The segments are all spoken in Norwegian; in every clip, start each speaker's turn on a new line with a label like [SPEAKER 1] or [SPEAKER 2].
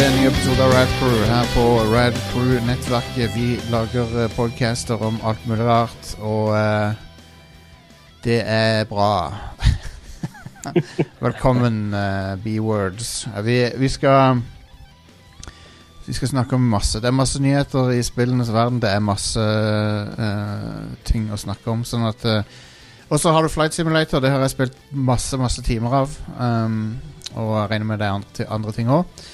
[SPEAKER 1] episode av Rad Crew her på Rad Crew-nettverket. Vi lager eh, podcaster om alt mulig rart, og eh, det er bra. Velkommen, eh, B-words. Eh, Vi, vi skal vi skal snakke om masse. Det er masse nyheter i spillenes verden. Det er masse eh, ting å snakke om. Sånn at eh, Og så har du Flight Simulator. Det har jeg spilt masse, masse timer av. Um, og jeg regner med det er andre, andre ting òg.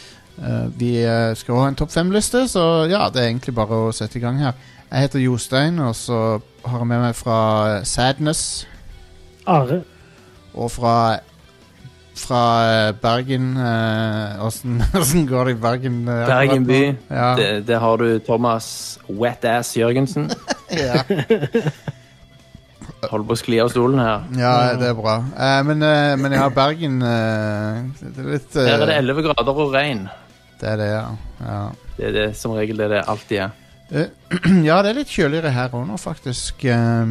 [SPEAKER 1] vi eh, skal også ha en topp fem-liste, så ja, det er egentlig bare å sette i gang her. Jeg heter Jostein, og så har jeg med meg fra eh, Sadness
[SPEAKER 2] Are.
[SPEAKER 1] og fra fra eh, Bergen eh, Åssen åssen går det i Bergen? eh, akkurat
[SPEAKER 3] Bergen
[SPEAKER 1] nå?
[SPEAKER 3] by.
[SPEAKER 1] Ja.
[SPEAKER 3] Det, det har du Thomas Wet Ass Jørgensen.
[SPEAKER 1] Ja,
[SPEAKER 3] Holder på å skli av stolen her.
[SPEAKER 1] ja det er bra. Eh, men, eh, men ja, Bergen eh, Det er litt eh,
[SPEAKER 3] Her er det 11 grader og regn.
[SPEAKER 1] det er det, ja. Ja.
[SPEAKER 3] Det er det som regel det det alltid er.
[SPEAKER 1] Eh, ja, det er litt kjøligere her òg nå, faktisk. eh,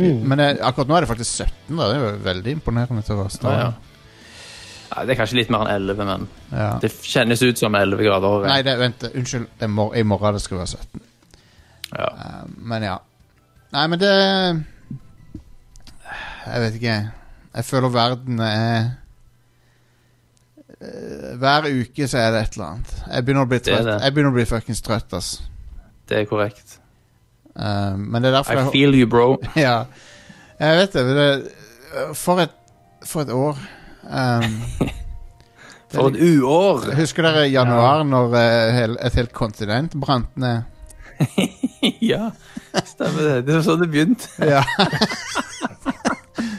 [SPEAKER 3] Mm.
[SPEAKER 1] Men eh, akkurat nå er det faktisk 17, da. Det er jo veldig imponerende til oss.
[SPEAKER 3] Ja, ja. Ja, det er kanskje litt mer enn 11, men
[SPEAKER 1] Ja.
[SPEAKER 3] det kjennes ut som 11 grader og
[SPEAKER 1] Nei,
[SPEAKER 3] regn.
[SPEAKER 1] det, vent. det- Unnskyld. Det er mor I morgen det skal være 17.
[SPEAKER 3] Ja.
[SPEAKER 1] Eh, Men ja. Nei, men det Jeg vet ikke. Jeg føler verden er Eh, Hver uke så er det et eller annet. Jeg begynner å bli
[SPEAKER 3] er
[SPEAKER 1] trøtt.
[SPEAKER 3] det.
[SPEAKER 1] Jeg begynner å bli fuckings trøtt, ass.
[SPEAKER 3] Det er korrekt.
[SPEAKER 1] Eh, men det er derfor
[SPEAKER 3] I
[SPEAKER 1] jeg
[SPEAKER 3] feel you, bro.
[SPEAKER 1] Ja. Jeg vet det. men det for, et, for et år. Um,
[SPEAKER 3] For et uår!
[SPEAKER 1] husker dere i januar, når eh, hel, et helt kontinent brant ned?
[SPEAKER 3] ja, stemmer det. Det var sånn det begynte.
[SPEAKER 1] Ja.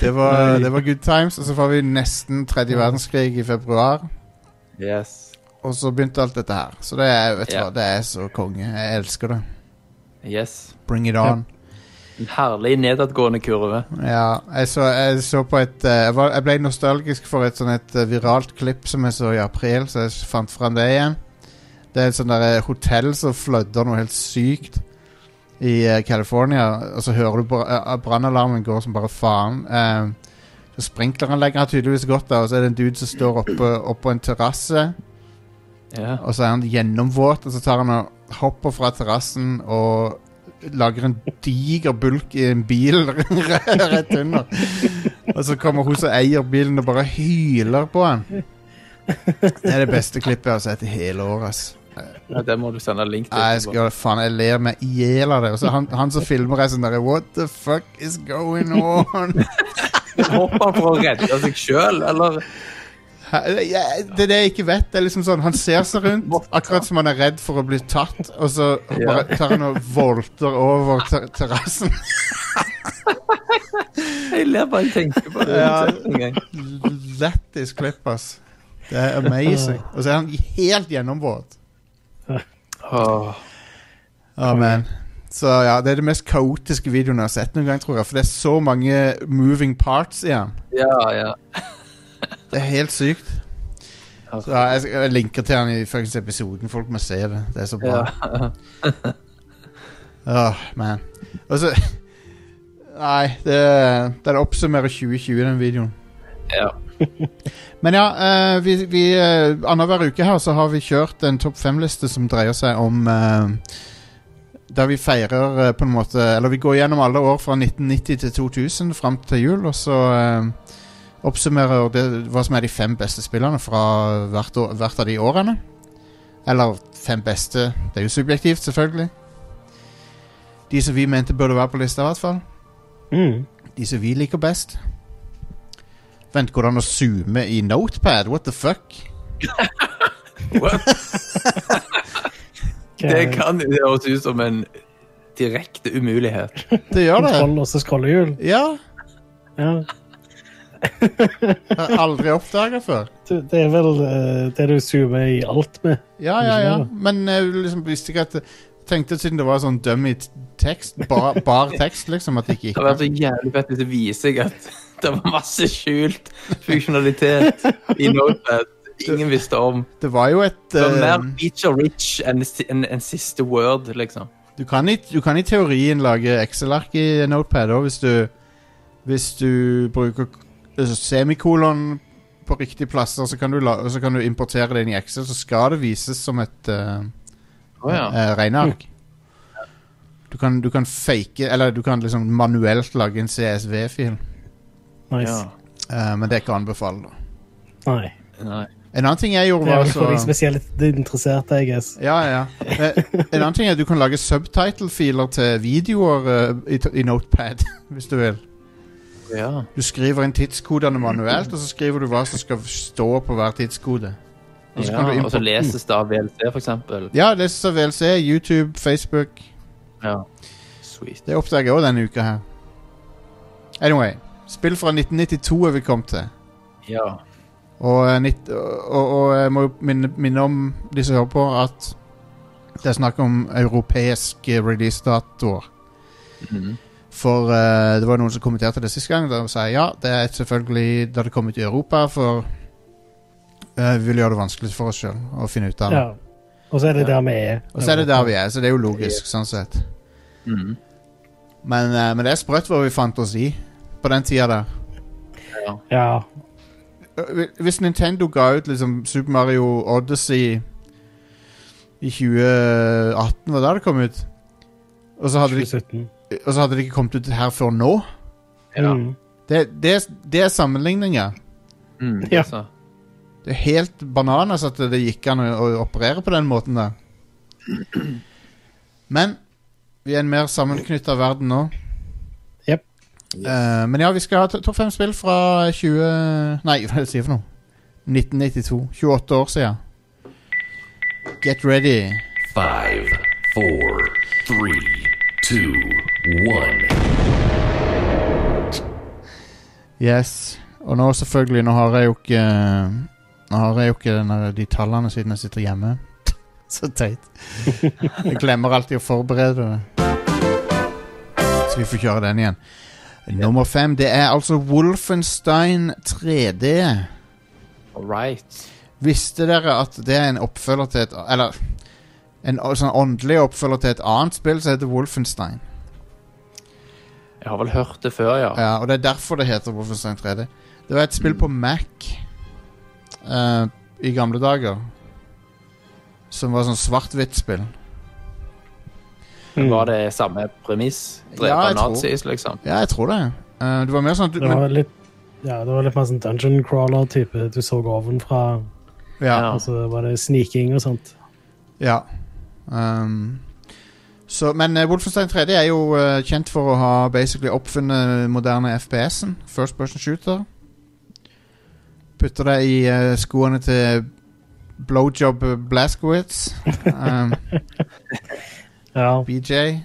[SPEAKER 1] det, var, det var good times, og så får vi nesten tredje verdenskrig i februar.
[SPEAKER 3] Yes.
[SPEAKER 1] Og så begynte alt dette her. Så det er, vet du
[SPEAKER 3] Ja.
[SPEAKER 1] hva, det er så konge. Jeg elsker det.
[SPEAKER 3] Yes.
[SPEAKER 1] Bring it on.
[SPEAKER 3] En herlig nedadgående kurve.
[SPEAKER 1] Ja, jeg så, jeg så på et eh, jeg, var, jeg ble nostalgisk for et sånn et eh, viralt klipp som jeg så i april, så jeg fant fram det igjen. Det er et sånt der, eh, hotell som flødder noe helt sykt i eh, California, og så hører du br eh, brannalarmen går som bare faen. Eh, så Sprinkleranlegget har tydeligvis gått der, og så er det en dude som står oppe, oppe på en terrasse,
[SPEAKER 3] Ja.
[SPEAKER 1] og så er han gjennomvåt, og så tar han og hopper fra terrassen og lager en diger bulk i en bil rett under. Og så kommer hun som eier bilen og bare hyler på han. Det er det beste klippet jeg har sett i hele år. ass.
[SPEAKER 3] Ja, Det må du sende link til.
[SPEAKER 1] Nei, Jeg, skal, faen, jeg ler meg i hjel av det. Og så han, han som filmer, er sånn derre What the fuck is going on?
[SPEAKER 3] Hopper han for å redde seg sjøl, eller?
[SPEAKER 1] Hæ? Ja, Det er det jeg ikke vet. Det er liksom sånn, Han ser seg rundt, akkurat som han er redd for å bli tatt, og så bare tar han og volter over ter terrassen.
[SPEAKER 3] Jeg ler bare jeg tenker på det.
[SPEAKER 1] Ja.
[SPEAKER 3] en gang.
[SPEAKER 1] Lættis klipp, ass. Det er amazing. Og så er han helt gjennomvåt.
[SPEAKER 3] Åh.
[SPEAKER 1] Amen. Så ja, Det er det mest kaotiske videoen jeg har sett noen gang, tror jeg. For det er så mange moving parts i han.
[SPEAKER 3] Ja, ja.
[SPEAKER 1] Det er helt sykt. Så ja, jeg, jeg linker til han i fuckings episoden. Folk må se det. Det er så bra.
[SPEAKER 3] ja.
[SPEAKER 1] Åh, Ah, man. Og så Nei, det, den oppsummerer 2020, den videoen.
[SPEAKER 3] ja. Men
[SPEAKER 1] Men ja, eh, vi, vi eh, annenhver uke her så har vi kjørt en topp fem-liste som dreier seg om eh, Der vi feirer eh, på en måte Eller vi går gjennom alle år fra 1990 til 2000 fram til jul, og så eh, oppsummerer det hva som er de fem beste spillerne fra hvert, år, hvert av de årene. Eller fem beste Det er jo subjektivt, selvfølgelig. De som vi mente burde være på lista, i hvert fall.
[SPEAKER 2] Mm.
[SPEAKER 1] De som vi liker best. Vent, går det an å zoome i notepad? What the fuck?
[SPEAKER 3] what?
[SPEAKER 2] Hva-
[SPEAKER 3] det kan det høres ut som en direkte umulighet.
[SPEAKER 1] Det gjør det.
[SPEAKER 2] Kontroll og så scrollehjul.
[SPEAKER 1] Ja.
[SPEAKER 2] Ja.
[SPEAKER 1] Jeg har aldri oppdaga før.
[SPEAKER 2] Du, Det er vel eh, det du zoomer i alt med.
[SPEAKER 1] Ja, ja, ja. Men jeg liksom visste ikke at Tenkte siden det var sånn dummy t- tekst, bar, bar tekst, liksom, at det ikke gikk
[SPEAKER 3] Det hadde vært så jævlig fett hvis det viser seg at det var masse skjult funksjonalitet i Notepad ingen visste om.
[SPEAKER 1] Det var jo et
[SPEAKER 3] Det var
[SPEAKER 1] eh,
[SPEAKER 3] mer feature-rich enn enn- enn siste word, liksom.
[SPEAKER 1] du, kan i, du kan i teorien lage Excel-ark i notepad òg, hvis du Hvis du bruker k- altså, eh, semikolon på riktige plasser, så kan du, la, så kan du importere det inn i Excel, så skal det vises som et eh,
[SPEAKER 3] Å ja.
[SPEAKER 1] eh, regneark. Du kan, du kan fake Eller du kan liksom manuelt lage en CSV-fil,
[SPEAKER 2] Nice.
[SPEAKER 3] ja.
[SPEAKER 1] eh, men det er ikke å anbefale. da.
[SPEAKER 2] Nei.
[SPEAKER 3] Nei.
[SPEAKER 1] En annen ting jeg gjorde,
[SPEAKER 2] Det er
[SPEAKER 1] var
[SPEAKER 2] vel for de
[SPEAKER 1] så
[SPEAKER 2] spesielt interesserte, I guess.
[SPEAKER 1] ja, ja. Eh, En annen ting er at du kan lage subtitle-filer til videoer eh, i, t- i Notepad, hvis du vil.
[SPEAKER 3] Ja.
[SPEAKER 1] Du skriver inn tidskodene manuelt, og så skriver du hva som skal stå på hver tidskode. Og så
[SPEAKER 3] ja.
[SPEAKER 1] kan du
[SPEAKER 3] Og så
[SPEAKER 1] impor-
[SPEAKER 3] leses det av VLC, for eksempel.
[SPEAKER 1] Ja, leses av VLC, YouTube, Facebook.
[SPEAKER 3] Ja. Sweet.
[SPEAKER 1] Det oppdager jeg òg denne uka her. Anyway, spill fra 1992 er vi kommet til.
[SPEAKER 3] Ja.
[SPEAKER 1] Og, eh, nitt- og, og jeg må jo minne, minne om de som hører på, at det er snakk om europeiske releasedatoer.
[SPEAKER 3] Mhm.
[SPEAKER 1] For eh, det var noen som kommenterte det sist gang. Der de sa ja, det er selvfølgelig da det kom ut i Europa, for eh, vi vil gjøre det vanskelig for oss sjøl å finne ut av det.
[SPEAKER 2] Ja. Og så er det der vi er.
[SPEAKER 1] Og så er det der vi er, så det er jo logisk, sånn sett.
[SPEAKER 3] Mhm.
[SPEAKER 1] Men, eh, men det er sprøtt hva vi fant oss i på den tida der.
[SPEAKER 2] Ja.
[SPEAKER 1] Øh, Hvis Nintendo ga ut liksom Super Mario Odyssey i 2018, var det da det kom ut? Og så hadde, de,
[SPEAKER 2] 2017.
[SPEAKER 1] og så hadde det ikke kommet ut her før nå?
[SPEAKER 3] Ja.
[SPEAKER 2] Mm.
[SPEAKER 1] Det, det, det er sammenligninger.
[SPEAKER 3] Mm, det
[SPEAKER 2] Ja.
[SPEAKER 3] så.
[SPEAKER 1] Det er helt bananas at det gikk an å, å operere på den måten der. Men vi er en mer sammenknytta verden nå.
[SPEAKER 2] Jep.
[SPEAKER 1] Eh, men ja, vi skal ha to- topp fem spill fra 20... Nei, hva er det jeg sier for noe? 1992. 28 år siden. Get ready.
[SPEAKER 4] Five, four, three, two, one.
[SPEAKER 1] Yes. Og nå selvfølgelig, nå har jeg jo ikke Nå har jeg jo ikke den der- de tallene siden jeg sitter hjemme. Så teit. Jeg glemmer alltid å forberede det. Så vi får kjøre den igjen. Nummer fem, det er altså Wolfenstein 3D.
[SPEAKER 3] All right.
[SPEAKER 1] Visste dere at det er en oppfølger til et Eller en å- sånn åndelig oppfølger til et annet spill som heter Wolfenstein?
[SPEAKER 3] Jeg har vel hørt det før, ja.
[SPEAKER 1] Ja, og det er derfor det heter Wolfenstein 3D. Det var et spill på Mac eh, i gamle dager. Som var sånn svart-hvitt spill.
[SPEAKER 2] Mm.
[SPEAKER 3] Var det samme premiss? Drepe
[SPEAKER 1] Ja, jeg tror-
[SPEAKER 3] nazis, liksom?
[SPEAKER 1] Ja, jeg tror det. Eh, det var mer sånn at du,
[SPEAKER 2] Det var litt ja, det var litt mer sånn dungeon crawler-type. Du så ovenfra,
[SPEAKER 1] ja,
[SPEAKER 3] Ja. altså,
[SPEAKER 2] og så var det sniking og sånt.
[SPEAKER 1] ja. Um, så, men eh, Wolfenstein 3D er jo eh, kjent for å ha basically oppfunnet moderne FPS-en. First person shooter. Putter det i eh, skoene til blowjob Blaskowitz. Um,
[SPEAKER 2] Ja.
[SPEAKER 1] BJ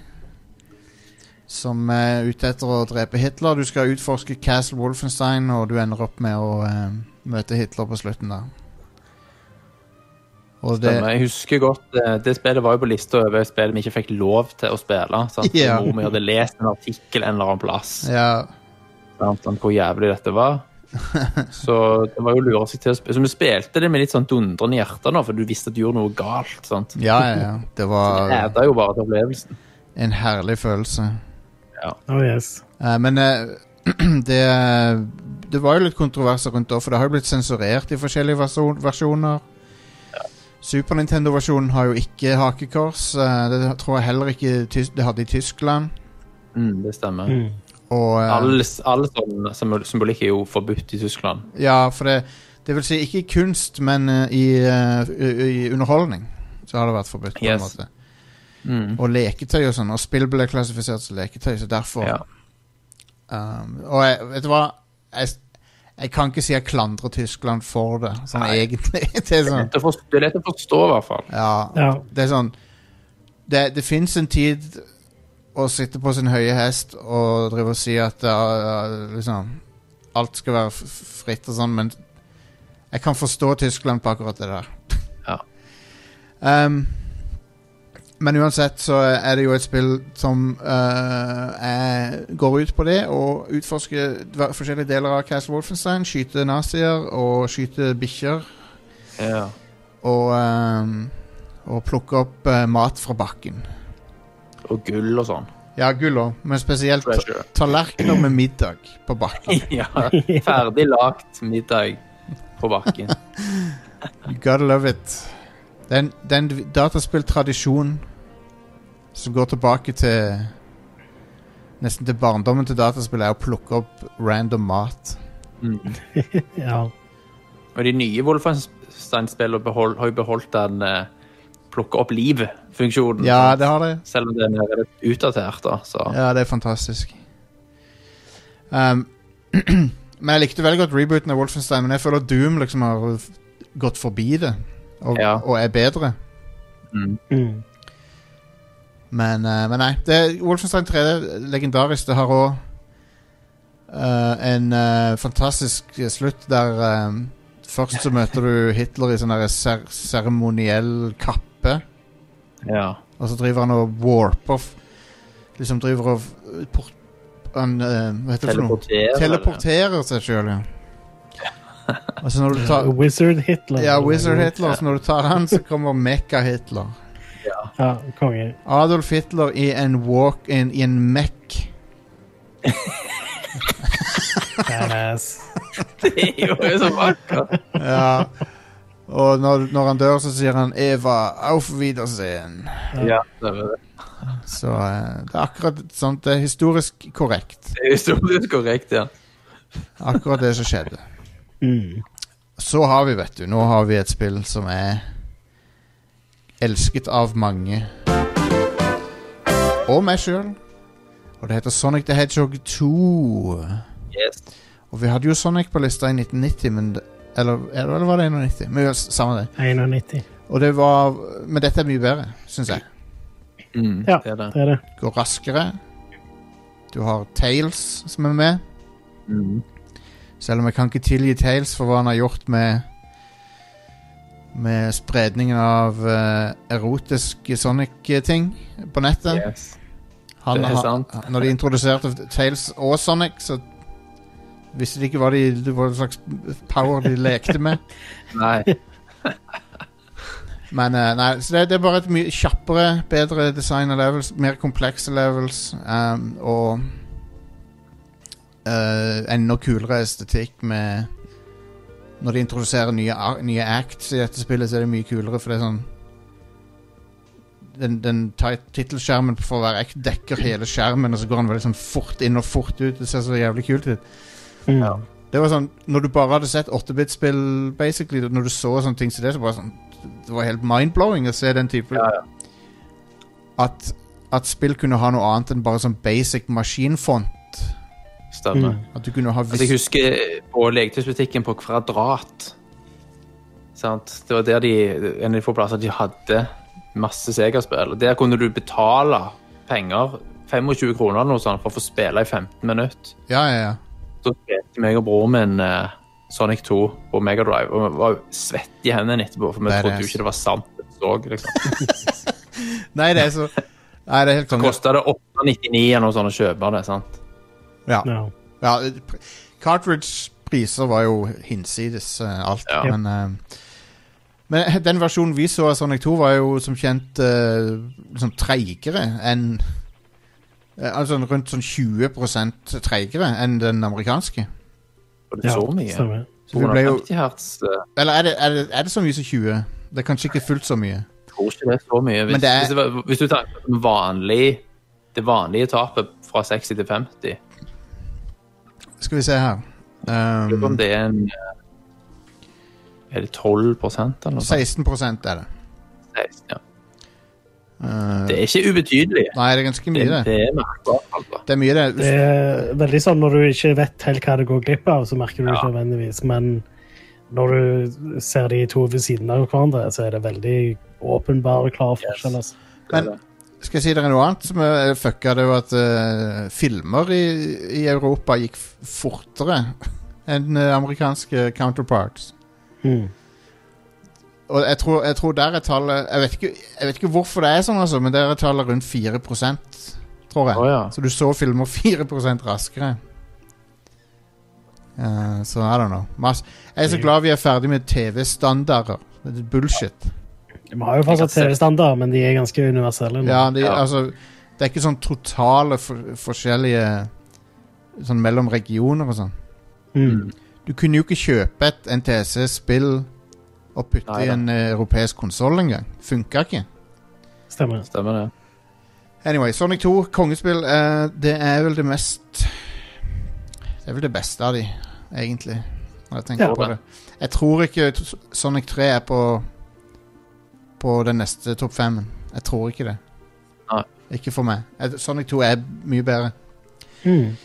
[SPEAKER 1] som er ute etter å drepe Hitler. Du skal utforske Castle Wolfenstein, og du ender opp med å eh, møte Hitler på slutten der. Og det
[SPEAKER 3] Stemmer. Jeg husker godt eh, Det spillet var jo på lista over spill vi ikke fikk lov til å spille. Sant?
[SPEAKER 1] Ja.
[SPEAKER 3] Hvor vi hadde lest en artikkel en eller annen plass
[SPEAKER 1] Ja,
[SPEAKER 3] sant? om hvor jævlig dette var. Så det var jo å lure seg til å spille. Så vi spilte det med litt sånn dundrende hjerte, nå, for du visste at du gjorde noe galt. sant?
[SPEAKER 1] ja, ja, ja. Det var
[SPEAKER 3] Det adda jo bare til opplevelsen.
[SPEAKER 1] en herlig følelse.
[SPEAKER 2] Oh yes.
[SPEAKER 1] Eh, men eh, det Det var jo litt kontroverser rundt det, for det har jo blitt sensurert i forskjellige verso- versjoner. Super Nintendo-versjonen har jo ikke hakekors. eh, det tror jeg heller ikke Tys- det hadde i Tyskland.
[SPEAKER 3] Mm, det stemmer.
[SPEAKER 2] Mm.
[SPEAKER 1] Og, eh,
[SPEAKER 3] All, all sånn symbol- symbolikk er jo forbudt i Tyskland.
[SPEAKER 1] Ja, for det, det vil si ikke i kunst, men eh, i, eh, i, i underholdning. Så har det vært forbudt. på en
[SPEAKER 3] Yes.
[SPEAKER 1] måte
[SPEAKER 3] Mm.
[SPEAKER 1] Og leketøy og sånn. Og spill ble klassifisert som leketøy, så derfor
[SPEAKER 3] Ja.
[SPEAKER 1] um, Og jeg, vet du hva? Jeg, jeg kan ikke si jeg klandrer Tyskland for det, sånn
[SPEAKER 3] Nei.
[SPEAKER 1] egentlig. Det er
[SPEAKER 3] Det er
[SPEAKER 1] sånn
[SPEAKER 3] lett å forstå- det er lett å forstå, i hvert fall.
[SPEAKER 1] Ja.
[SPEAKER 2] Ja.
[SPEAKER 1] Det er sånn Det, det fins en tid å sitte på sin høye hest og drive og si at uh, liksom Alt skal være f- f- fritt og sånn, men jeg kan forstå Tyskland på akkurat det der.
[SPEAKER 3] Ja.
[SPEAKER 1] Ehm, men uansett så er det jo et spill som øh, er, går ut på det å utforske dver- forskjellige deler av Castle Wolfenstein. Skyte nazier og skyte bikkjer.
[SPEAKER 3] Ja.
[SPEAKER 1] Og, ehm, og plukke opp eh, mat fra bakken.
[SPEAKER 3] Og gull og sånn.
[SPEAKER 1] Ja, gull òg, men spesielt ta-
[SPEAKER 3] Treasure.
[SPEAKER 1] tallerkener med middag på bakken.
[SPEAKER 3] Ja. Ferdig lagt middag. på bakken.
[SPEAKER 1] You gotta love it. Det er en, det er en dataspilltradisjon som går tilbake til Nesten til barndommen til dataspill er å plukke opp random mat.
[SPEAKER 3] Mm.
[SPEAKER 2] Ja.
[SPEAKER 3] Og de nye Wolfenstein-spillene behol- har jo beholdt den eh, plukke opp liv-funksjonen.
[SPEAKER 1] Ja,
[SPEAKER 3] sant?
[SPEAKER 1] det har det.
[SPEAKER 3] Selv om den er litt utdatert, da. Så.
[SPEAKER 1] Ja, det er fantastisk. Um, men jeg likte veldig godt rebooten av Wolfenstein, men jeg føler Doom liksom har f- gått forbi det, og,
[SPEAKER 3] Ja.
[SPEAKER 1] og er bedre.
[SPEAKER 3] Mm.
[SPEAKER 2] Mm.
[SPEAKER 1] Men, eh, men nei. Det, Wolfenstein 3 er legendarisk. Det har òg en eh, fantastisk slutt der eh, Først så møter du Hitler i sånn der ser seremoniell kappe.
[SPEAKER 3] Ja.
[SPEAKER 1] Og så driver han og warper f- Liksom driver og f- port, Han eh, Hva heter det for noe?
[SPEAKER 3] Teleportere.
[SPEAKER 1] Teleporterer seg sjøl, ja. Og så når du tar
[SPEAKER 2] Wizard Hitler.
[SPEAKER 1] Ja, Wizard Hitler, så når du tar han, så kommer Mekka-Hitler.
[SPEAKER 2] Ja, konge.
[SPEAKER 1] Adolf Hitler i en walk in, i en Mek.
[SPEAKER 2] Badass.
[SPEAKER 3] Det er jo så vakkert.
[SPEAKER 1] Ja. Og når, når han dør, så sier han 'Eva, auf Wiedersehen'.
[SPEAKER 3] Ja, det er
[SPEAKER 1] Så eh, det er akkurat sånt. Det er historisk korrekt.
[SPEAKER 3] det er historisk korrekt, ja.
[SPEAKER 1] Akkurat det som skjedde.
[SPEAKER 2] Mm.
[SPEAKER 1] Så har vi, vet du, nå har vi et spill som er elsket av mange. Og meg sjøl. Og det heter Sonic the Hedgehog 2.
[SPEAKER 3] Yes.
[SPEAKER 1] Og vi hadde jo Sonic på lista i 1990, men det- Eller, eller var det 91? Men ja, s- samme det.
[SPEAKER 2] 91.
[SPEAKER 1] Og det var Men dette er mye bedre, syns jeg.
[SPEAKER 3] Mm,
[SPEAKER 2] Ja.
[SPEAKER 3] Det er det.
[SPEAKER 2] Det er det.
[SPEAKER 1] Går raskere. Du har Tails som er med.
[SPEAKER 3] Mm.
[SPEAKER 1] Selv om jeg kan ikke tilgi Tails for hva han har gjort med Med spredningen av eh, erotiske Sonic-ting på nettet.
[SPEAKER 3] Yes.
[SPEAKER 1] Han,
[SPEAKER 3] det er
[SPEAKER 1] har-
[SPEAKER 3] sant.
[SPEAKER 1] Når de introduserte Tails og Sonic, så visste de ikke hva, de, hva slags power de lekte med.
[SPEAKER 3] Nei.
[SPEAKER 1] Men eh, nei, så det, det er bare et mye kjappere, bedre design av levels, mer komplekse levels ehm, og eh, enda kulere estetikk med Når de introduserer nye, ar- nye acts i dette spillet, så er det mye kulere, for det er sånn den, den ti- tittelskjermen for hver act dekker hele skjermen, og så går han veldig sånn fort inn og fort ut. Det ser så jævlig kult ut.
[SPEAKER 2] Mm.
[SPEAKER 3] Ja.
[SPEAKER 1] Det var sånn, Når du bare hadde sett 8-bit-spill, basically, når du så sånne ting som det, så bare sånn Det var helt mind-blowing å se den type
[SPEAKER 3] Ja,
[SPEAKER 1] At, at spill kunne ha noe annet enn bare sånn basic maskinfont.
[SPEAKER 3] Stemmer.
[SPEAKER 2] Mm.
[SPEAKER 1] At du kunne ha
[SPEAKER 3] Altså, jeg
[SPEAKER 1] vis
[SPEAKER 3] husker på leketøysbutikken på Kvadrat. Sant? Det var der de, en av de få plasser de hadde masse Sega-spill. Og Der kunne du betale penger, 25 kroner eller noe sånt, for å få spille i 15 minutter.
[SPEAKER 1] Ja, ja, ja.
[SPEAKER 3] Så spilte meg og broren min eh, Sonic 2 på Megadrive, og vi var jo svette i hendene etterpå, for vi
[SPEAKER 1] Badass.
[SPEAKER 3] trodde jo ikke det var sant. det vi Så, liksom.
[SPEAKER 1] Nei, det er så Nei, det er helt
[SPEAKER 3] Det
[SPEAKER 1] konge.
[SPEAKER 3] kosta det 899 eller noe sånt å kjøpe det, sant?
[SPEAKER 1] Ja.
[SPEAKER 2] Ja.
[SPEAKER 1] ja pr- Cartridge-priser var jo hinsides eh, alt,
[SPEAKER 3] Ja.
[SPEAKER 1] men eh, Men eh, den versjonen vi så av Sonic 2, var jo som kjent eh, liksom treigere enn eh, Altså rundt sånn 20 treigere enn den amerikanske.
[SPEAKER 3] Og det
[SPEAKER 2] Ja,
[SPEAKER 3] så mye.
[SPEAKER 2] stemmer.
[SPEAKER 1] Så vi ble jo
[SPEAKER 3] 250 hertz, eh,
[SPEAKER 1] Eller er det, er, det, er det så mye som 20? Det er kanskje ikke fullt så mye.
[SPEAKER 3] tror ikke det er så mye. Hvis,
[SPEAKER 1] Men det er-
[SPEAKER 3] hvis, det var, hvis du tar vanlig, det vanlige tapet fra 60 til 50
[SPEAKER 1] Skal vi se her
[SPEAKER 3] Lurer på
[SPEAKER 1] um,
[SPEAKER 3] om det er en eh, Er det 12 eller noe sånt?
[SPEAKER 1] 16 er det.
[SPEAKER 3] 16, ja.
[SPEAKER 1] Uh,
[SPEAKER 3] Det er ikke ubetydelig.
[SPEAKER 1] nei, det er ganske
[SPEAKER 3] Det,
[SPEAKER 1] mye, det.
[SPEAKER 3] det er merkbart. Altså.
[SPEAKER 1] Det er mye, det.
[SPEAKER 2] Det er veldig sånn når du ikke vet helt hva det går glipp av, så merker du
[SPEAKER 3] Ja.
[SPEAKER 2] ikke nødvendigvis, men når du ser de to ved siden av hverandre, så er det veldig åpenbar og klar forskjell. Altså.
[SPEAKER 1] Men skal jeg si dere noe annet som er fucka? Det var at eh, filmer i, i Europa gikk f- fortere enn eh, amerikanske counterparts.
[SPEAKER 2] Mm.
[SPEAKER 1] Og jeg tror, jeg tror der er tallet jeg vet, ikke, jeg vet ikke hvorfor det er sånn, altså, men der er tallet rundt 4 tror jeg.
[SPEAKER 3] Å ja.
[SPEAKER 1] Så du så filmer 4 raskere. Eh, så I don't know. Mas jeg er
[SPEAKER 3] Mm.
[SPEAKER 1] så glad vi er ferdig med TV-standarder. Det er Bullshit.
[SPEAKER 2] Vi har jo fortsatt
[SPEAKER 3] Jeg har sett-
[SPEAKER 2] TV-standard, men de er ganske universelle. nå.
[SPEAKER 1] Ja, de,
[SPEAKER 3] Ja.
[SPEAKER 1] altså Det er ikke sånn totale for, forskjellige Sånn mellom regioner og sånn.
[SPEAKER 2] Mm.
[SPEAKER 1] Du Du kunne jo ikke kjøpe et NTSC-spill og putte i
[SPEAKER 3] Neida.
[SPEAKER 1] en eh, europeisk konsoll engang. Funka ikke.
[SPEAKER 2] Stemmer.
[SPEAKER 3] Stemmer det.
[SPEAKER 1] Anyway, Sonic 2, kongespill, eh, det er vel det mest Det er vel det beste av de, egentlig. Når jeg tenker
[SPEAKER 2] Ja.
[SPEAKER 1] på det. Jeg tror ikke t- Sonic 3 er på På den neste topp fem. Jeg tror ikke det.
[SPEAKER 3] Nei.
[SPEAKER 1] Ikke for meg. Jeg- Sonic 2 er mye bedre.
[SPEAKER 2] Mm.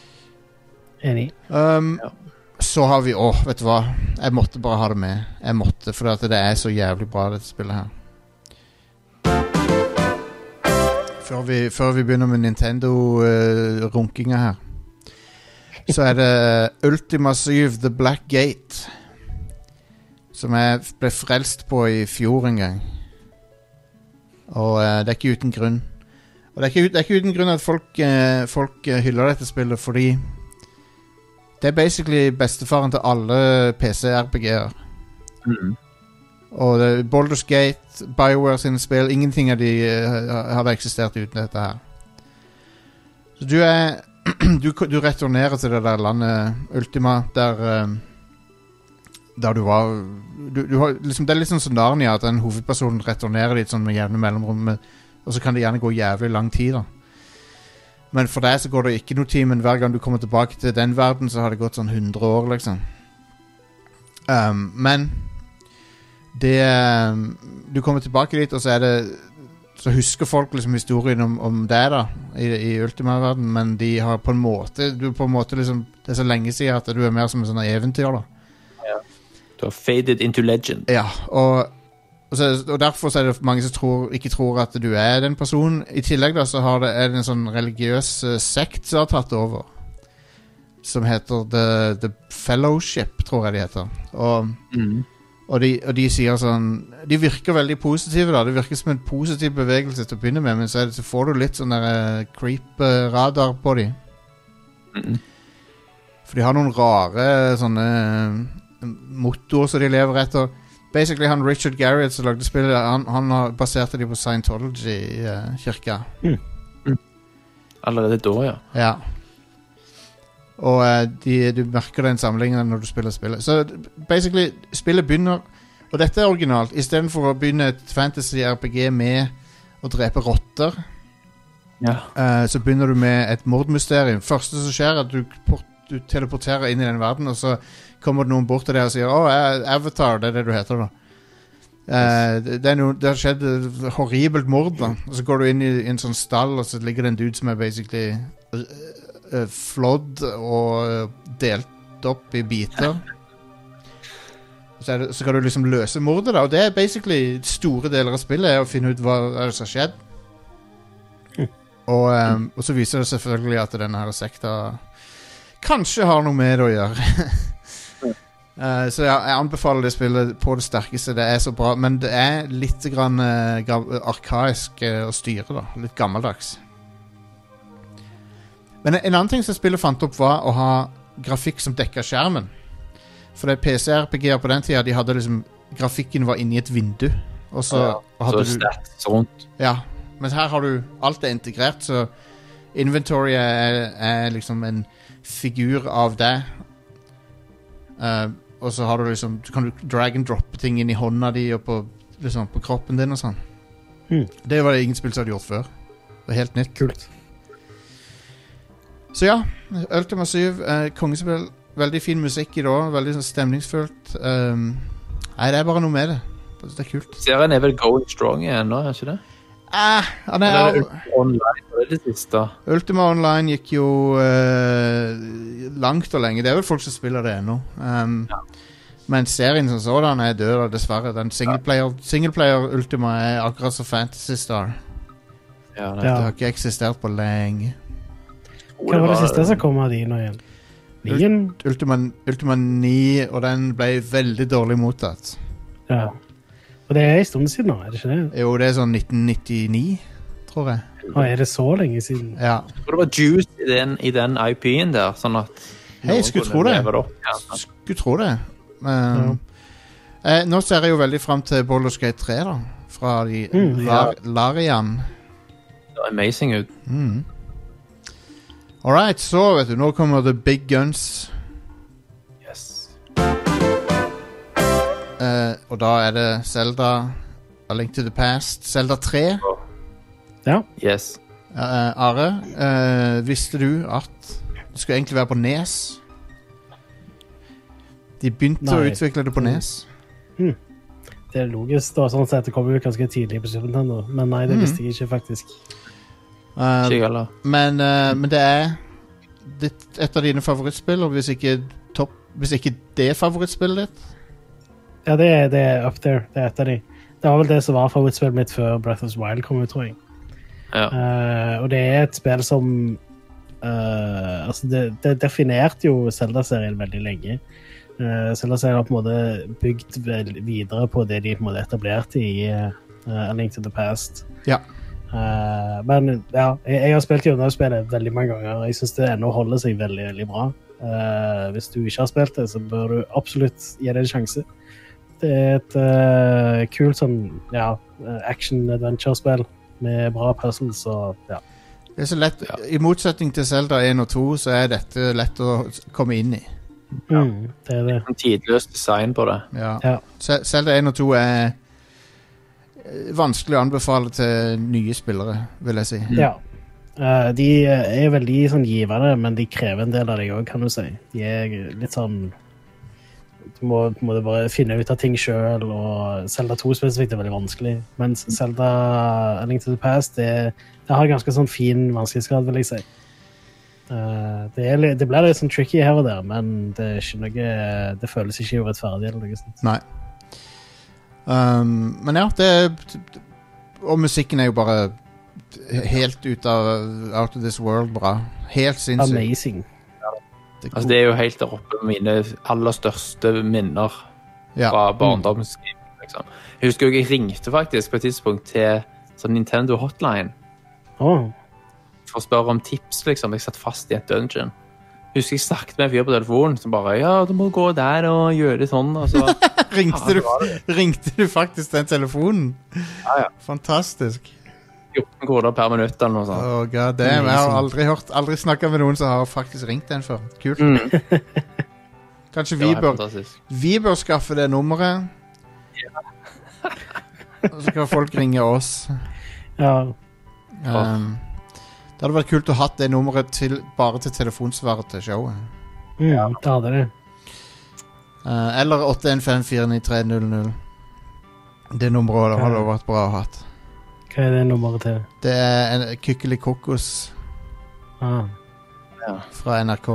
[SPEAKER 2] Enig.
[SPEAKER 1] Um,
[SPEAKER 3] Ja.
[SPEAKER 1] Så har vi Åh, vet du hva? Jeg måtte bare ha det med. Jeg måtte, For at det er så jævlig bra, dette spillet her. Før vi, før vi begynner med Nintendo-runkinga her, så er det eh, Ultima 7 The Black Gate. Som jeg f- ble frelst på i fjor en gang. Og eh, det er ikke uten grunn. Og det er ikke, ut- det er ikke uten grunn at folk, eh, folk eh, hyller dette spillet fordi det er basically bestefaren til alle PC-RPG-er.
[SPEAKER 3] Mm.
[SPEAKER 1] Og det er Baldur's Gate, Bioware sine spill Ingenting av de eh, hadde eksistert uten dette her. Så du er du, ko- du returnerer til det der landet Ultima, der eh, Der du var du, du har, liksom, Det er litt sånn som Narnia, at en hovedperson returnerer dit sånn med jevne mellomrom, med- og så kan det gjerne gå jævlig lang tid, da. Men for deg så går det ikke noe tid, men hver gang du kommer tilbake til den verden, så har det gått sånn 100 år, liksom. Um, men det um, Du kommer tilbake dit, og så er det Så husker folk liksom historien om, om deg, da, i, i Ultima-verden, men de har på en måte Du er på en måte liksom Det er så lenge siden at du er mer som en sånn eventyr, da.
[SPEAKER 3] Du har faded into legend.
[SPEAKER 1] Ja, og, og, så, og derfor så er det mange som tror, ikke tror at du er den personen. I tillegg da, så har det, er det en sånn religiøs eh, sekt som har tatt over. Som heter The, The Fellowship, tror jeg de heter. Og, og, de, og de sier sånn De virker veldig positive, da. Det virker som en positiv bevegelse til å begynne med, men så, er det, så får du litt sånn der, eh, creep-radar på de.
[SPEAKER 3] Mm.
[SPEAKER 1] For de har noen rare sånne eh, mottoer som de lever etter. Basically, han Richard Garriott som lagde spillet, han, han har- baserte de på eh, Scientology-kirka.
[SPEAKER 3] Allerede da, ja.
[SPEAKER 1] ja. Og eh, de, du merker den sammenligningen når du spiller spillet. Så basically, spillet begynner Og dette er originalt. Istedenfor å begynne et fantasy-RPG med å drepe rotter,
[SPEAKER 3] ja.
[SPEAKER 1] Eh, så begynner du med et mordmysterium. første som skjer, er at du, port, du teleporterer inn i den verden, og så kommer det noen bort til deg og sier 'Å, jeg- Avatar, det er det du heter, da'. Eh, det, det, er noe, det har skjedd et horribelt mord, da. Og så går du inn i, en sånn stall, og så ligger det en dude som er basically eh, eh, flådd og eh, delt opp i biter. Så, er det, så skal du liksom løse mordet, da. Og det er basically store deler av spillet, er å finne ut hva er det som har skjedd. Og, ehm, og så viser det selvfølgelig at denne her sekta kanskje har noe med det å gjøre. Eh, så jeg, jeg anbefaler det spillet på det sterkeste. Det er så bra, men det er litt grann, eh, gam- arkaisk eh, å styre, da. Litt gammeldags. Men en annen ting som spillet fant opp, var å ha grafikk som dekka skjermen. For det PC-RPG-er på den tida, de hadde liksom Grafikken var inni et vindu, og så
[SPEAKER 3] Ja,
[SPEAKER 1] og
[SPEAKER 3] Så
[SPEAKER 1] hadde du
[SPEAKER 3] stats rundt.
[SPEAKER 1] ja, men her har du Alt er integrert, så inventory er, er liksom en figur av deg. Eh, og så har du liksom Du kan du drag and droppe ting inn i hånda di og på, liksom, på kroppen din og sånn.
[SPEAKER 2] Hmm.
[SPEAKER 1] Det var det ingen spill som hadde gjort før. Det var helt nytt.
[SPEAKER 2] Kult.
[SPEAKER 1] Så ja, Ultima 7, eh, kongespill. Veldig fin musikk i det òg. Veldig sånn stemningsfullt. Um, nei, det er bare noe med det. Det er kult.
[SPEAKER 3] Serien er vel going strong igjen nå, er den ikke det?
[SPEAKER 1] Eh, han er,
[SPEAKER 3] Eller er det Online det er det siste.
[SPEAKER 1] Ultima Online gikk jo eh, langt og lenge. Det er vel folk som spiller det ennå. Um, Men serien som sådan er død, da, dessverre. Den singleplayer, singleplayer Ultima er akkurat som Fantasy Star.
[SPEAKER 3] Ja, nei.
[SPEAKER 1] Det
[SPEAKER 2] Ja.
[SPEAKER 1] har ikke eksistert på lenge.
[SPEAKER 3] Jo,
[SPEAKER 2] Hva var det
[SPEAKER 3] eh,
[SPEAKER 2] siste som kom av de nå igjen? Nien?
[SPEAKER 1] Ultima, Ultima 9, og den ble veldig dårlig mottatt.
[SPEAKER 2] Ja. Og det er en stund siden nå, er det ikke det?
[SPEAKER 1] Jo, det er sånn 1999, tror jeg.
[SPEAKER 2] Å, er det så lenge siden?
[SPEAKER 1] Ja.
[SPEAKER 3] Jeg tror det var juice i den, i den IP-en der, sånn at
[SPEAKER 1] Hei,
[SPEAKER 3] noen
[SPEAKER 1] skulle
[SPEAKER 3] kunne
[SPEAKER 1] tro det.
[SPEAKER 3] leve opp. Ja, sant.
[SPEAKER 1] Skulle tro det. Um, eh, nå ser jeg jo veldig fram til Baldur's Gate 3, da. Fra de
[SPEAKER 2] Mm,
[SPEAKER 1] Lar Larian.
[SPEAKER 3] Det var amazing ut.
[SPEAKER 1] Mm. All right, så vet du, nå kommer The Big Guns.
[SPEAKER 3] Yes.
[SPEAKER 1] Eh, og da er det Zelda A Link to the Past. Zelda 3.
[SPEAKER 2] Ja.
[SPEAKER 3] Yes.
[SPEAKER 1] Eh, Are, eh, visste du at det skulle egentlig være på Nes? De begynte å
[SPEAKER 2] Nei.
[SPEAKER 1] utvikle det på E Nes.
[SPEAKER 2] Det er logisk, da, sånn sett. Det kom jo ganske tidlig på Super Nintendo. Men nei, det visste jeg ikke, faktisk.
[SPEAKER 1] Eh,
[SPEAKER 3] Ikke jeg heller.
[SPEAKER 1] men, eh, men det er ditt, et av dine favorittspill, og hvis ikke, topp, hvis ikke det er favorittspillet ditt
[SPEAKER 2] Ja, det er, det er up there. Det er et av de. Det var vel det som var favorittspillet mitt før Breath of the Wild kom ut, tror jeg.
[SPEAKER 3] Ja.
[SPEAKER 2] Eh, og det er et spill som eh, Altså, det, det definerte jo Zelda-serien veldig lenge. Eh, Zelda-serien har på en måte bygd vel videre på det de på en måte etablerte i eh, A Link to the Past.
[SPEAKER 1] Ja.
[SPEAKER 2] Eh, men ja, jeg, jeg har spilt gjennom spillet veldig mange ganger, og jeg syns det ennå holder seg veldig veldig bra. Eh, hvis du ikke har spilt det, så bør du absolutt gi det en sjanse. Det er et eh, kult sånn ja, action-adventure-spill med bra puzzles og ja.
[SPEAKER 1] Det er så lett, I motsetning til Zelda 1 og 2 så er dette lett å komme inn i.
[SPEAKER 2] Mm, det er det.
[SPEAKER 3] En Tidløst design på det.
[SPEAKER 1] Ja.
[SPEAKER 2] Ja.
[SPEAKER 1] Se- Zelda 1 og 2 er eh, vanskelig å anbefale til nye spillere, vil jeg si.
[SPEAKER 3] Mm.
[SPEAKER 2] ja. Eh, de er veldig sånn givende, men de krever en del av deg òg, kan du si. De er litt sånn Du må, må du bare finne ut av ting sjøl, og Selda 2 spesifikt er veldig vanskelig. Mens Selda Link to the Past det, det har ganske sånn fin vanskelighetsgrad, vil jeg si. Eh, det, er, litt- det blir litt sånn tricky her og der, men det, er ikke noe, det føles ikke urettferdig. eller noe sånt.
[SPEAKER 1] Nei. Um, men ja, det Og musikken er jo bare helt ut av Out of this world bra. Helt sinnssykt.
[SPEAKER 2] Amazing.
[SPEAKER 1] Det er
[SPEAKER 3] Altså,
[SPEAKER 1] ko-
[SPEAKER 3] det er jo helt der oppe med mine aller største minner
[SPEAKER 1] Ja. Mm.
[SPEAKER 3] fra barndomsskriv. Liksom. Jeg husker jo jeg ringte faktisk på et tidspunkt til sånn Nintendo Hotline
[SPEAKER 2] Åh.
[SPEAKER 3] for å spørre om tips, liksom. Jeg satt fast i et dungeon. Jeg husker jeg snakket med en fyr på telefonen som bare Ja, du må gå der og gjøre det sånn, og så
[SPEAKER 1] Ringte, du, ringte du faktisk den telefonen?
[SPEAKER 3] ja.
[SPEAKER 1] Fantastisk.
[SPEAKER 3] 14 kroner per minutt eller noe sånt.
[SPEAKER 1] Oh, God damn. Jeg har aldri, hørt- aldri snakka med noen som har faktisk ringt den før. Kult.
[SPEAKER 3] Mm.
[SPEAKER 1] Kanskje
[SPEAKER 3] Det
[SPEAKER 1] vi
[SPEAKER 3] var helt
[SPEAKER 1] bør
[SPEAKER 3] fantastisk.
[SPEAKER 1] Vi bør skaffe det nummeret. Og så kan folk ringe oss.
[SPEAKER 2] Ja.
[SPEAKER 1] Um, det hadde vært kult å ha det nummeret til, bare til telefonsvaret til showet.
[SPEAKER 2] Mm, Det hadde det.
[SPEAKER 1] Uh, eller 815493000. Det nummeret hadde også vært bra å ha.
[SPEAKER 2] Hva er det nummeret til?
[SPEAKER 1] Det er en Kykkeli Kokos
[SPEAKER 2] Ah.
[SPEAKER 1] fra NRK.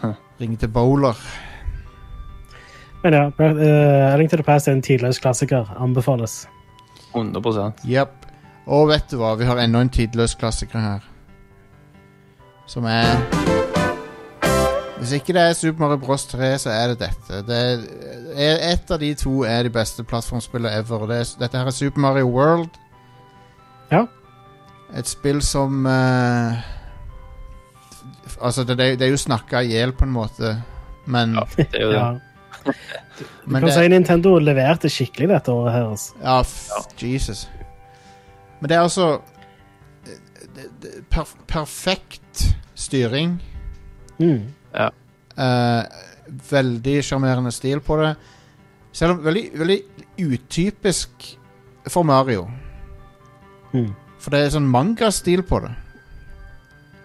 [SPEAKER 3] Huh.
[SPEAKER 1] Ring til Bowler.
[SPEAKER 2] Men ja, uh, Link to the Past er en tidløs klassiker. Anbefales.
[SPEAKER 3] 100
[SPEAKER 1] Jepp. Og vet du hva, vi har enda en tidløs klassiker her. Som er Hvis ikke det er Super Mario Bros 3, så er det dette. Det er, et av de to er de beste plattformspillene ever. og Det er, dette her er Super Mario World.
[SPEAKER 2] Ja.
[SPEAKER 1] Et spill som eh, f- Altså, det, det er jo snakka i hjel, på en måte, men,
[SPEAKER 3] Ja, det er jo det.
[SPEAKER 2] Ja.
[SPEAKER 1] men
[SPEAKER 2] Kan
[SPEAKER 1] det-
[SPEAKER 2] si Nintendo leverte skikkelig dette året her. Altså.
[SPEAKER 1] Ja, f Jesus. Men det er altså det- det- perf Perfekt styring.
[SPEAKER 2] Mm.
[SPEAKER 1] eh, veldig sjarmerende stil på det. Selv om veldig, veldig utypisk for Mario.
[SPEAKER 2] Mm.
[SPEAKER 1] For det er sånn mangastil på det.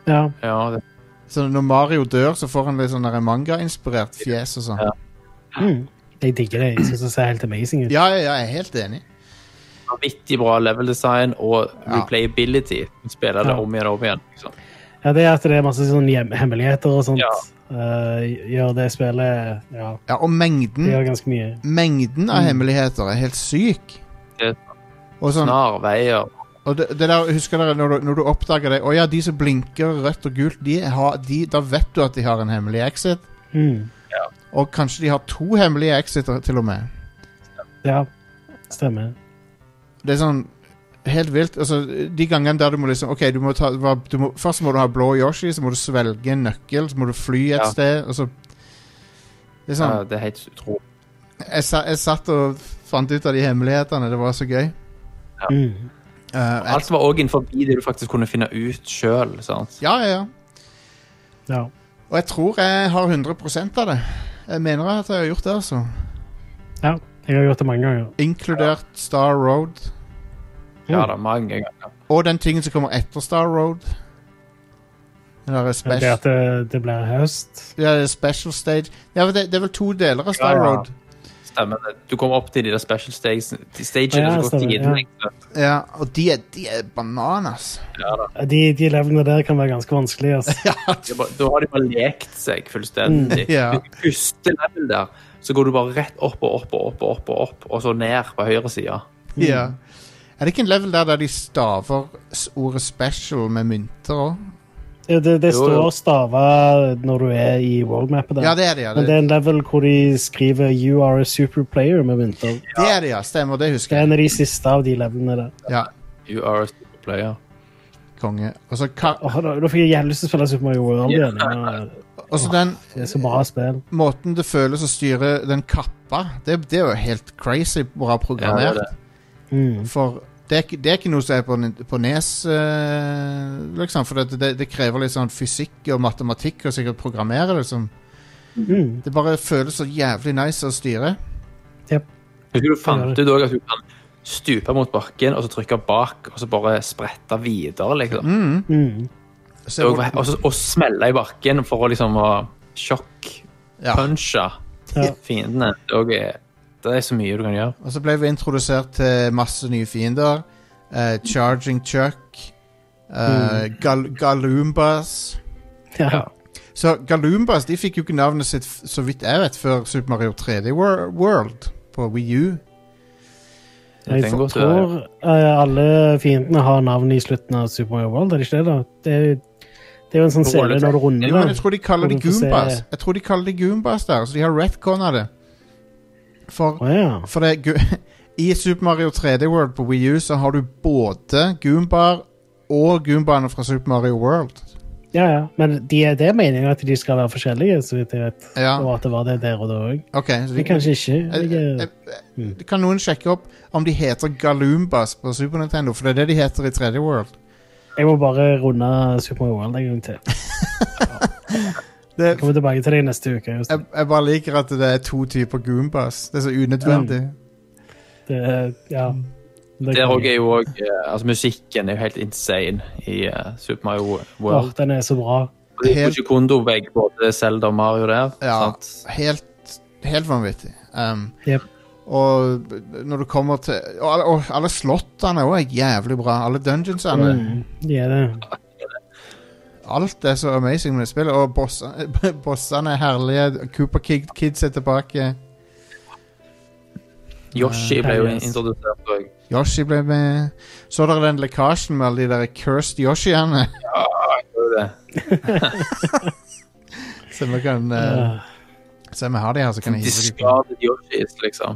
[SPEAKER 2] Ja.
[SPEAKER 3] Ja, det
[SPEAKER 1] Så når Mario dør, så får han litt sånn der manga-inspirert fjes og sånn.
[SPEAKER 3] Ja.
[SPEAKER 2] Mm. Jeg digger det. Jeg syns det ser helt amazing ut.
[SPEAKER 1] Ja, ja, ja, jeg er helt enig.
[SPEAKER 3] vanvittig bra level design og
[SPEAKER 1] Ja. Sånn.
[SPEAKER 3] replayability. Du spiller det
[SPEAKER 2] Ja.
[SPEAKER 3] om igjen og om igjen. Liksom.
[SPEAKER 2] Ja, Det er at det er masse sånn hjem hemmeligheter og sånt.
[SPEAKER 3] Ja.
[SPEAKER 2] Eh, gjør det spillet Ja,
[SPEAKER 1] Ja, og
[SPEAKER 2] det
[SPEAKER 1] mengden,
[SPEAKER 2] gjør ganske mye.
[SPEAKER 1] mengden av hemmeligheter er helt syk.
[SPEAKER 3] Mm. Det er
[SPEAKER 1] Og sånn
[SPEAKER 3] Snarveier.
[SPEAKER 1] Og det, det der, husker dere når du, når du oppdager det Å ja, de som blinker rødt og gult de har, de, Da vet du at de har en hemmelig exit
[SPEAKER 2] Mm.
[SPEAKER 1] Og kanskje de har to hemmelige exiter til og med
[SPEAKER 2] Ja, stemmer.
[SPEAKER 1] Det er sånn helt vilt altså, De gangene der du må liksom Ok, du må ta hva- du må, Først må du ha blå Yoshi Så må du svelge en nøkkel Så må du fly et
[SPEAKER 3] Ja.
[SPEAKER 1] sted Og så Det er sånn
[SPEAKER 3] Ja, det er helt utrolig.
[SPEAKER 1] jeg, sa, jeg satt og fant ut av de hemmelighetene Det var så gøy
[SPEAKER 2] Mm.
[SPEAKER 1] Eh, jeg,
[SPEAKER 3] Alt var òg innenfor det du faktisk kunne finne ut sjøl.
[SPEAKER 1] Ja, ja, ja
[SPEAKER 2] Ja.
[SPEAKER 1] Og jeg tror jeg har 100% av det Jeg mener at jeg har gjort det altså
[SPEAKER 2] Ja, jeg har gjort det mange ganger.
[SPEAKER 1] Inkludert Star Road.
[SPEAKER 3] Ja da, mange ganger.
[SPEAKER 1] Og den tingen som kommer etter Star Road. Den der
[SPEAKER 2] Men Det
[SPEAKER 1] special,
[SPEAKER 2] at det, det blir høst.
[SPEAKER 1] ja, det er special stage ja, men det, det er vel to deler av Star
[SPEAKER 3] Ja, ja.
[SPEAKER 1] Road.
[SPEAKER 3] Stemmer det. Du kom opp til de der special stages, de stagene
[SPEAKER 2] Ja,
[SPEAKER 3] som går
[SPEAKER 2] stemmer,
[SPEAKER 3] tiden.
[SPEAKER 2] ja.
[SPEAKER 3] lengst ned.
[SPEAKER 1] Ja, Og de er, de er bananas.
[SPEAKER 3] Ja da.
[SPEAKER 2] De, de levelene der kan være ganske vanskelige. Altså.
[SPEAKER 3] Det er bare- Da har de bare lekt seg fullstendig.
[SPEAKER 1] Mm. Ja.
[SPEAKER 3] Første level der, så går du bare rett opp og opp og opp og opp, og opp, og så ned på høyre side.
[SPEAKER 1] Ja. Er det ikke en level der, der de staver s- ordet special med mynter òg?
[SPEAKER 2] Ja, Det, det
[SPEAKER 3] Jo, jo.
[SPEAKER 2] står stava når du er i worldmappet der.
[SPEAKER 1] Ja, det er det, ja.
[SPEAKER 2] Men det er
[SPEAKER 1] Det,
[SPEAKER 2] en level hvor de skriver 'You are a super player' med vinter.
[SPEAKER 1] det er det, ja. Stemmer, det
[SPEAKER 2] Det
[SPEAKER 1] husker
[SPEAKER 2] er
[SPEAKER 1] jeg.
[SPEAKER 2] en av de siste av de levelene der.
[SPEAKER 1] Ja,
[SPEAKER 3] You are a super player.
[SPEAKER 1] konge. Og så ka-
[SPEAKER 2] Åh, da, da fikk jeg jævlig lyst til å spille Super Mario World igjen. Ja,
[SPEAKER 1] og så den
[SPEAKER 2] Det er så bra spill.
[SPEAKER 1] måten det føles å styre den kappa, det, det er jo helt crazy bra
[SPEAKER 3] Ja,
[SPEAKER 1] programmert.
[SPEAKER 3] det er
[SPEAKER 2] Mm.
[SPEAKER 1] For det er, ikke- det er ikke noe som er på, n- på nes, eh, liksom. For det, det, det krever litt sånn fysikk og matematikk og sikkert programmere, liksom.
[SPEAKER 2] Mm.
[SPEAKER 1] Det bare føles så jævlig nice å styre.
[SPEAKER 3] Husker du fant ut også at du kan stupe mot bakken, og så trykke bak, og så bare sprette videre, liksom.
[SPEAKER 1] Mm.
[SPEAKER 2] Mm.
[SPEAKER 1] Så,
[SPEAKER 3] Og, og, så- og smelle i bakken for å liksom å sjokk-punche
[SPEAKER 1] ja.
[SPEAKER 2] Ja.
[SPEAKER 3] fiendene. Det, er også- det er så mye du kan gjøre.
[SPEAKER 1] og så ble vi introdusert til masse nye fiender. Eh, charging Chuck. eh, Gal Galumbas.
[SPEAKER 2] Ja.
[SPEAKER 1] Så Galumbas de fikk jo ikke navnet sitt, f- så vidt jeg vet, før Super Mario 3D Wor- World på Wii U.
[SPEAKER 2] Jeg
[SPEAKER 3] tenker godt å
[SPEAKER 2] tror eh, alle fiendene har navn i slutten av Super Mario World, er det ikke det? da? Det er, det er jo en sånn serie
[SPEAKER 1] Jo,
[SPEAKER 2] når du
[SPEAKER 1] men
[SPEAKER 2] runder
[SPEAKER 1] jeg
[SPEAKER 2] det.
[SPEAKER 1] tror de kaller de
[SPEAKER 2] Kan du få se-
[SPEAKER 1] Goombas. Jeg tror de kaller de Goombas der, så de har retcona det. For,
[SPEAKER 2] Å ja.
[SPEAKER 1] for det gu- I Super Mario 3D World på Wii U så har du både Goombar og Goombaene fra Super Mario World.
[SPEAKER 2] ja, ja. Men de, er- det er meningen at de skal være forskjellige, så vidt jeg vet. Og
[SPEAKER 1] Ja,
[SPEAKER 2] at det var det der og da òg.
[SPEAKER 1] ok. Så de,
[SPEAKER 2] Kanskje ikke.
[SPEAKER 1] Eh,
[SPEAKER 2] Jeg,
[SPEAKER 1] eh, eh, kan noen sjekke opp om de heter Galumbas på Super Nintendo? For det er det de heter i 3D World.
[SPEAKER 2] Jeg må bare runde Super Mario World en gang til.
[SPEAKER 1] Det,
[SPEAKER 2] Jeg kommer tilbake til deg neste uke. Just.
[SPEAKER 1] jeg, jeg bare liker at det er to typer Goombas. Det er så unødvendig.
[SPEAKER 2] Det, ja.
[SPEAKER 1] Mm.
[SPEAKER 2] Det
[SPEAKER 3] Der også er jo òg Altså, musikken er jo helt insane i eh, Super Mario World.
[SPEAKER 2] Åh, den er så bra.
[SPEAKER 3] Og det er
[SPEAKER 1] Helt-
[SPEAKER 3] Koji Kondo begge både Zelda og Mario der.
[SPEAKER 1] Ja,
[SPEAKER 3] Sant?
[SPEAKER 1] helt, helt vanvittig. Um,
[SPEAKER 2] Jep.
[SPEAKER 1] Og når du kommer til Og alle, og alle slottene er også jævlig bra. Alle dungeonsene.
[SPEAKER 2] Mm, de er det.
[SPEAKER 1] Alt er så amazing med det spillet. Og bossene, bossene er herlige. Cooper Kid, Kids er tilbake.
[SPEAKER 3] Yoshi ble jo
[SPEAKER 2] Herlig, ass.
[SPEAKER 3] introdusert òg.
[SPEAKER 1] Yoshi ble med. Så dere den lekkasjen med alle de der cursed Yoshiene? Så vi kan uh,
[SPEAKER 2] Ja.
[SPEAKER 1] Se om vi har de her, så kan jeg hive dem.
[SPEAKER 3] Discarded Yoshis, liksom.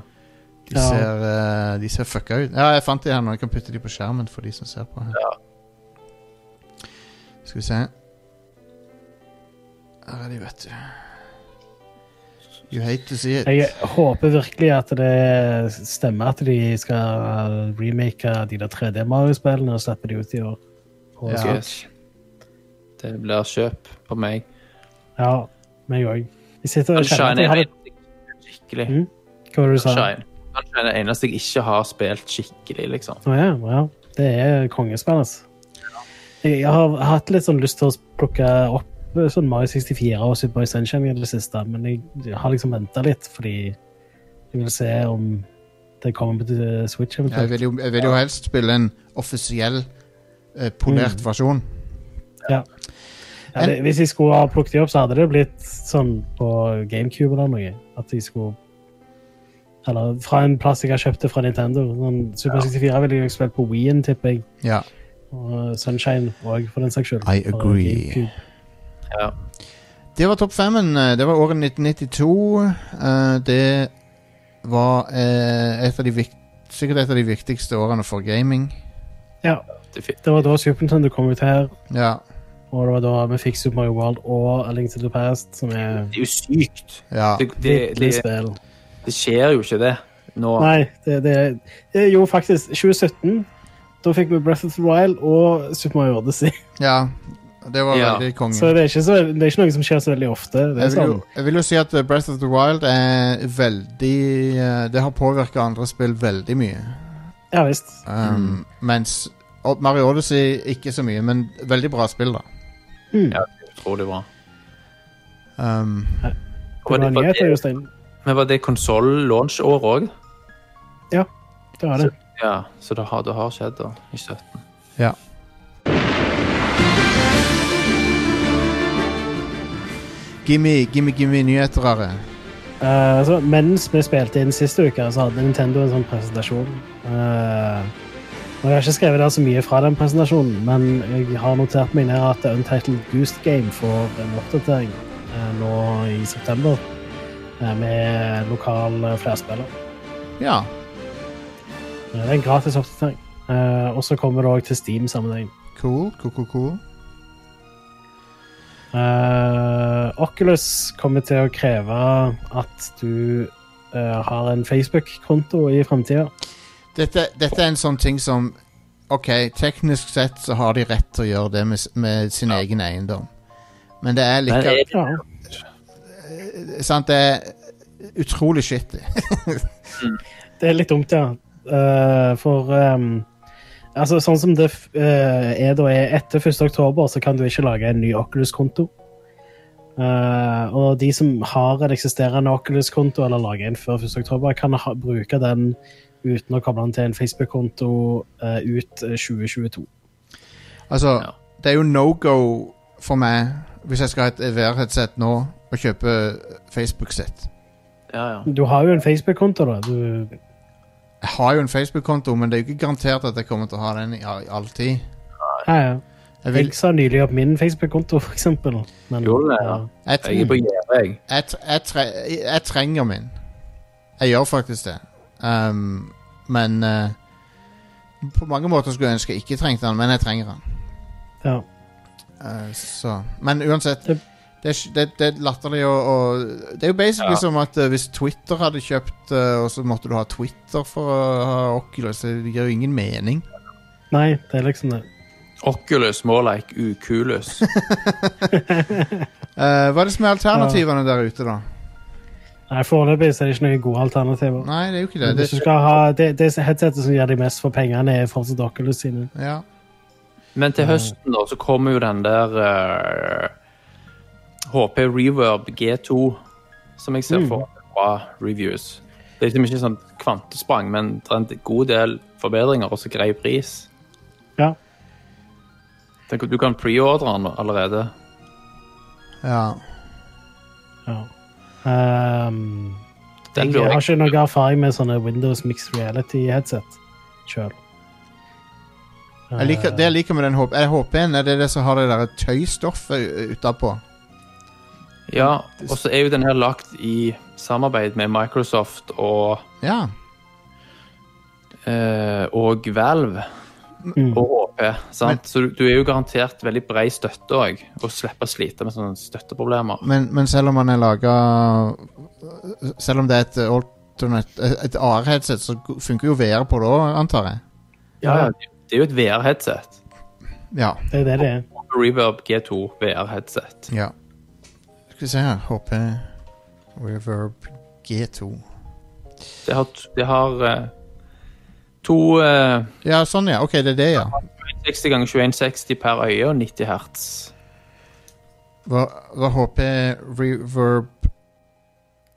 [SPEAKER 1] De ser, eh, de ser fucka ut. Ja, jeg fant de her nå. Jeg kan putte de på skjermen for de som ser på. her Skal vi se Her er de, vet du. You hate to see it.
[SPEAKER 2] Jeg håper virkelig at det stemmer at de skal eh, remake de der 3D-Mario-spillene og slippe de ut i år. Og-
[SPEAKER 1] Ja.
[SPEAKER 3] Yes. Det blir kjøp på meg.
[SPEAKER 2] ja meg òg. Jeg sitter og kjenner at
[SPEAKER 3] Sunshine
[SPEAKER 2] jeg
[SPEAKER 3] er
[SPEAKER 2] har
[SPEAKER 3] det
[SPEAKER 2] det
[SPEAKER 3] skikkelig.
[SPEAKER 2] Mm. Hva var det du sa?
[SPEAKER 3] Sunshine. Sunshine er det eneste jeg ikke har spilt skikkelig, liksom.
[SPEAKER 2] Å ja, ja. Det er kongespill, altså. Jeg jeg har hatt litt sånn lyst til å plukke opp eh, sånn Mario 64 og Super Mario Sunshine i det siste, men jeg har liksom venta litt, fordi jeg vil se om det kommer på eh, Switch
[SPEAKER 1] Jeg
[SPEAKER 2] eventuelt.
[SPEAKER 1] vil jo, jeg vil jo helst spille en offisiell, eh, polert versjon.
[SPEAKER 2] Ja. Ja, det, hvis jeg skulle ha plukket de opp, så hadde det blitt sånn på GameCube eller noe. At de skulle Eller fra en plass jeg har kjøpt det fra Nintendo. Sånn, Super 64 ville jeg jo spilt på Wien, tipper jeg.
[SPEAKER 1] Ja.
[SPEAKER 2] Og Sunshine òg, for den saks skyld.
[SPEAKER 1] I
[SPEAKER 2] Og
[SPEAKER 1] agree.
[SPEAKER 2] GameCube.
[SPEAKER 3] Ja.
[SPEAKER 1] Det var topp femmen. Det var året 1992. Eh, Det var eh, et av de vik sikkert et av de viktigste årene for gaming.
[SPEAKER 2] Ja,
[SPEAKER 3] Det er fint.
[SPEAKER 2] det var da Super Nintendo kom ut her,
[SPEAKER 1] Ja.
[SPEAKER 2] og det var da vi fikk Super Mario World og A Link to the Past, som er
[SPEAKER 3] Det er jo sykt.
[SPEAKER 1] ja.
[SPEAKER 3] Det, det, det,
[SPEAKER 2] virkelig spill.
[SPEAKER 3] det skjer jo ikke, det. Nå.
[SPEAKER 2] Nei, det, det, det er jo faktisk 2017. Da fikk vi Breath of the Wild og Super Mario Odyssey.
[SPEAKER 1] Ja. Det var
[SPEAKER 3] Ja.
[SPEAKER 1] veldig konge.
[SPEAKER 2] Så det er, ikke så det er ikke noe som skjer så veldig ofte. Det er
[SPEAKER 1] Mm. Jeg vil, jo,
[SPEAKER 2] sånn,
[SPEAKER 1] jeg vil jo si at eh, Breath of the Wild er veldig eh, Det har påvirka andre spill veldig mye.
[SPEAKER 2] ja visst.
[SPEAKER 1] Um,
[SPEAKER 3] Mm.
[SPEAKER 1] Mens og Mario Odyssey ikke så mye, men veldig bra spill, da.
[SPEAKER 3] Ja, utrolig bra.
[SPEAKER 1] Um,
[SPEAKER 3] Var
[SPEAKER 2] Det var
[SPEAKER 3] det, var
[SPEAKER 2] nyheter,
[SPEAKER 3] det,
[SPEAKER 2] Jostein.
[SPEAKER 3] men var det konsoll-launch-år òg?
[SPEAKER 2] Ja, det var det.
[SPEAKER 3] Ja, så det har, det har skjedd da, i 17.
[SPEAKER 1] ja. Gimme, gimme, gimme nyheter, Are.
[SPEAKER 2] Eh, så mens vi spilte inn siste uke, så hadde Nintendo en sånn presentasjon. Eh, og jeg har ikke skrevet der så mye fra den presentasjonen, men jeg har notert meg ned at Untitled Goose Game får en oppdatering eh, nå i september eh, med lokal eh, flerspiller.
[SPEAKER 1] Ja.
[SPEAKER 2] Eh, det er en gratis oppdatering. Eh, og så kommer det òg til Steam samme døgn.
[SPEAKER 1] Cool, cool, cool, cool.
[SPEAKER 2] Eh, Oculus kommer til å kreve at du eh, har en Facebook-konto i framtida.
[SPEAKER 1] Dette, dette er en sånn ting som Ok, teknisk sett så har de rett til å gjøre det med, s- med sin egen eiendom. Men det er
[SPEAKER 3] Men
[SPEAKER 1] likevel
[SPEAKER 3] er-
[SPEAKER 2] Ja.
[SPEAKER 1] sant, det er utrolig shitty.
[SPEAKER 2] Det er litt dumt, ja. Eh, for ehm, altså, sånn som det f- eh, er da er etter 1. oktober, så kan du ikke lage en ny Oculus-konto. Eh, og de som har en eksisterende Oculus-konto, eller lager en før 1. oktober, kan ha, bruke den uten å koble den til en Facebook-konto eh, ut 2022.
[SPEAKER 1] Altså,
[SPEAKER 3] Ja.
[SPEAKER 1] det er jo no-go for meg, hvis jeg skal ha et VR-headset nå, å kjøpe Facebook-sett.
[SPEAKER 3] Ja, ja.
[SPEAKER 2] Du har jo en Facebook-konto, da. Du,
[SPEAKER 1] Jeg har jo en Facebook-konto, men det er jo ikke garantert at jeg kommer til å ha den i, i alltid.
[SPEAKER 2] ja, ja.
[SPEAKER 1] Jeg, vil,
[SPEAKER 2] Jeg sa nylig opp min Facebook-konto, for eksempel. Men,
[SPEAKER 3] Gjorde du det, ja?
[SPEAKER 1] jeg,
[SPEAKER 3] Jeg er på
[SPEAKER 1] jeg,
[SPEAKER 3] gjerdet, jeg.
[SPEAKER 1] tre- jeg, tre- jeg trenger min. Jeg gjør faktisk det. Um, men eh, På mange måter skulle jeg ønske jeg ikke trengte den, men jeg trenger den.
[SPEAKER 2] ja.
[SPEAKER 1] Eh, så. Men uansett
[SPEAKER 2] Det-
[SPEAKER 1] det er, sj- det, det er latterlig å å- Det er jo basically
[SPEAKER 3] Ja.
[SPEAKER 1] som at eh, hvis Twitter hadde kjøpt eh, Og så måtte du ha Twitter for å ha Oculus. Det gir jo ingen mening.
[SPEAKER 2] Nei, det er liksom det.
[SPEAKER 3] Oculus, more like Ukulus.
[SPEAKER 1] Eh, hva er det som er alternativene der ute, da?
[SPEAKER 2] Nei, Foreløpig så er det ikke noen gode alternativer.
[SPEAKER 1] Nei, det er jo ikke det.
[SPEAKER 2] Men Hvis du
[SPEAKER 1] det
[SPEAKER 2] skal ha det, det headsetet som gjør deg mest for pengene, er fortsatt Oculus sine.
[SPEAKER 1] ja.
[SPEAKER 3] Men til høsten da, så kommer jo den der eh, HP Reverb G2, som
[SPEAKER 2] Mm.
[SPEAKER 3] jeg ser for bra reviews. Det er liksom ikke sånn kvantesprang, men det er en god del forbedringer og så grei pris.
[SPEAKER 2] Ja.
[SPEAKER 3] Tenk at du kan preordre den allerede.
[SPEAKER 1] ja.
[SPEAKER 2] ja. Ehm,
[SPEAKER 3] Den
[SPEAKER 2] jeg
[SPEAKER 3] blir
[SPEAKER 2] har ikke noe erfaring med sånne Windows Mixed Reality-headset sjøl.
[SPEAKER 1] Jeg liker, det jeg liker med den HP, er det HP-en er det det som har det der tøystoffet utapå.
[SPEAKER 3] Ja, og så er jo den her lagt i samarbeid med Microsoft og,
[SPEAKER 1] Ja.
[SPEAKER 3] eh, og Valve.
[SPEAKER 2] Mm.
[SPEAKER 3] Og HP, sant? så du, du er jo garantert veldig brei støtte òg, og slipper å slite med sånne støtteproblemer.
[SPEAKER 1] Men, men selv om man er laga Selv om det er et alternate Et AR-headset, så funker jo VR på det òg, antar jeg.
[SPEAKER 3] Ja,
[SPEAKER 2] Ja,
[SPEAKER 3] ja, det er jo et VR-headset.
[SPEAKER 1] Ja.
[SPEAKER 2] det er det det er.
[SPEAKER 3] Reverb G2 VR-headset.
[SPEAKER 1] ja. Skal vi se her HP Reverb G2.
[SPEAKER 3] Det har, t- det har eh, to eh,
[SPEAKER 1] Ja, sånn, ja. Ok, det er det, ja.
[SPEAKER 3] 60 ganger 2160 per øye og 90 hertz.
[SPEAKER 1] Hva, hva HP Reverb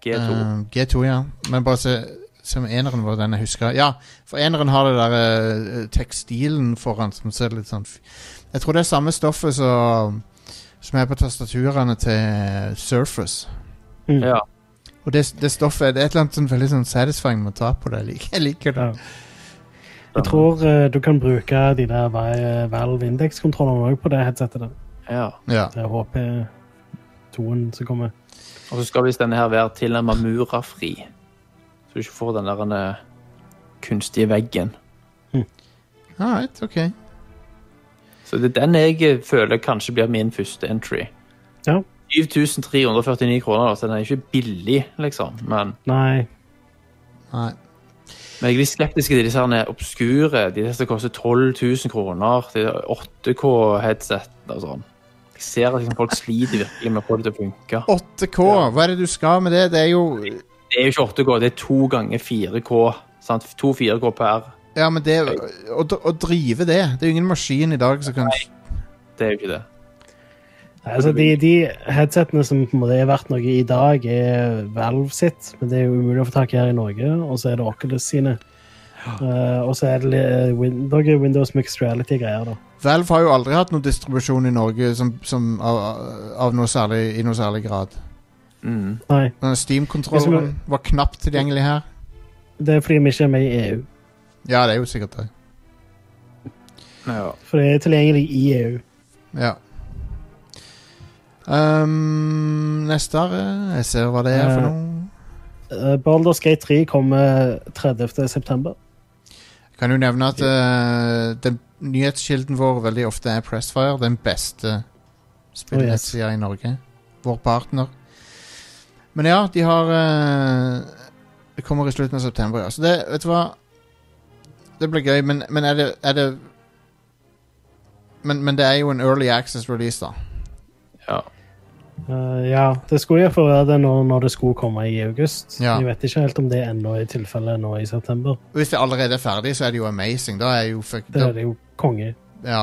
[SPEAKER 3] G2.
[SPEAKER 1] Eh, G2, ja. Men bare se som eneren var den jeg husker. Ja, for eneren har det der eh, tekstilen foran som ser litt sånn f- Jeg tror det er samme stoffet som som er på tastaturene til Surface.
[SPEAKER 2] Mm.
[SPEAKER 3] Ja.
[SPEAKER 1] Og det, det stoffet det er et eller annet sånn veldig sånn satisfying med å ta på det. Jeg liker, jeg liker det.
[SPEAKER 2] Ja. Jeg tror eh, du kan bruke de der Val- Valve Index-kontrollene òg på det headsetet. der.
[SPEAKER 3] ja.
[SPEAKER 1] Ja.
[SPEAKER 2] Det er HP2-en som kommer.
[SPEAKER 3] Og så skal visst denne her være tilnærmet murafri, så du ikke får den der eh, kunstige veggen.
[SPEAKER 1] All right, ok.
[SPEAKER 3] Så det er den jeg eh, føler kanskje blir min første entry.
[SPEAKER 2] Ja.
[SPEAKER 3] 7349 kroner, da, så den er ikke billig, liksom. Men,
[SPEAKER 2] Nei.
[SPEAKER 1] Nei.
[SPEAKER 3] men jeg er litt skeptisk til disse her obskure. De der som koster 12 000 kroner. De 8K-headset og sånn. Jeg ser at liksom, folk sliter virkelig med å få det til å funke.
[SPEAKER 1] 8K, hva er det du skal med det? Det er jo
[SPEAKER 3] Det er jo ikke 8K, det er to ganger 4K. Sant? To 4K per.
[SPEAKER 1] Ja, men det å, dr- å drive det Det er jo ingen maskin i dag som kan
[SPEAKER 3] Det er jo ikke det.
[SPEAKER 2] Altså, de, de headsetene som på en måte er verdt noe i dag, er Valve sitt, men det er jo umulig å få tak i her i Norge. Og så er det Oculus sine. Eh, og så er det eh, Win- noe Windows Mixed Reality-greier, da.
[SPEAKER 1] Valve har jo aldri hatt noen distribusjon i Norge som, som av, av noe særlig, i noe særlig grad.
[SPEAKER 3] Mm.
[SPEAKER 2] Nei,
[SPEAKER 1] Denne Steam-kontrollen var knapt tilgjengelig her.
[SPEAKER 2] det er fordi vi ikke er med i E EU.
[SPEAKER 1] Ja, det er jo sikkert det.
[SPEAKER 3] Ja.
[SPEAKER 2] For det er tilgjengelig i E EU.
[SPEAKER 1] Ja. Ehm, neste her Jeg ser hva det er for
[SPEAKER 2] Eh.
[SPEAKER 1] noe.
[SPEAKER 2] Uh, Baldur's Gate 3 kommer 30. september.
[SPEAKER 1] Kan jo nevne at eh, den nyhetskilden vår veldig ofte er Pressfire. Den beste spillnettsida i Norge. Vår partner. Men ja, de har eh, Det kommer i slutten av september, ja. Så det, vet du hva Det blir gøy, men, men er det, er det men, men det er jo en early access release, da.
[SPEAKER 3] ja.
[SPEAKER 2] Eh, ja, det skulle iallfall være det når, når det skulle komme i august.
[SPEAKER 1] Ja.
[SPEAKER 2] Jeg vet ikke helt om det ennå er tilfellet nå i september.
[SPEAKER 1] Hvis det allerede er ferdig, så er det jo amazing. Da er jo fuck,
[SPEAKER 2] Det
[SPEAKER 1] da,
[SPEAKER 2] er det jo konge.
[SPEAKER 1] ja.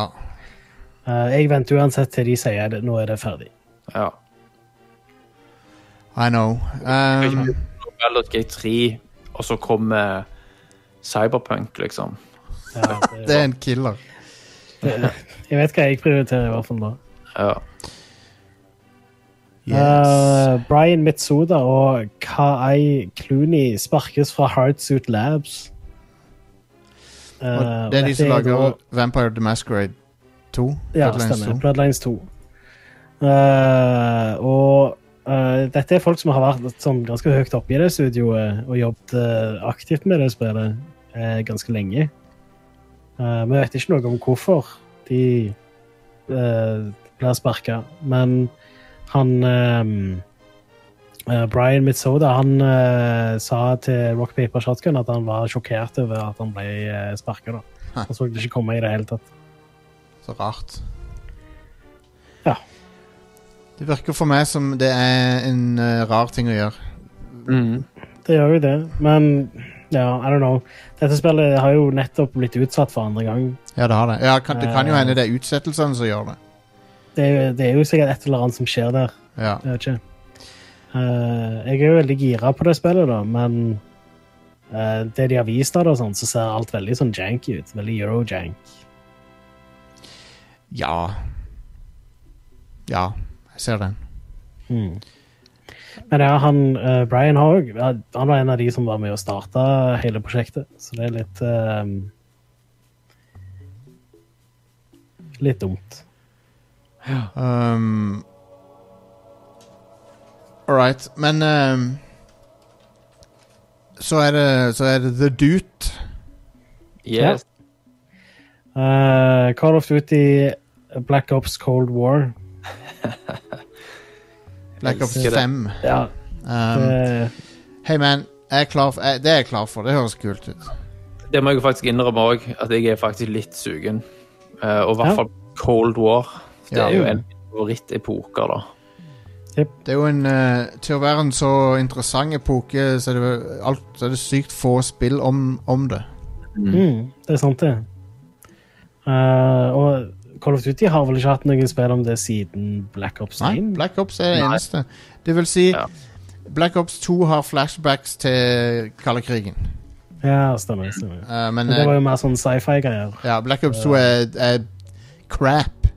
[SPEAKER 2] Eh, jeg venter uansett til de sier det, nå er det ferdig.
[SPEAKER 3] ja.
[SPEAKER 1] I know. Um,
[SPEAKER 3] Baldur's Gate 3, og så kommer Cyberpunk, liksom.
[SPEAKER 2] Ja,
[SPEAKER 1] det
[SPEAKER 2] det,
[SPEAKER 1] er en killer.
[SPEAKER 2] det, jeg vet hva jeg prioriterer, i hvert fall da.
[SPEAKER 3] Ja.
[SPEAKER 2] Eh, Brian Mitsoda og Kai Clooney sparkes fra Hardsuit Labs. Eh,
[SPEAKER 1] Og det er de
[SPEAKER 2] dette
[SPEAKER 1] som
[SPEAKER 2] da-
[SPEAKER 1] lager Vampire the Masquerade 2.
[SPEAKER 2] Ja,
[SPEAKER 1] Bloodlines
[SPEAKER 2] stemmer.
[SPEAKER 1] 2.
[SPEAKER 2] Bloodlines 2. Eh, og eh, dette er folk som har vært sånn, ganske høyt oppe i det studioet og jobbet eh, aktivt med det spillet eh, ganske lenge. Eh, Vi vet ikke noe om hvorfor de eh, blir sparka, men han eh, eh, Brian Mitsoda han eh, sa til Rock Paper Shotgun at han var sjokkert over at han ble uh, sparka.
[SPEAKER 1] Hæ.
[SPEAKER 2] Han så det ikke komme i det hele tatt.
[SPEAKER 1] Så rart.
[SPEAKER 2] Ja.
[SPEAKER 1] Det virker for meg som det er en eh, rar ting å gjøre.
[SPEAKER 3] Mm.
[SPEAKER 2] Det gjør jo det, men ja, I don't know. Dette spillet har jo nettopp blitt utsatt for andre gang.
[SPEAKER 1] Ja, det har det. Ja, kan, det kan jo
[SPEAKER 2] Eh.
[SPEAKER 1] hende det er utsettelsene som gjør det.
[SPEAKER 2] Det, er- det er jo sikkert et eller annet som skjer der.
[SPEAKER 1] Ja.
[SPEAKER 2] Jeg vet ikke. Eh, jeg er jo veldig gira på det spillet, da, men eh, det de har vist av det, og sånn, så ser alt veldig sånn janky ut. Veldig euro-jank.
[SPEAKER 1] Ja. Ja, jeg ser den.
[SPEAKER 2] Mm. Men ja, han, eh, Brian Haug ja, han var en av de som var med å starte hele prosjektet, så det er litt eh, Litt dumt.
[SPEAKER 1] Um, All right. Men um, så, er det, så er det The Dute.
[SPEAKER 3] Yes.
[SPEAKER 2] Eh, Call of Duty Black Ops Cold War.
[SPEAKER 1] Black Ops
[SPEAKER 3] Elsker det.
[SPEAKER 1] 5.
[SPEAKER 2] Ja,
[SPEAKER 1] Um,
[SPEAKER 2] det,
[SPEAKER 1] Hei, man. Jeg er klar for, jeg, det er jeg klar for. Det høres kult ut.
[SPEAKER 3] Det må jeg jo faktisk innrømme òg, at jeg er faktisk litt sugen. Eh, og i hvert
[SPEAKER 2] Ja.
[SPEAKER 3] fall Cold War. Det
[SPEAKER 1] Ja.
[SPEAKER 3] er jo en av mine favorittepoker, da.
[SPEAKER 1] Det er jo en eh, Til å være en så interessant epoke, så er det, vel alt, så er det sykt få spill om, om det.
[SPEAKER 2] mm, det er sant, det. Eh, og Call of Duty har vel ikke hatt noen spill om det siden Black Ops
[SPEAKER 1] Nei,
[SPEAKER 2] 1?
[SPEAKER 1] Black Ops er det
[SPEAKER 3] Nei.
[SPEAKER 1] eneste. Det vil si,
[SPEAKER 3] Ja.
[SPEAKER 1] Black Ops 2 har flashbacks til kalde krigen.
[SPEAKER 2] Ja, stemmer. stemmer.
[SPEAKER 1] Eh, men
[SPEAKER 2] Men det
[SPEAKER 1] eh,
[SPEAKER 2] var jo mer sånn sci-fi-greier.
[SPEAKER 1] ja, Black Ops 2 er, er crap.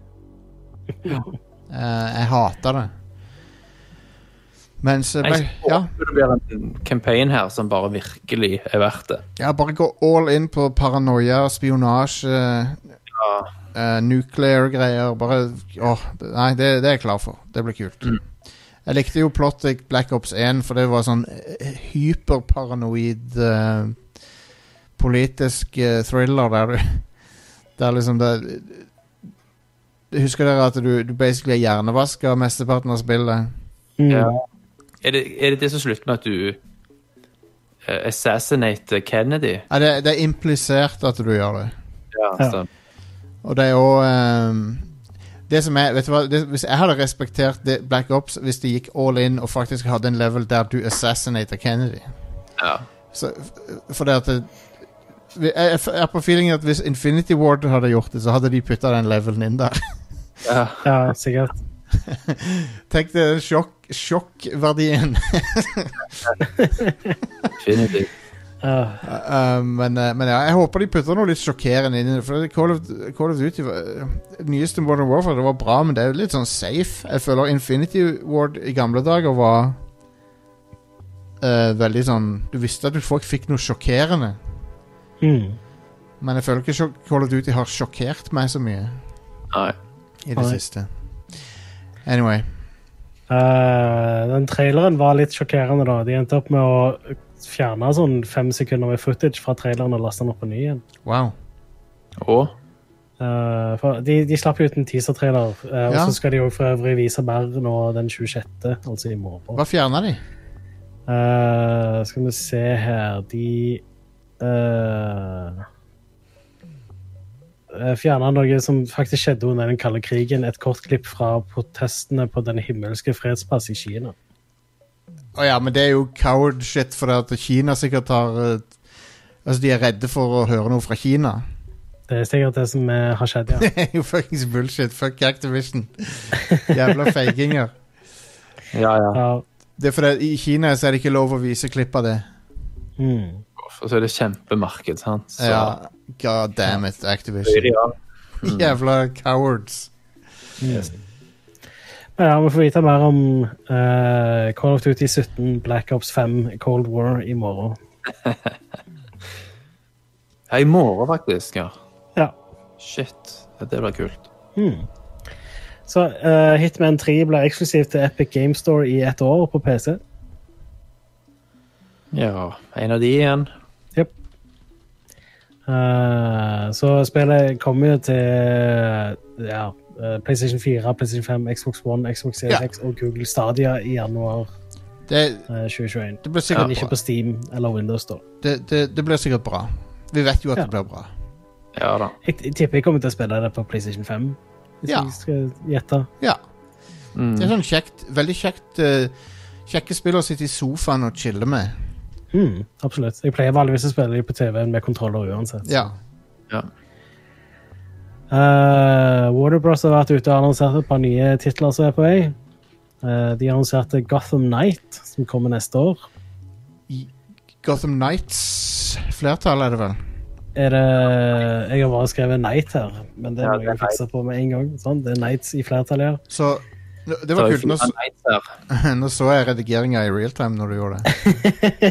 [SPEAKER 1] Eh, jeg hater det. Mens eh,
[SPEAKER 3] Jeg
[SPEAKER 1] Black, ja,
[SPEAKER 3] håper det blir en campaign her som bare virkelig er verdt det.
[SPEAKER 1] ja, bare gå all in på paranoia, spionasje,
[SPEAKER 3] Ja.
[SPEAKER 1] uh, nuclear-greier. Bare åh, det- Nei, det, det er jeg klar for. Det blir kult. Jeg likte jo plottet i Black Ops 1, for det var sånn eh, hyperparanoid eh, politisk eh, thriller der du Der liksom det Husker dere at du, du basically er hjernevaska mesteparten av spillet?
[SPEAKER 2] Mm.
[SPEAKER 3] Ja. Er, det, er det det som slutter med at du uh, assassinater Kennedy?
[SPEAKER 1] Ja, det, det er implisert at du gjør det.
[SPEAKER 3] Ja,
[SPEAKER 2] Ja.
[SPEAKER 3] stemmer.
[SPEAKER 1] Og det er òg Det som er, vet du hva, det, Hvis jeg hadde respektert det, Black Ops hvis de gikk all in og faktisk hadde en level der du assassinater Kennedy
[SPEAKER 3] Ja.
[SPEAKER 1] så, f- For det at det, jeg, jeg f- jeg er på feelingen at hvis Infinity Ward hadde gjort det, så hadde de putta den levelen inn der.
[SPEAKER 3] Ja.
[SPEAKER 2] Ja, sikkert.
[SPEAKER 1] Tenk det sjokk, sjokkverdien.
[SPEAKER 3] Definitivt.
[SPEAKER 2] Ja.
[SPEAKER 1] Uh, men, uh, men ja, jeg håper de putter noe litt sjokkerende inn i det. For det- Call of, Call of Duty var- øh, Det nyeste Modern Warfare det var bra, men det er jo litt sånn safe. Jeg føler Infinity Ward i gamle dager var øh, veldig sånn Du visste at du folk fikk noe sjokkerende,
[SPEAKER 2] Mm.
[SPEAKER 1] men jeg føler ikke sjok- Call of Duty har sjokkert meg så mye
[SPEAKER 3] Nei.
[SPEAKER 1] i det
[SPEAKER 2] Nei.
[SPEAKER 1] siste. Anyway.
[SPEAKER 2] Eh, den traileren var litt sjokkerende, da. De endte opp med å fjerne sånn fem sekunder med footage fra traileren og laste den opp på ny igjen.
[SPEAKER 1] Wow.
[SPEAKER 3] Og
[SPEAKER 2] Eh, for de, de slapp jo ut en teaser-trailer, eh, og
[SPEAKER 1] Ja.
[SPEAKER 2] så skal de jo for øvrig vise mer nå den 26., altså i morgen.
[SPEAKER 1] Hva fjerna de?
[SPEAKER 2] Eh, skal vi se her De uh, Fjerna eh, noe som faktisk skjedde under den kalde krigen. Et kort klipp fra protestene på Den himmelske fredsplass i Kina.
[SPEAKER 1] Å ja, men det er jo coward shit, for det at Kina sikkert har øh, Altså, de er redde for å høre noe fra Kina.
[SPEAKER 2] Det er sikkert det som eh, har skjedd, ja.
[SPEAKER 1] Det er jo fuckings bullshit. Fuck Activision. Jævla feiginger.
[SPEAKER 3] ja, ja.
[SPEAKER 2] ja.
[SPEAKER 1] Det er fordi I Kina så er det ikke lov å vise klipp av det.
[SPEAKER 2] Mm.
[SPEAKER 3] Og så er det kjempemarked, sant. Så,
[SPEAKER 1] Ja, God damn it, Activision.
[SPEAKER 3] Ja.
[SPEAKER 1] Jævla cowards.
[SPEAKER 2] Men ja, vi får vite mer om eh, Call of Duty 17, Black Ops 5, Cold War i morgen.
[SPEAKER 3] Ja, I morgen, faktisk. Ja.
[SPEAKER 2] Ja.
[SPEAKER 3] Shit. Ja, det blir kult.
[SPEAKER 2] Mm. Så eh, Hitman 3 ble eksklusiv til Epic Game Store i ett år på Eh, PC.
[SPEAKER 3] Ja. En av de igjen.
[SPEAKER 2] Jep. Eh, så spillet kommer jo til ja, eh, PlayStation 4, PlayStation 5, Xbox One, Xbox Series
[SPEAKER 1] Ja.
[SPEAKER 2] X og Google Stadia i januar
[SPEAKER 1] Det,
[SPEAKER 2] eh, 2021.
[SPEAKER 1] det blir
[SPEAKER 2] Men
[SPEAKER 1] sikkert
[SPEAKER 2] ikke
[SPEAKER 1] bra.
[SPEAKER 2] på Steam eller Windows Store.
[SPEAKER 1] Det, det, det blir sikkert bra. Vi vet jo at
[SPEAKER 2] Ja.
[SPEAKER 1] det blir bra.
[SPEAKER 3] Ja da.
[SPEAKER 2] Jeg, jeg tipper jeg kommer til å spille det på PlayStation 5. Hvis
[SPEAKER 1] Ja.
[SPEAKER 2] jeg skal gjette.
[SPEAKER 1] Ja.
[SPEAKER 3] Mm.
[SPEAKER 1] Det er sånn kjekt, veldig kjekt eh, Kjekke spill å sitte i sofaen og chille med.
[SPEAKER 2] Mm, absolutt. Jeg pleier vanligvis å spille det på TV-en med kontroller uansett.
[SPEAKER 1] Ja.
[SPEAKER 3] Ja.
[SPEAKER 2] Eh, Warner Bros. har vært ute og annonsert et par nye titler som er på vei. Eh, de annonserte Gotham Night, som kommer neste år.
[SPEAKER 1] Gotham Nights Flertallet er det vel?
[SPEAKER 2] Er det Jeg har bare skrevet Night her, men det
[SPEAKER 3] Ja,
[SPEAKER 2] må
[SPEAKER 3] det er
[SPEAKER 2] jeg fikse på med en gang. Sånn, det er Nights i flertall her.
[SPEAKER 1] Så Det var kult. Nå, s-
[SPEAKER 3] kult.
[SPEAKER 1] nå så jeg redigeringa i realtime når du gjorde det.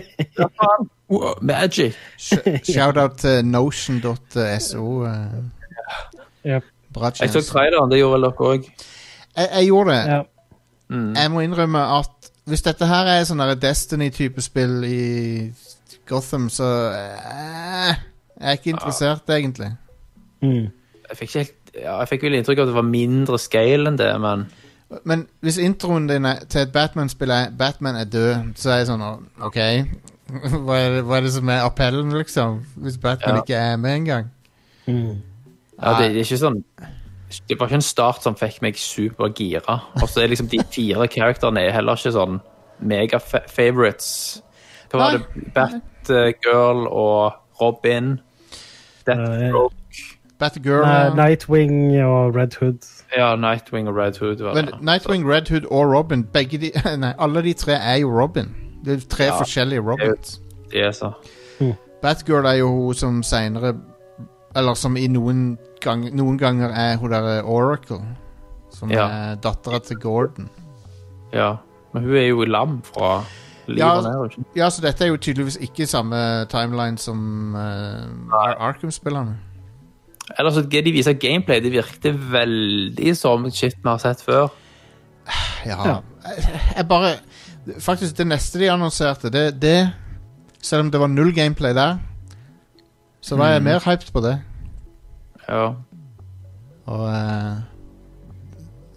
[SPEAKER 3] Magic.
[SPEAKER 1] Sh- Shoutout til notion.so. eh.
[SPEAKER 2] Yep.
[SPEAKER 1] Bra
[SPEAKER 3] Jeg så
[SPEAKER 1] tjeneste.
[SPEAKER 3] traileren. Det gjorde vel dere òg.
[SPEAKER 1] Jeg, jeg gjorde det.
[SPEAKER 2] Ja.
[SPEAKER 3] Mm.
[SPEAKER 1] Jeg må innrømme at hvis dette her er sånn der Destiny-type spill i Gotham, så eh, Jeg er ikke interessert, egentlig.
[SPEAKER 2] Mm.
[SPEAKER 3] Jeg fikk, ikke helt, ja, jeg fikk vel inntrykk av at det var mindre scale enn det, men
[SPEAKER 1] Men hvis introen din er, til et Batman-spill er 'Batman er død', så er jeg sånn OK. Hva er, det, hva er det som er appellen, liksom? Hvis Batman
[SPEAKER 3] Ja.
[SPEAKER 1] ikke er med engang.
[SPEAKER 2] Mm.
[SPEAKER 3] ja, det, det er ikke sånn Det var ikke en start som fikk meg supergira. Og så er liksom de fire karakterene er heller ikke sånn mega-favourites. Hva var
[SPEAKER 1] Nei.
[SPEAKER 3] det? Batgirl og Robin.
[SPEAKER 2] Eh,
[SPEAKER 3] Deathstroke.
[SPEAKER 1] Batgirl
[SPEAKER 2] Nei,
[SPEAKER 1] ja.
[SPEAKER 2] Nightwing og Red Hood.
[SPEAKER 3] Ja, Nightwing og Red Hood. Var
[SPEAKER 1] Men
[SPEAKER 3] det.
[SPEAKER 1] Nightwing, Red Hood og Robin begge de, Nei, alle de tre er jo Robin. Det er tre
[SPEAKER 3] Ja.
[SPEAKER 1] forskjellige Robins.
[SPEAKER 3] De er så.
[SPEAKER 1] Batgirl er jo hun som seinere Eller som i noen, gang, noen ganger er hun derre Oracle. Som
[SPEAKER 3] Ja.
[SPEAKER 1] er dattera til Gordon.
[SPEAKER 3] Ja. Men hun er jo lam fra livet
[SPEAKER 1] Ja.
[SPEAKER 3] ja. ned. ikke?
[SPEAKER 1] Ja, så dette er jo tydeligvis ikke samme timeline som eh,
[SPEAKER 3] Nei.
[SPEAKER 1] Arkham-spillerne.
[SPEAKER 3] Ellers så det de viser gameplay, det virkte veldig som shit vi har sett før.
[SPEAKER 1] Ja.
[SPEAKER 2] Ja.
[SPEAKER 1] Jeg, jeg bare Faktisk, det neste de annonserte, det, det Selv om det var null gameplay der, så var jeg mer hyped på det.
[SPEAKER 3] Ja,
[SPEAKER 1] Og eh,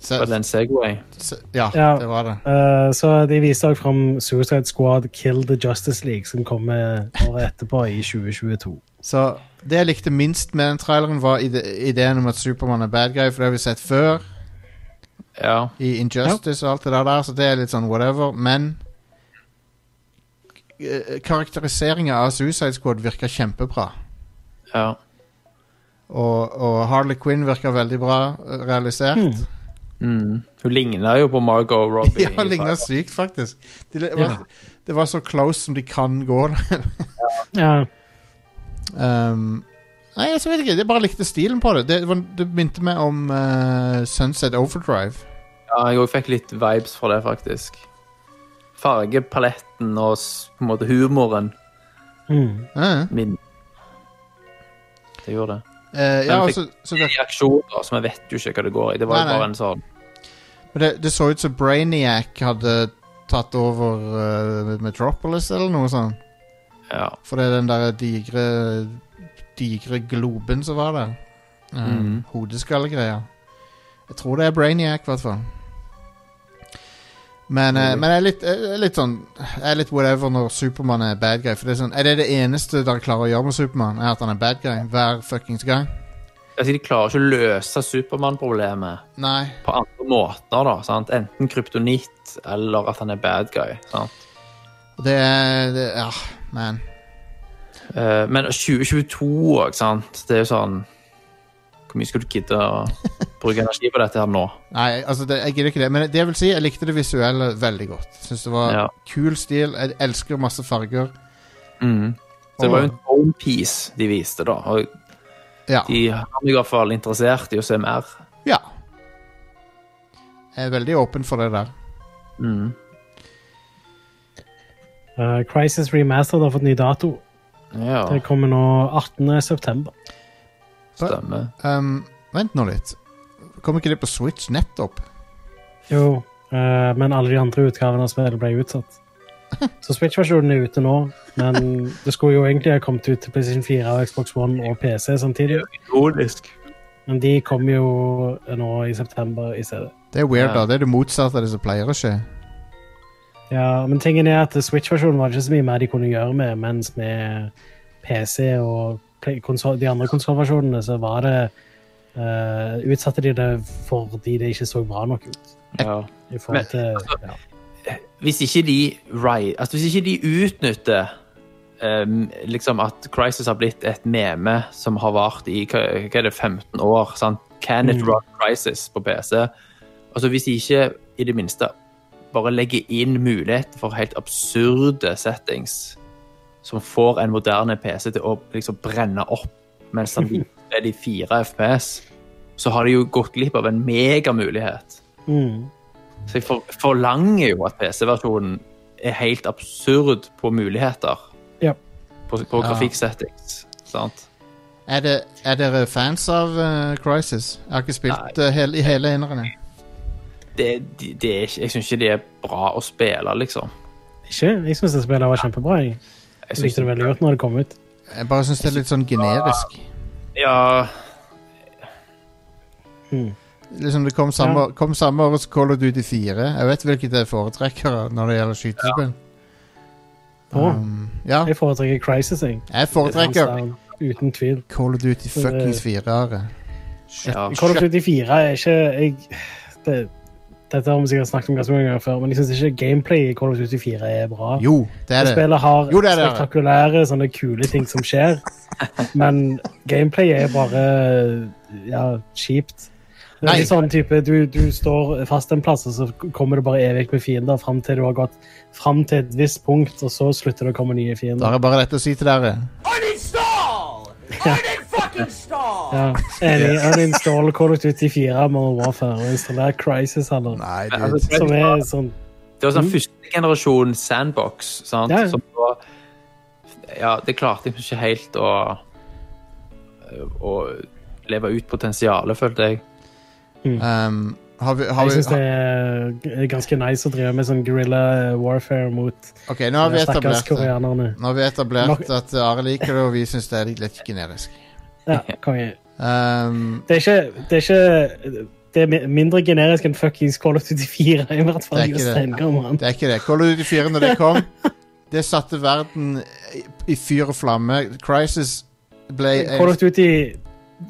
[SPEAKER 1] så,
[SPEAKER 3] det er en Segway.
[SPEAKER 1] så, ja,
[SPEAKER 2] Ja.
[SPEAKER 1] det var det.
[SPEAKER 2] Eh, så de viste også fram Suicide Squad Kill the Justice League, som kommer året etterpå, i 2022.
[SPEAKER 1] Så det jeg likte minst med den traileren, var ide ideen om at Supermann er bad guy, for det har vi sett før.
[SPEAKER 3] Ja.
[SPEAKER 1] i Injustice og alt det der, der, så det er litt sånn whatever. Men eh, karakteriseringen av Suicide Squad virker kjempebra.
[SPEAKER 3] ja.
[SPEAKER 1] Og, og Harley Quinn virker veldig bra eh, realisert.
[SPEAKER 3] Mm. Hun ligner jo på Margot Robbie.
[SPEAKER 1] Ja, han ligner sykt, faktisk. De, det, var, det var så close som de kan gå.
[SPEAKER 2] Ja.
[SPEAKER 1] um, nei, jeg vet ikke. Jeg bare likte stilen på det. Det, var- det minte meg om eh, Sunset Overdrive.
[SPEAKER 3] Ja, jeg også fikk litt vibes fra det, faktisk. Fargepaletten og s- på en måte humoren
[SPEAKER 2] Mm.
[SPEAKER 1] Eh,
[SPEAKER 3] min. Det gjorde det.
[SPEAKER 1] eh, ja,
[SPEAKER 3] Men
[SPEAKER 1] og
[SPEAKER 3] fikk-
[SPEAKER 1] så, så virker
[SPEAKER 3] Reaksjoner som jeg vet jo ikke hva det går i. Det var
[SPEAKER 1] Nei,
[SPEAKER 3] jo
[SPEAKER 1] nei.
[SPEAKER 3] bare en sånn
[SPEAKER 1] Men det, det så ut som Brainiac hadde tatt over eh, Metropolis eller noe sånt.
[SPEAKER 3] Ja.
[SPEAKER 1] For det er den der digre digre globen som var der. Um,
[SPEAKER 3] Mhm.
[SPEAKER 1] Hodeskallegreia. Jeg tror det er Brainiac, i hvert fall. Men, eh,
[SPEAKER 3] Mhm.
[SPEAKER 1] men jeg, er litt, jeg er litt sånn Jeg er litt whatever når Supermann er bad guy. For det Er sånn, er det det eneste dere klarer å gjøre med Supermann, er at han er bad guy hver fuckings gang?
[SPEAKER 3] Altså, de klarer ikke å løse Supermann-problemet
[SPEAKER 1] Nei.
[SPEAKER 3] på andre måter, da. sant? Enten kryptonitt eller at han er bad guy. sant?
[SPEAKER 1] Og Det er det, Ja, man.
[SPEAKER 3] Eh, Men 2022 òg, sant. Det er jo sånn Hvor mye skal du gidde å bruke energi på dette her nå?
[SPEAKER 1] Nei, altså det, jeg gidder ikke det. Men det jeg vil si, jeg likte det visuelle veldig godt. Syns det var
[SPEAKER 3] Ja.
[SPEAKER 1] kul stil. Jeg elsker masse farger.
[SPEAKER 3] Mm. Så det var jo en own piece de viste, da. Og
[SPEAKER 1] Ja.
[SPEAKER 3] de er i hvert fall interessert i å se mer.
[SPEAKER 1] ja. Jeg er veldig åpen for det der.
[SPEAKER 3] Mm.
[SPEAKER 2] Eh, Crisis Remastered har fått ny dato.
[SPEAKER 3] Ja,
[SPEAKER 2] Det kommer nå 18. september.
[SPEAKER 3] stemmer.
[SPEAKER 1] Um, vent nå litt. Kom ikke det på Switch nettopp?
[SPEAKER 2] Jo, eh, men alle de andre utgavene av spillet ble utsatt. Så Switch-versjonen er ute nå, men det skulle jo egentlig ha kommet ut til PlayStation 4 og Xbox One og PC samtidig.
[SPEAKER 3] Ironisk.
[SPEAKER 2] Men de kom jo nå i september i stedet.
[SPEAKER 1] Det er weird,
[SPEAKER 3] Ja.
[SPEAKER 1] da. Det er det motsatte av det som pleier å skje.
[SPEAKER 2] Ja, men tingen er at Switch-versjonen var det ikke så mye mer de kunne gjøre med, mens med PC og play- konsol, de andre konsollversjonene så var det eh, Utsatte de det fordi det ikke så bra nok ut.
[SPEAKER 3] Ja.
[SPEAKER 2] I forhold til ja.
[SPEAKER 3] Hvis ikke de, right, altså hvis ikke de utnytter em, liksom at Crisis har blitt et meme som har vart i hva, hva er det, 15 år. Sant? Can it run Crisis på PC? Altså Hvis de ikke i det minste bare legger inn mulighet for helt absurde settings som får en moderne PC til å liksom brenne opp mens han er de fire FPS, så har de jo gått glipp av en megamulighet.
[SPEAKER 2] Mm.
[SPEAKER 3] Så jeg for, forlanger jo at PC-versjonen er helt absurd på muligheter.
[SPEAKER 2] Ja.
[SPEAKER 3] På, på grafikksettings. Sant?
[SPEAKER 1] Er, det, er dere fans av eh, Crisis? Jeg har ikke spilt eh, hele, i hele eneren. jeg.
[SPEAKER 3] Det, det, det er ikke, jeg syns ikke det er bra å spille, liksom.
[SPEAKER 2] Ikke? Jeg syns det spillet var kjempebra. Jeg,
[SPEAKER 3] Jeg
[SPEAKER 2] jeg
[SPEAKER 3] synes-
[SPEAKER 2] likte det veldig godt når det kom ut.
[SPEAKER 1] Jeg bare syns det er litt sånn generisk.
[SPEAKER 3] Ja,
[SPEAKER 1] Liksom Det kom samme, kom samme året som Call of Duty 4. Jeg vet hvilket jeg foretrekker når det gjelder skytespill.
[SPEAKER 2] Å,
[SPEAKER 1] Um, ja,
[SPEAKER 2] jeg foretrekker Crisis, jeg.
[SPEAKER 1] jeg
[SPEAKER 2] Hands
[SPEAKER 1] foretrekker
[SPEAKER 2] down, Uten tvil.
[SPEAKER 1] Call of Duty fuckings 4-are.
[SPEAKER 3] ja.
[SPEAKER 2] Call of Duty 4 er ikke jeg, det, Dette har vi sikkert snakket om ganske mange ganger før, men jeg syns ikke gameplay i Call of Duty 4 er bra.
[SPEAKER 1] Jo, det er det.
[SPEAKER 2] Spillet har
[SPEAKER 1] Jo, det er det.
[SPEAKER 2] spektakulære, sånne kule ting som skjer, men gameplay er bare ja, kjipt. Det
[SPEAKER 1] Nei.
[SPEAKER 2] er litt sånn type, du, du står fast en plass, og så kommer det bare evig med fiender fram til du har gått fram til et visst punkt, og så slutter det å komme nye
[SPEAKER 1] Da
[SPEAKER 2] fiender.
[SPEAKER 1] er bare dette å si til dere.
[SPEAKER 5] Uninstall! Uninfucking-stall!
[SPEAKER 2] Ja. Enig. Uninstall Call of Duty 4 Modern Warfare og installer Crisis eller
[SPEAKER 1] Nei,
[SPEAKER 3] altså,
[SPEAKER 1] dude.
[SPEAKER 2] Som er sånn
[SPEAKER 3] Det var sånn første generasjon sandbox, sant?
[SPEAKER 2] Ja.
[SPEAKER 3] Som var Ja, det klarte jeg ikke helt å Å leve ut potensialet, følte jeg.
[SPEAKER 1] Um, har vi, har
[SPEAKER 2] Jeg
[SPEAKER 1] vi,
[SPEAKER 2] syns det er g- ganske nice å drive med sånn guerrilla warfare mot
[SPEAKER 1] ok, nå har vi
[SPEAKER 2] de stakkars
[SPEAKER 1] etablert det.
[SPEAKER 2] koreanerne.
[SPEAKER 1] Nå har vi etablert
[SPEAKER 2] Nok-
[SPEAKER 1] at Are liker det, og vi syns det er litt generisk.
[SPEAKER 2] Ja, konge.
[SPEAKER 1] Um,
[SPEAKER 2] Det er ikke Det er, ikke, det er mi- mindre generisk enn fuckings Call of Duty 4, i hvert fall.
[SPEAKER 1] Det er ikke det.
[SPEAKER 2] Jostein, kom an.
[SPEAKER 1] det er ikke det. Call of Duty 4, når det kom, det satte verden i- i fyr og flamme. Crisis ble
[SPEAKER 2] Call of Duty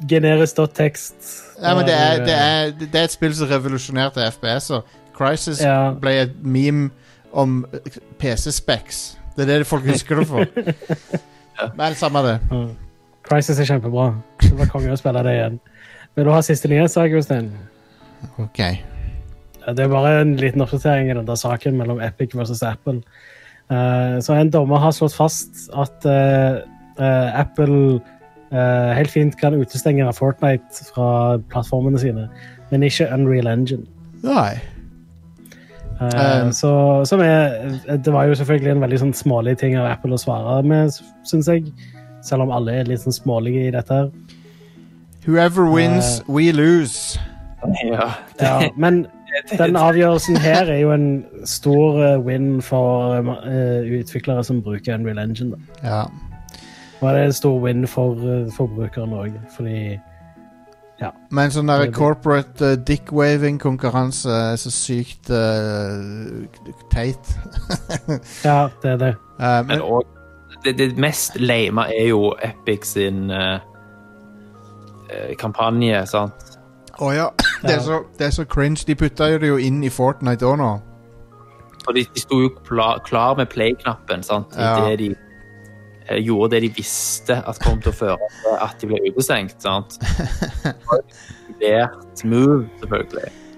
[SPEAKER 2] Generisk.tekst.
[SPEAKER 1] Nei, men det er, det,
[SPEAKER 2] eh,
[SPEAKER 1] er, det er et spill som revolusjonerte FPS-er. Crisis
[SPEAKER 2] Ja.
[SPEAKER 1] ble et meme om PC-specs. Det er det folk husker det for. Men samme det.
[SPEAKER 2] Crisis er kjempebra. Det var konge å spille det igjen. Vil du ha siste nyhetssak, Jostein?
[SPEAKER 1] Ok.
[SPEAKER 2] Ja, Det er bare en liten oppdatering i den der saken mellom Epic versus Apple. Eh, så en dommer har slått fast at eh, eh, Apple eh, helt fint kan utestenge Fortnite fra plattformene sine, men ikke Unreal Engine.
[SPEAKER 1] Nei.
[SPEAKER 2] Eh,
[SPEAKER 1] Um.
[SPEAKER 2] så, som er, det var jo selvfølgelig en veldig sånn smålig ting av Apple å svare med, syns jeg. Selv om alle er litt sånn smålige i dette. her.
[SPEAKER 1] Whoever wins,
[SPEAKER 2] Eh.
[SPEAKER 1] we lose.
[SPEAKER 3] Ja.
[SPEAKER 2] Ja, men den avgjørelsen her er jo en stor eh, win for eh, utviklere som bruker Unreal Engine. Da.
[SPEAKER 1] Ja.
[SPEAKER 2] Og det er en stor win for eh, forbrukeren òg, fordi
[SPEAKER 1] Men sånn der
[SPEAKER 2] Det blir-
[SPEAKER 1] corporate eh, dick-waving-konkurranse er så sykt eh, teit.
[SPEAKER 2] Ja, det er det.
[SPEAKER 1] Eh,
[SPEAKER 3] Men
[SPEAKER 1] men,
[SPEAKER 3] òg det, det mest lame er jo Epic sin eh, eh, kampanje, sant?
[SPEAKER 1] å ja. Det er, så, det er så cringe. De putta jo det jo inn i Fortnite òg nå.
[SPEAKER 3] For de, de sto jo pla, klar med play-knappen, sant? I
[SPEAKER 1] Ja.
[SPEAKER 3] det de eh, gjorde det de visste at kom til å føre til at de ble utestengt, sant? Lert move, selvfølgelig.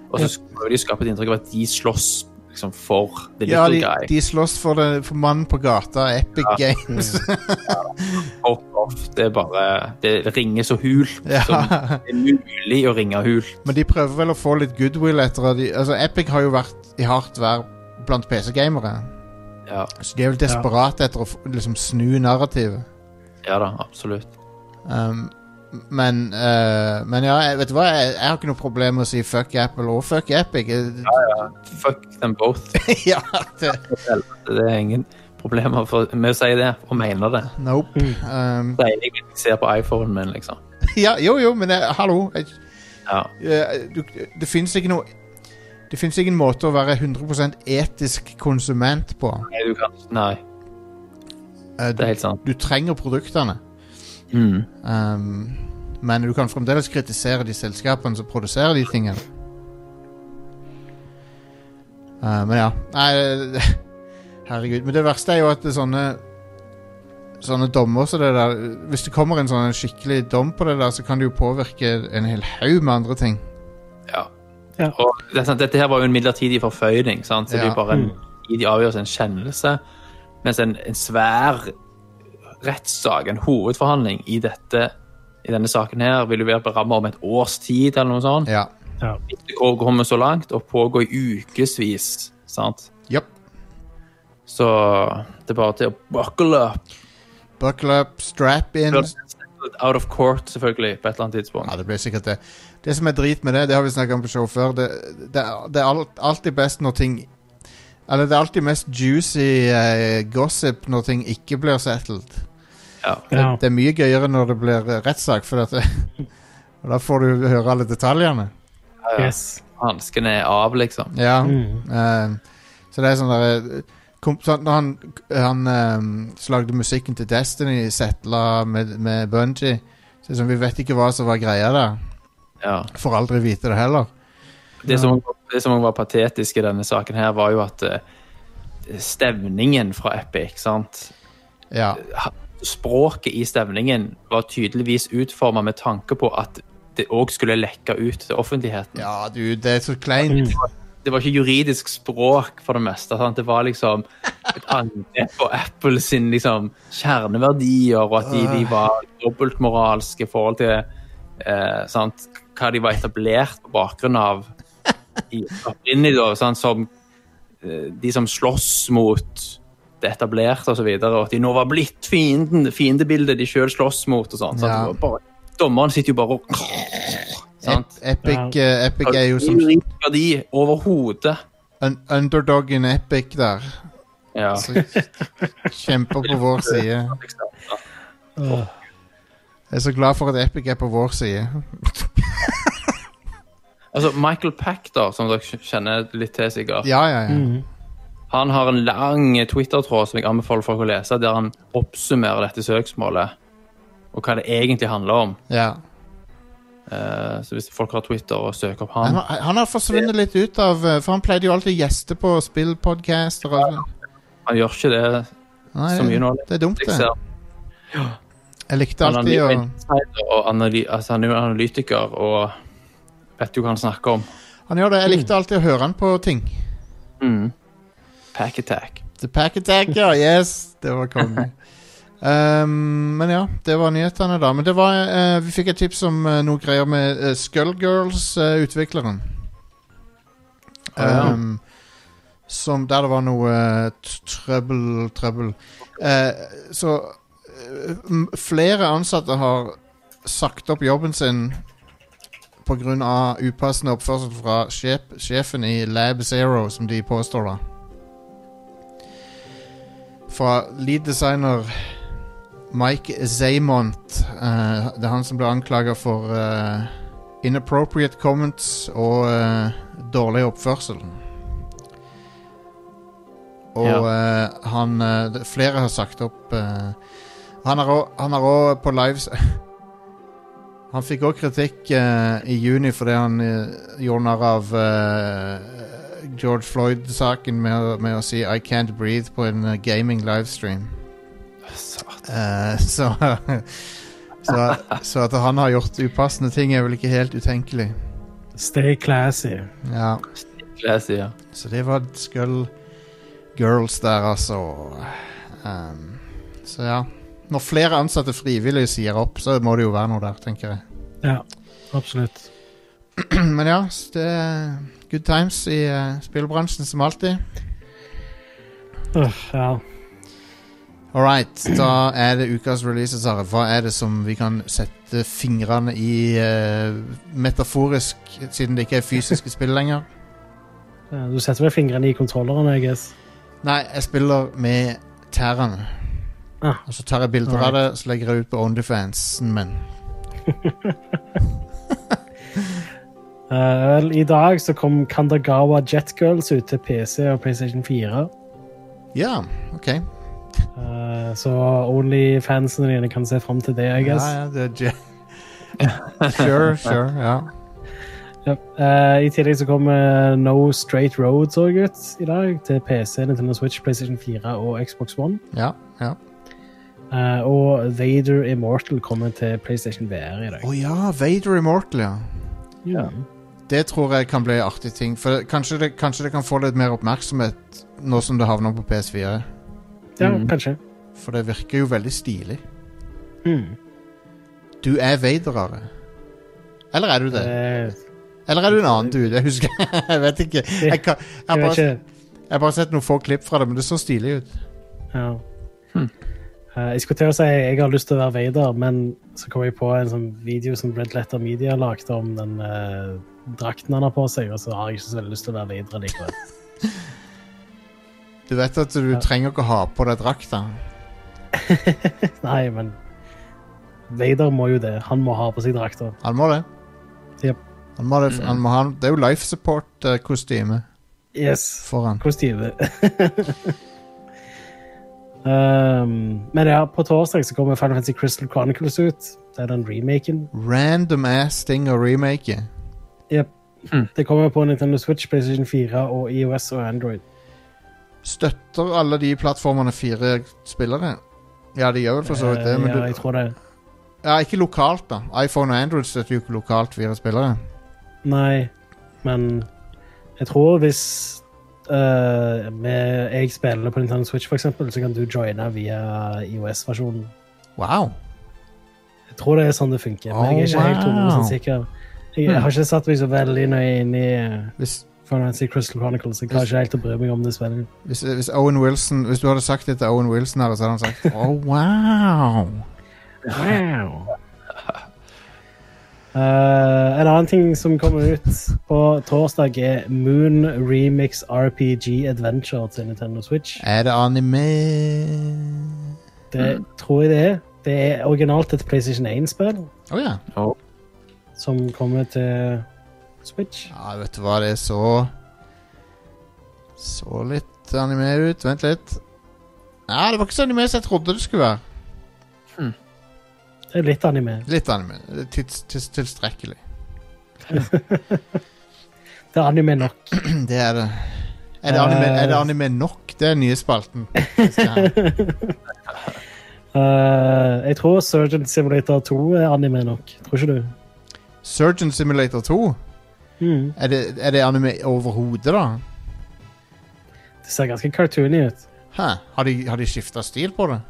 [SPEAKER 3] Og så prøver de å skape et inntrykk av at de slåss liksom, for the
[SPEAKER 1] Ja, de,
[SPEAKER 3] little guy.
[SPEAKER 1] de slåss for, det- for mannen på gata. Epic Games.
[SPEAKER 3] Fuck off. Det er bare Det ringer så hult
[SPEAKER 1] Ja.
[SPEAKER 3] som det er mulig å ringe hult.
[SPEAKER 1] Men de prøver vel å få litt goodwill etter at de, altså Epic har jo vært i hardt vær blant PC-gamere.
[SPEAKER 3] Ja,
[SPEAKER 1] Så de er vel desperate etter å få- liksom snu narrativet.
[SPEAKER 3] ja da, absolutt.
[SPEAKER 1] Um, men, eh, men ja, jeg- vet du hva? Jeg, jeg har ikke noe problem med å si fuck Apple og fuck Epic. Jeg-
[SPEAKER 3] Fuck them both.
[SPEAKER 1] ja, det,
[SPEAKER 3] Det er ingen problemer for, med å si det og mene det.
[SPEAKER 1] nope. Um,
[SPEAKER 3] Det er egentlig det jeg ser på iPhonen min, liksom.
[SPEAKER 1] ja, jo, jo, men jeg, hallo. Jeg,
[SPEAKER 3] Ja.
[SPEAKER 1] eh, du, det fins ikke noe Det fins ingen måte å være 100 etisk konsument på.
[SPEAKER 3] Nei, du kan Nei,
[SPEAKER 1] Eh,
[SPEAKER 3] det er
[SPEAKER 1] du,
[SPEAKER 3] helt sant.
[SPEAKER 1] du trenger produktene.
[SPEAKER 3] Mm.
[SPEAKER 1] Um, men du kan fremdeles kritisere de selskapene som produserer de tingene. Uh, men ja Nei, herregud. Men det verste er jo at det er sånne Sånne dommer som det der Hvis det kommer en sånn skikkelig dom på det der, så kan det jo påvirke en hel haug med andre ting.
[SPEAKER 3] Ja.
[SPEAKER 2] Ja.
[SPEAKER 3] Og det er sant, dette her var jo en midlertidig forføyning, sant? så det
[SPEAKER 1] Ja.
[SPEAKER 3] er bare en i de avgjørelse en kjennelse, mens en, en svær rettssak, en hovedforhandling i dette i denne saken her vil jo være berammet om et års tid eller noe sånt.
[SPEAKER 1] Ja.
[SPEAKER 2] Ja.
[SPEAKER 3] Det kommer så langt og pågår i ukevis, sant?
[SPEAKER 1] Japp.
[SPEAKER 3] Så det er bare til å buckle up.
[SPEAKER 1] Buckle up, strap in.
[SPEAKER 3] Out of court, selvfølgelig, på et eller annet tidspunkt.
[SPEAKER 1] Ja, det blir sikkert det. Det som er drit med det, det har vi snakket om på show før, det, det, er- det er alt, alltid best når ting Eller det er alltid mest juicy eh, gossip når ting ikke blir settled.
[SPEAKER 3] Ja.
[SPEAKER 2] Ja.
[SPEAKER 1] Det er mye gøyere når det blir eh, rettssak, for at det, og da får du høre alle detaljene.
[SPEAKER 3] ja.
[SPEAKER 2] Yes.
[SPEAKER 3] Hanskene er av, liksom.
[SPEAKER 1] Ja.
[SPEAKER 2] Mm.
[SPEAKER 1] eh, så det er sånn derre kom- sånn, Når han, han eh, slagde musikken til Destiny, settla med, med Bunji så det er sånn, Vi vet ikke hva som var greia der.
[SPEAKER 3] Ja.
[SPEAKER 1] Får aldri vite det heller.
[SPEAKER 3] Det som, det som var patetisk i denne saken her, var jo at eh, stemningen fra Epic, sant?
[SPEAKER 1] Ja.
[SPEAKER 3] ha- Språket i stemningen var tydeligvis utforma med tanke på at det òg skulle lekke ut til offentligheten.
[SPEAKER 1] Ja, du, det er så kleint.
[SPEAKER 3] Det var ikke juridisk språk for det meste. Sant? Det var liksom et angrep på Apple sin liksom, kjerneverdier, og at de, de var dobbeltmoralske i forhold til eh, sant? hva de var etablert på bakgrunn av i, opprinnelig, da, sant? som eh, de som slåss mot det etablerte og så videre, og at de nå var blitt fienden, fiendebildet de sjøl slåss mot og sånn. sant?
[SPEAKER 1] Ja.
[SPEAKER 3] Det var Bare, dommeren sitter jo bare og sant?
[SPEAKER 1] Ep Epic, eh, Epic er jo som
[SPEAKER 3] Ingen verdi overhodet.
[SPEAKER 1] un underdogen Epic der.
[SPEAKER 3] Ja.
[SPEAKER 1] Så kjemper på vår side.
[SPEAKER 2] Åh.
[SPEAKER 1] Jeg er så glad for at Epic er på vår side.
[SPEAKER 3] Altså, Michael Pachter, som dere kj- kjenner litt til sikkert,
[SPEAKER 1] Ja, ja, ja.
[SPEAKER 3] han har en lang Twitter-tråd som jeg anbefaler folk å lese, der han oppsummerer dette søksmålet og hva det egentlig handler om.
[SPEAKER 1] ja.
[SPEAKER 3] Eh, så hvis folk har Twitter og søker opp
[SPEAKER 1] Han,
[SPEAKER 3] han
[SPEAKER 1] han har forsvunnet litt ut av eh, For han pleide jo alltid å gjeste på spillpodcaster og sånn.
[SPEAKER 3] Han gjør ikke det
[SPEAKER 1] Nei,
[SPEAKER 3] så mye nå.
[SPEAKER 1] Det er dumt,
[SPEAKER 3] Jeg
[SPEAKER 1] det.
[SPEAKER 3] ser
[SPEAKER 1] Jeg likte
[SPEAKER 3] han er
[SPEAKER 1] alltid å
[SPEAKER 3] jo insider og analy altså, han er jo analytiker og vet jo hva han snakker om.
[SPEAKER 1] Han gjør det. Jeg likte alltid å høre han på ting.
[SPEAKER 3] Mm. Pack attack.
[SPEAKER 1] The Pack Attack, ja. Yes! Det var konge. Um, men ja, det var nyhetene, da. Men det var, eh, vi fikk et tips om eh, noe greier med uh, Skullgirls-utvikleren.
[SPEAKER 3] ja.
[SPEAKER 1] um, som Der det var noe eh, t- trøbbel Trøbbel. Eh, så eh, m- flere ansatte har sagt opp jobben sin pga. upassende oppførsel fra sjef, sjefen i Lab Zero, som de påstår, da fra lead designer Mike Zaymont. Eh, det er han som ble anklaga for eh, inappropriate comments og eh, dårlig oppførsel. Og eh, han eh, det- Flere har sagt opp eh, Han har òg- han har òg på lives Han fikk òg kritikk eh, i juni fordi han eh, gjorde narr av eh, George Floyd-saken med, å- med å si 'I can't breathe' på en eh, gaming livestream.
[SPEAKER 3] Satan.
[SPEAKER 1] Eh, så, så Så at han har gjort upassende ting, er vel ikke helt utenkelig.
[SPEAKER 2] Stay classy.
[SPEAKER 1] Ja,
[SPEAKER 3] Det sier.
[SPEAKER 1] Så det var Skull Girls der, altså. Ehm, så ja. Når flere ansatte frivillig sier opp, så må det jo være noe der, tenker jeg.
[SPEAKER 2] Ja, absolutt.
[SPEAKER 1] Men ja, så det er good times i eh, spillbransjen som alltid.
[SPEAKER 2] Øh, ja.
[SPEAKER 1] Alright, da er det ukas releases, Are. Hva er det som vi kan sette fingrene i eh, metaforisk, siden det ikke er fysiske spill lenger?
[SPEAKER 2] Eh, Du setter vel fingrene i kontrolleren, I guess.
[SPEAKER 1] Nei, jeg spiller med tærne.
[SPEAKER 2] Ah.
[SPEAKER 1] Og så tar jeg bilder av det, så legger jeg ut på OnlyFansen min.
[SPEAKER 2] Eh, vel, I dag så kom Kandagawa Jetgirls ut til PC og PlayStation 4.
[SPEAKER 1] Ja, OK.
[SPEAKER 2] Eh, så Onlyfansene dine kan se fram til det, I guess.
[SPEAKER 1] Ja, ja, det er je- Sure, sure, ja.
[SPEAKER 2] Ja. Eh, I tillegg så kommer No Straight Roads også ut i dag til PC, Nintendo Switch, PlayStation 4 og Xbox One.
[SPEAKER 1] Ja, ja.
[SPEAKER 2] Eh, og Vader Immortal kommer til PlayStation VR i dag.
[SPEAKER 1] Å ja, Vader Immortal, ja.
[SPEAKER 2] Ja.
[SPEAKER 1] Det tror jeg kan bli en artig ting. For kanskje det, kanskje det kan få litt mer oppmerksomhet nå som det havner på PS4.
[SPEAKER 2] ja,
[SPEAKER 3] Mm.
[SPEAKER 2] kanskje.
[SPEAKER 1] For det virker jo veldig stilig.
[SPEAKER 2] Mm.
[SPEAKER 1] Du er Vader, Are. Eller er du det?
[SPEAKER 2] Eh,
[SPEAKER 1] Eller er du en annen dude? Jeg husker Jeg vet ikke. Jeg, kan, jeg, har
[SPEAKER 2] jeg vet
[SPEAKER 1] bare,
[SPEAKER 2] ikke.
[SPEAKER 1] jeg har bare sett noen få klipp fra det, men det så stilig ut.
[SPEAKER 2] Ja. Eh, jeg skulle til å si jeg har lyst til å være Vader, men så kom jeg på en sånn video som Red Letter Media lagde om den eh, drakten han har på seg, og så har jeg ikke så veldig lyst til å være Vader likevel.
[SPEAKER 1] Du vet at du trenger ikke å ha på deg drakta.
[SPEAKER 2] Nei, men Vader må jo det. Han må ha på seg drakta.
[SPEAKER 1] Han må det.
[SPEAKER 2] Jep.
[SPEAKER 1] Han må det, han må ha, det er jo life support-kostyme
[SPEAKER 2] Yes.
[SPEAKER 1] for han.
[SPEAKER 2] Kostyme. um, men ja, på torsdag så kommer Final Fantasy Crystal Chronicles ut. Det er den remaken.
[SPEAKER 1] Random ass ting å remake.
[SPEAKER 2] Jep. Det kommer på Nintendo Switch, PlayStation 4 og IOS og Android.
[SPEAKER 1] Støtter alle de plattformene fire spillere? Ja, de gjør vel for så vidt det,
[SPEAKER 2] Eh,
[SPEAKER 1] men
[SPEAKER 2] ja, jeg
[SPEAKER 1] du,
[SPEAKER 2] tror det.
[SPEAKER 1] ja, ikke lokalt, da. iPhone og Android støtter jo ikke lokalt fire spillere.
[SPEAKER 2] Nei, men jeg tror hvis eh, med, jeg spiller på Nintendo Switch, for eksempel, så kan du joine via IOS-versjonen.
[SPEAKER 1] Wow.
[SPEAKER 2] Jeg tror det er sånn det funker, men jeg er ikke
[SPEAKER 1] Oh,
[SPEAKER 2] helt
[SPEAKER 1] wow. Hmm.
[SPEAKER 2] 100% sikker. Jeg, jeg har ikke satt meg så veldig nøye inn i eh,
[SPEAKER 1] Hvis,
[SPEAKER 2] Final Fantasy Crystal Chronicles. Jeg klarer ikke helt å bry meg om det spillet.
[SPEAKER 1] hvis, hvis Owen Wilson Hvis du hadde sagt det til Owen Wilson, her, så hadde han sagt Oh, wow.
[SPEAKER 2] Wow. Eh, en annen ting som kommer ut på torsdag, er Moon Remix RPG Adventure til Nintendo Switch.
[SPEAKER 1] Er det anime? Mm.
[SPEAKER 2] Det tror jeg det er. Det er originalt et PlayStation 1-spill
[SPEAKER 1] Å ja.
[SPEAKER 2] som kommer til Switch.
[SPEAKER 1] Ja, vet du hva, det så Så litt anime ut. Vent litt. Nei, det var ikke så anime som jeg trodde det skulle være.
[SPEAKER 2] Det er litt anime.
[SPEAKER 1] Litt anime. Det er Tids, tids, tilstrekkelig.
[SPEAKER 2] Det er anime nok.
[SPEAKER 1] Det er det. Er det, anime, er det anime nok? Det er nye spalten. Vi skal ha.
[SPEAKER 2] Eh, jeg tror Surgeon Simulator 2 er anime nok. Tror ikke du?
[SPEAKER 1] Surgeon Simulator 2.
[SPEAKER 2] Mm.
[SPEAKER 1] Er det, er det anime overhodet, da?
[SPEAKER 2] Det ser ganske cartoony ut.
[SPEAKER 1] Hæ? Har de, har de skifta stil på det?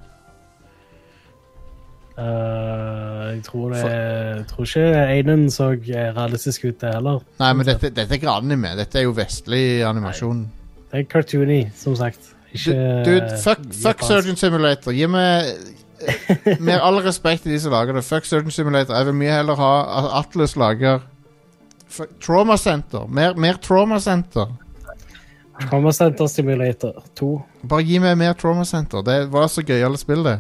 [SPEAKER 2] Eh, jeg tror det
[SPEAKER 1] For-
[SPEAKER 2] Jeg tror ikke Einen så eh, realistisk ut, det heller.
[SPEAKER 1] Nei, men dette, dette er ikke anime. Dette er jo vestlig animasjon.
[SPEAKER 2] Det er cartoony, som sagt.
[SPEAKER 1] Du,
[SPEAKER 2] Ikke eh,
[SPEAKER 1] dude, fuck, fuck
[SPEAKER 2] japansk.
[SPEAKER 1] Surgeon Simulator. Gi meg eh, Med all respekt til de som lager det, fuck Surgeon Simulator. Jeg vil mye heller ha at Atlas lager fuck, Trauma Center. Mer, mer Trauma Center.
[SPEAKER 2] Trauma Center Simulator 2.
[SPEAKER 1] Bare gi meg mer Trauma Center. Det var så gøyale spill, det.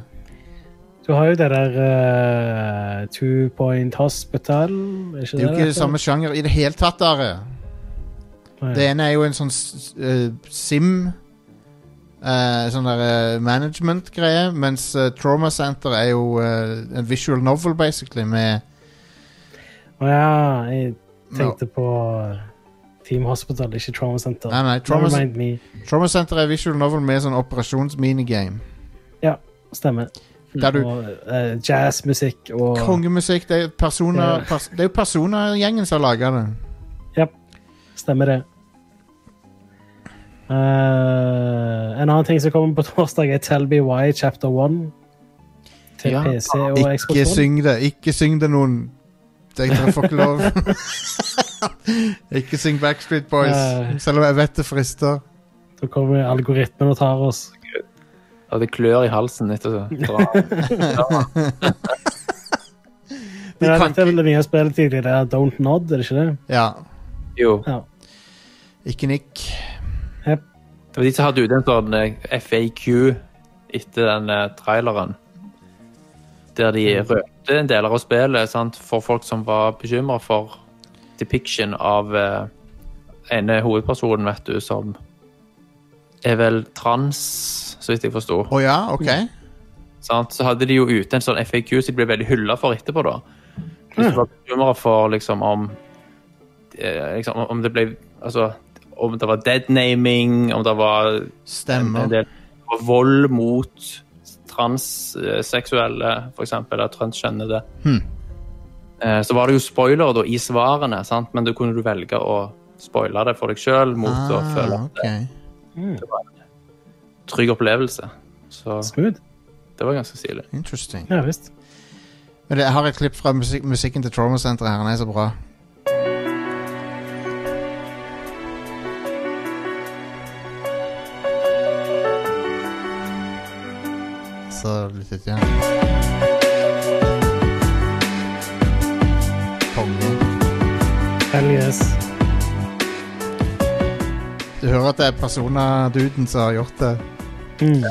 [SPEAKER 2] Du har jo det der eh, Two Point Hospital. Er ikke
[SPEAKER 1] Det er jo ikke
[SPEAKER 2] det
[SPEAKER 1] samme sjanger i det hele tatt. Are. Det
[SPEAKER 2] det
[SPEAKER 1] ene er jo en sånn s- eh, sim eh, Sånn der eh, management-greie, mens eh, Trauma Center er jo eh, en visual novel, basically, med
[SPEAKER 2] heter? Å ja, jeg
[SPEAKER 1] med-
[SPEAKER 2] tenkte på eh, Team Hospital, ikke Trauma Center.
[SPEAKER 1] Nei, nei, Trauma,
[SPEAKER 2] Never mind me.
[SPEAKER 1] Trauma Center er visual novel med sånn operasjonsminigame.
[SPEAKER 2] Stemmer.
[SPEAKER 1] Der du-
[SPEAKER 2] Og eh, jazzmusikk og
[SPEAKER 1] Kongemusikk. Det er, persona,
[SPEAKER 2] Ja.
[SPEAKER 1] pers det er jo Persona-gjengen som har laga det.
[SPEAKER 2] Stemmer det. Eh, en annen ting som kommer på torsdag, er Tell Me Why Chapter 1. Til
[SPEAKER 3] Ja.
[SPEAKER 2] PC og Xbox
[SPEAKER 1] Ikke
[SPEAKER 2] One.
[SPEAKER 1] syng det. Ikke syng det, noen. Det dere får ikke lov. ikke syng Backstreet Boys,
[SPEAKER 2] Nei.
[SPEAKER 1] selv om jeg vet det frister.
[SPEAKER 2] Da kommer algoritmen og tar oss.
[SPEAKER 3] Og det klør i halsen etter å dra.
[SPEAKER 1] De
[SPEAKER 2] Men ja,
[SPEAKER 1] kan
[SPEAKER 2] dette er vel
[SPEAKER 1] ikke
[SPEAKER 2] det nye spillet til de der Don't Nod, er det ikke det?
[SPEAKER 1] Ja.
[SPEAKER 3] Jo.
[SPEAKER 2] Ja.
[SPEAKER 1] Ikke nikk.
[SPEAKER 3] Det var de som hadde ute en sånn eh, FAQ etter den eh, traileren. Der de røpte en del av spillet sant, for folk som var bekymra for depiction av eh, ene hovedpersonen, vet du, som er vel trans, så vidt jeg forsto.
[SPEAKER 1] Å ja, OK.
[SPEAKER 3] Sant? Så hadde de jo ute en sånn FAQ som de ble veldig hylla for etterpå, da. Hvis du var bekymra for liksom om eh, liksom, om det ble Altså om det var deadnaming, om det var en
[SPEAKER 1] Stemmer.
[SPEAKER 3] del vold mot transseksuelle, for eksempel, eller transkjønnede.
[SPEAKER 1] Hmm.
[SPEAKER 3] Eh, Så var det jo spoiler da, i svarene, sant? men da kunne du velge å spoile det for deg sjøl mot å føle
[SPEAKER 1] Ah,
[SPEAKER 3] at
[SPEAKER 1] ok.
[SPEAKER 3] det er en trygg opplevelse. Så
[SPEAKER 2] Smooth.
[SPEAKER 3] det var ganske stilig.
[SPEAKER 1] Interesting.
[SPEAKER 2] Ja visst.
[SPEAKER 1] Men jeg har et klipp fra musik musikken til Trauma Center her. Den er så bra. Så litt ut igjen. Konge.
[SPEAKER 2] Hell yes.
[SPEAKER 1] Du hører at det er Persona-duden som har gjort det.
[SPEAKER 2] Mm.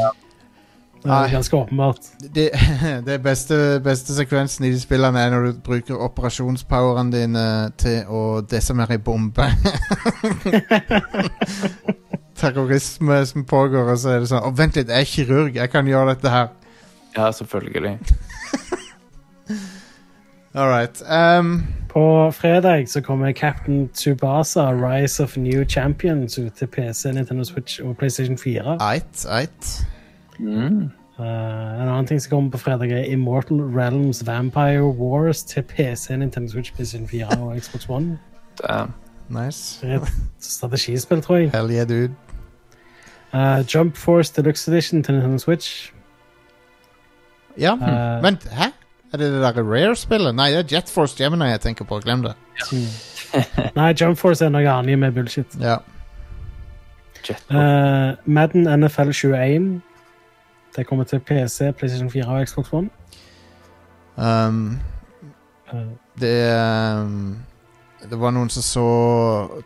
[SPEAKER 2] Det
[SPEAKER 1] Nei.
[SPEAKER 2] er ganske åpenbart.
[SPEAKER 1] Det, det beste, beste sekvensen i de spillene er når du bruker operasjonspoweren din eh, til å desimere ei bombe. Terrorisme som pågår, og så er det sånn Å, vent litt, jeg er kirurg, jeg kan gjøre dette her.
[SPEAKER 3] Ja, selvfølgelig.
[SPEAKER 1] All right. Um,
[SPEAKER 2] På fredag så kommer Captain Tsubasa Rise of New Champions ut til PC, Nintendo Switch og PlayStation 4.
[SPEAKER 1] eit, eit.
[SPEAKER 2] Eh, en annen ting som kommer på fredag, er Immortal Realms Vampire Wars til PC, Nintendo Switch, PlayStation 4 og Xbox One.
[SPEAKER 3] Damn.
[SPEAKER 1] Nice.
[SPEAKER 2] Det er et strategispill, tror jeg.
[SPEAKER 1] Hell yeah, dude.
[SPEAKER 2] Eh, Jump Force Deluxe Edition til Nintendo Switch.
[SPEAKER 1] Ja, hm.
[SPEAKER 2] Eh.
[SPEAKER 1] vent, hæ? Er det det derre Rare-spillet? Nei, det er Jet Force Gemini jeg tenker på. Glem det.
[SPEAKER 2] Mm. Nei, Jump Force er noe annet med bullshit.
[SPEAKER 1] Ja.
[SPEAKER 3] Jetpack.
[SPEAKER 2] Eh, Madden NFL 21. Det kommer til PC, PlayStation 4 og Xbox One.
[SPEAKER 1] Um,
[SPEAKER 2] Eh,
[SPEAKER 1] Det ehm, Det var noen som så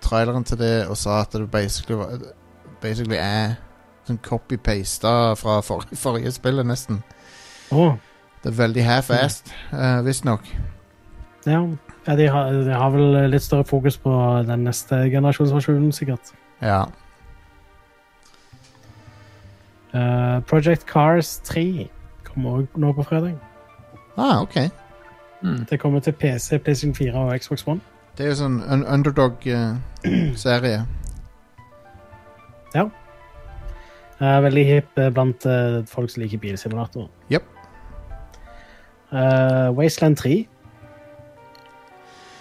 [SPEAKER 1] traileren til det og sa at det basically, var- basically er sånn copy-pasta fra for, forrige spillet, nesten.
[SPEAKER 2] Åh,
[SPEAKER 1] Det er veldig half-assed, uh, visstnok.
[SPEAKER 2] ja. ja de, har, de har vel litt større fokus på den neste generasjonsversjonen, sikkert.
[SPEAKER 1] Ja.
[SPEAKER 2] Eh, Project Cars 3 kommer òg nå på fredag.
[SPEAKER 1] Ah, ok.
[SPEAKER 2] Det kommer til PC, PlayStation 4 og Xbox One.
[SPEAKER 1] Det er jo sånn un eh, underdog-serie.
[SPEAKER 2] Ja. Eh, veldig hipp eh, blant eh, folk som liker bilsimulatorer.
[SPEAKER 1] Jepp.
[SPEAKER 2] Eh, Wasteland 3.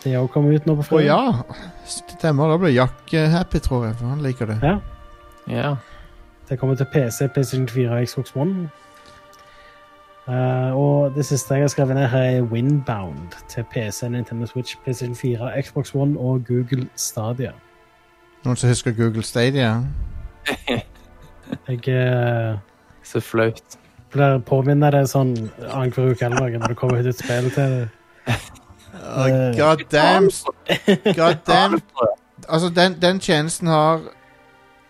[SPEAKER 2] Det òg kommer ut nå på
[SPEAKER 1] Å
[SPEAKER 2] fredag.
[SPEAKER 1] ja! Stemmer. Da blir Jack eh, happy, tror jeg, for han liker det.
[SPEAKER 2] Ja.
[SPEAKER 3] Ja.
[SPEAKER 2] Det kommer til PC, PlayStation 4 og Xbox One. Eh, og det siste jeg har skrevet ned her, er Windbound til PC, Nintendo Switch, PlayStation 4, Xbox One og Google Stadia.
[SPEAKER 1] Noen som husker Google Stadia?
[SPEAKER 2] Jeg eh,
[SPEAKER 3] Så flaut.
[SPEAKER 2] blir påminnet det sånn annenhver uke eller noe når det kommer ut et spill til det.
[SPEAKER 1] Oh,
[SPEAKER 2] Eh,
[SPEAKER 1] God damn! s- God damn! Altså, den, den tjenesten har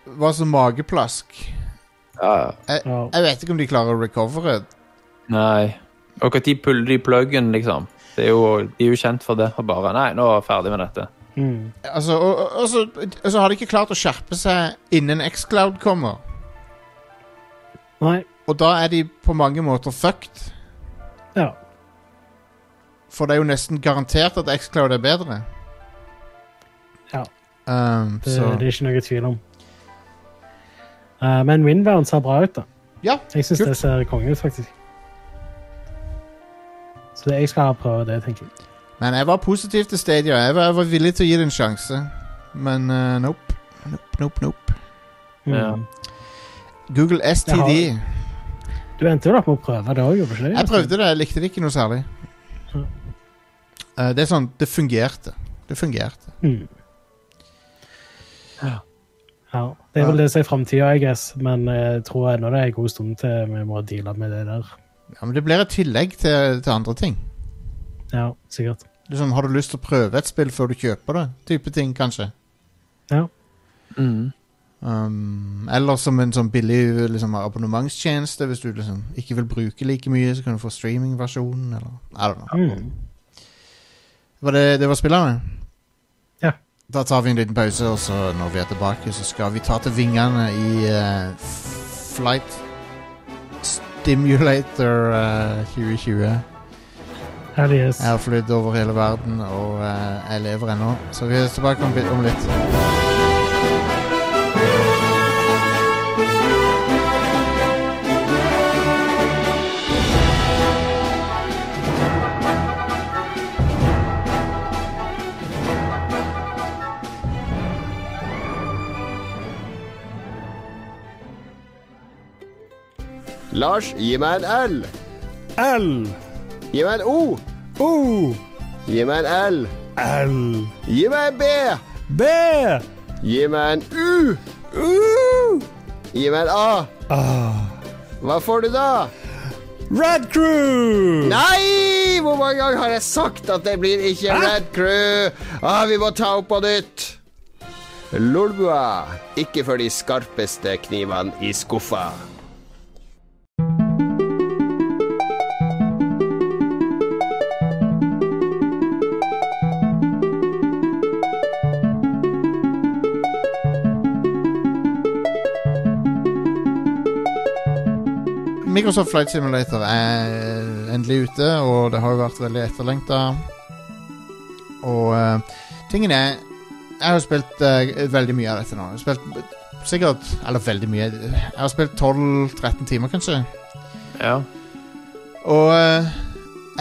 [SPEAKER 1] Var som mageplask.
[SPEAKER 3] Ja.
[SPEAKER 2] Ja.
[SPEAKER 1] Jeg vet ikke om de klarer å recovere.
[SPEAKER 3] Nei. Og når de puller de pluggen, liksom. Det er jo, de er jo kjent for det. Og bare Nei, nå er jeg ferdig med dette.
[SPEAKER 2] Mm.
[SPEAKER 1] Altså, og, og, og, så, og så har de ikke klart å skjerpe seg innen Xcloud kommer.
[SPEAKER 2] Nei.
[SPEAKER 1] Og da er de på mange måter fucked.
[SPEAKER 2] Ja.
[SPEAKER 1] For det er jo nesten garantert at Xcloud er bedre.
[SPEAKER 2] ja.
[SPEAKER 1] Um,
[SPEAKER 2] Det,
[SPEAKER 1] så
[SPEAKER 2] det er ikke noe tvil om. Eh, men Windbound ser bra ut, da.
[SPEAKER 1] Ja,
[SPEAKER 2] Jeg syns
[SPEAKER 1] Kult.
[SPEAKER 2] det ser konge ut, faktisk. Så det, jeg skal prøve det, tenker jeg.
[SPEAKER 1] men jeg var positiv til Stadia. Jeg var, jeg var villig til å gi det en sjanse. Men eh, nope. Nope, nope, nope.
[SPEAKER 2] Mm.
[SPEAKER 3] Ja.
[SPEAKER 1] Google STD.
[SPEAKER 2] Jeg Du endte jo da på å prøve det òg, gjorde du ikke
[SPEAKER 1] Jeg prøvde det, jeg likte det ikke noe særlig.
[SPEAKER 2] Ja.
[SPEAKER 1] Eh, det er sånn Det fungerte. Det fungerte.
[SPEAKER 2] Mm. Ja. Det er vel det som er framtida, I guess, men eh, jeg tror ennå det er en god stund til vi må deale med det der.
[SPEAKER 1] Ja, Men det blir et tillegg til, til andre ting.
[SPEAKER 2] Ja, sikkert.
[SPEAKER 1] Det er sånn, har du lyst til å prøve et spill før du kjøper det? Type ting, kanskje.
[SPEAKER 2] Ja.
[SPEAKER 3] Mm.
[SPEAKER 1] Um, eller som en sånn billig liksom, abonnementstjeneste. Hvis du liksom ikke vil bruke like mye, så kan du få streamingversjonen. Eller, I don't know.
[SPEAKER 2] Mm.
[SPEAKER 1] Var det, det var spillerne?
[SPEAKER 2] Ja.
[SPEAKER 1] Da tar vi en liten pause, og så når vi er tilbake, så skal vi ta til vingene i eh, F- Flight Stimulator eh, 2020.
[SPEAKER 2] Hell yes.
[SPEAKER 1] Jeg har flydd over hele verden, og eh, jeg lever ennå. Så vi er tilbake om, om litt.
[SPEAKER 6] Lars, gi meg en L.
[SPEAKER 7] L.
[SPEAKER 6] Gi meg en O.
[SPEAKER 7] O.
[SPEAKER 6] Gi meg en L.
[SPEAKER 7] L.
[SPEAKER 6] Gi meg en B.
[SPEAKER 7] B.
[SPEAKER 6] Gi meg en U.
[SPEAKER 7] U.
[SPEAKER 6] Gi meg en A. Hva får du da?
[SPEAKER 7] Red Crew.
[SPEAKER 6] Nei! Hvor mange ganger har jeg sagt at det blir ikke
[SPEAKER 7] Hæ?
[SPEAKER 6] Red Crew? Ah, vi må ta opp på nytt. Lolbua. Ikke for de skarpeste knivene i skuffa.
[SPEAKER 1] Microsoft Flight Simulator er endelig ute, og det har jo vært veldig etterlengta. Og eh, tingen er Jeg har jo spilt eh, veldig mye av dette nå. Jeg har spilt sikkert Eller veldig mye. Jeg har spilt 12-13 timer, kanskje.
[SPEAKER 3] Ja.
[SPEAKER 1] Og eh,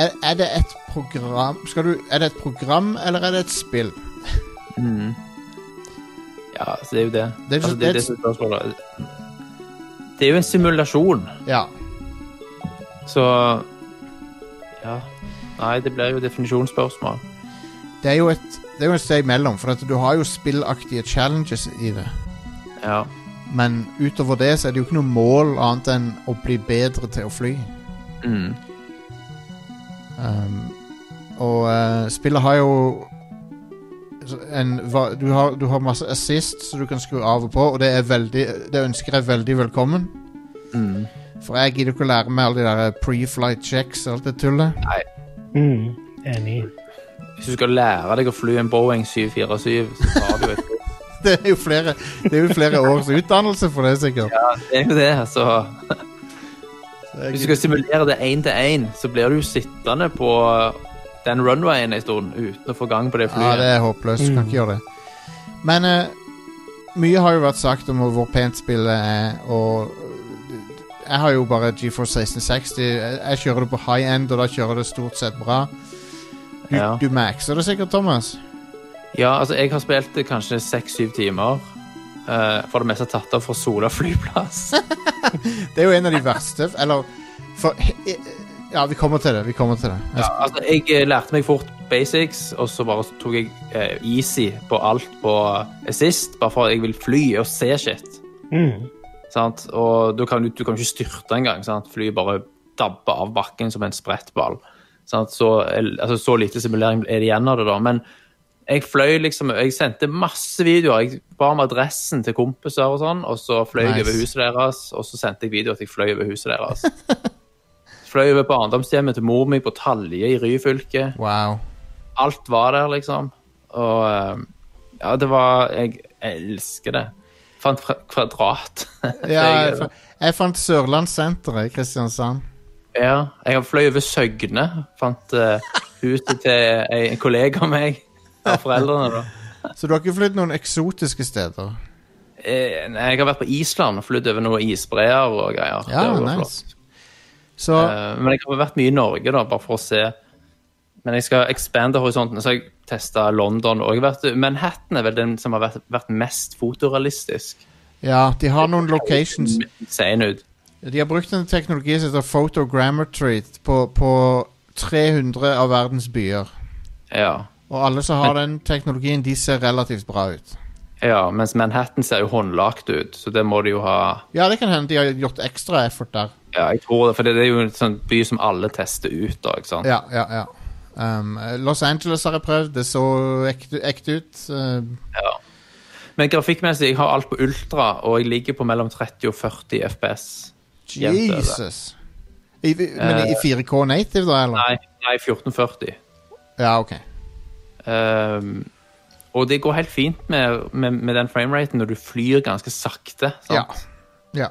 [SPEAKER 1] er, er det et program Skal du Er det et program, eller er det et spill?
[SPEAKER 3] Mm. ja, så det er jo det.
[SPEAKER 1] Det er-
[SPEAKER 3] altså, det, er det, som er spørsmålet. det er jo en simulasjon,
[SPEAKER 1] Ja.
[SPEAKER 3] så Ja. Nei, det blir jo definisjonsspørsmål.
[SPEAKER 1] Det er jo et Det er jo et sted imellom, for at du har jo spillaktige challenges i det.
[SPEAKER 3] Ja.
[SPEAKER 1] Men utover det så er det jo ikke noe mål annet enn å bli bedre til å fly.
[SPEAKER 3] Mm.
[SPEAKER 1] Um, og eh, spillet har jo en, va- du, har, du har masse assist som du kan skru av og på, og det, er veldig, det ønsker jeg veldig velkommen.
[SPEAKER 3] Mm.
[SPEAKER 1] For jeg gidder ikke å lære meg alle de der eh, pre-flight checks og alt det tullet.
[SPEAKER 2] Mm. Enig.
[SPEAKER 3] Hvis du skal lære deg å fly en Boeing 747, så tar du jo et
[SPEAKER 1] Det er jo flere, det er jo flere års utdannelse for det, sikkert.
[SPEAKER 3] Det er jo det, så
[SPEAKER 1] Så
[SPEAKER 3] Hvis du skal simulere det én til én, så blir du jo sittende på den runwayen en stund uten å få gang på det
[SPEAKER 1] Ja,
[SPEAKER 3] flyet.
[SPEAKER 1] det er håpløst.
[SPEAKER 3] Mm.
[SPEAKER 1] Kan ikke gjøre det. Men eh, mye har jo vært sagt om hvor pent spillet er, og eh, jeg har jo bare GeForce 1660. Jeg jeg kjører det på high end, og da kjører det stort sett bra. Du,
[SPEAKER 3] Ja.
[SPEAKER 1] du maxer det sikkert, Thomas.
[SPEAKER 3] Ja, altså, jeg har spilt det kanskje seks-syv timer. eh, for det meste tatt av fra Sola flyplass.
[SPEAKER 1] Det er jo en av de verste Eller for, Ja, vi kommer til det. Vi kommer til det. Jeg
[SPEAKER 3] Ja, altså, jeg eh, lærte meg fort basics, og så bare tok jeg eh, easy på alt på eh, assist, bare for at jeg vil fly og se shit.
[SPEAKER 2] Mm.
[SPEAKER 3] Sant? Og du kan, du kan ikke styrte engang. sant? Flyet bare dabber av bakken som en sprettball. Sant? Så, el- altså, så lite simulering er det igjen av det, da. Men jeg fløy liksom Jeg sendte masse videoer. Jeg ba om adressen til kompiser og sånn, og så fløy jeg
[SPEAKER 1] Nice.
[SPEAKER 3] over huset deres, og så sendte jeg video at jeg fløy over huset deres. fløy over barndomshjemmet til mor mi på Talje i Ryfylke
[SPEAKER 1] Wow.
[SPEAKER 3] alt var der, liksom. Og eh, ja, det var Jeg elsker det. Fant fra- kvadrat.
[SPEAKER 1] Ja, jeg,
[SPEAKER 3] jeg, eh,
[SPEAKER 1] fa- jeg fant Sørlandssenteret i Kristiansand.
[SPEAKER 3] ja, jeg har fløy over Søgne. Fant eh, huset til ei- en kollega av meg. Av foreldrene, da.
[SPEAKER 1] Så du har ikke flydd noen eksotiske steder?
[SPEAKER 3] Eh, nei, jeg har vært på Island og flydd over noen isbreer og greier.
[SPEAKER 1] Ja,
[SPEAKER 3] Det var
[SPEAKER 1] nice.
[SPEAKER 3] flott.
[SPEAKER 1] Så
[SPEAKER 3] Eh, men jeg har vært mye i Norge, da, bare for å se. Men jeg skal expande horisonten, så jeg testa London og jeg har vært- Manhattan er vel den som har vært, vært mest fotorealistisk.
[SPEAKER 1] ja, de har noen locations.
[SPEAKER 3] Insane ut.
[SPEAKER 1] De har brukt en teknologi som heter photogrammetry på, på 300 av verdens byer.
[SPEAKER 3] Ja.
[SPEAKER 1] Og alle som har den teknologien, de ser relativt bra ut.
[SPEAKER 3] ja, mens Manhattan ser jo håndlagt ut, så det må de jo ha
[SPEAKER 1] Ja, det kan hende de har gjort ekstra effort der.
[SPEAKER 3] Ja, jeg tror det, for det er jo en sånn by som alle tester ut, da, ikke sant?
[SPEAKER 1] Ja, ja, ja. Um, Los Angeles har jeg prøvd. Det så ekte, ekte ut. Um,
[SPEAKER 3] Men grafikkmessig, jeg har alt på ultra, og jeg ligger på mellom 30 og 40 FPS. Jevnt over.
[SPEAKER 1] Jesus. I, i- men i 4K native, da, eller?
[SPEAKER 3] Nei, nei 1440.
[SPEAKER 1] Ja, ok.
[SPEAKER 3] Ehm, og det går helt fint med, med, med den frameraten når du flyr ganske sakte. Sant?
[SPEAKER 1] Ja. ja.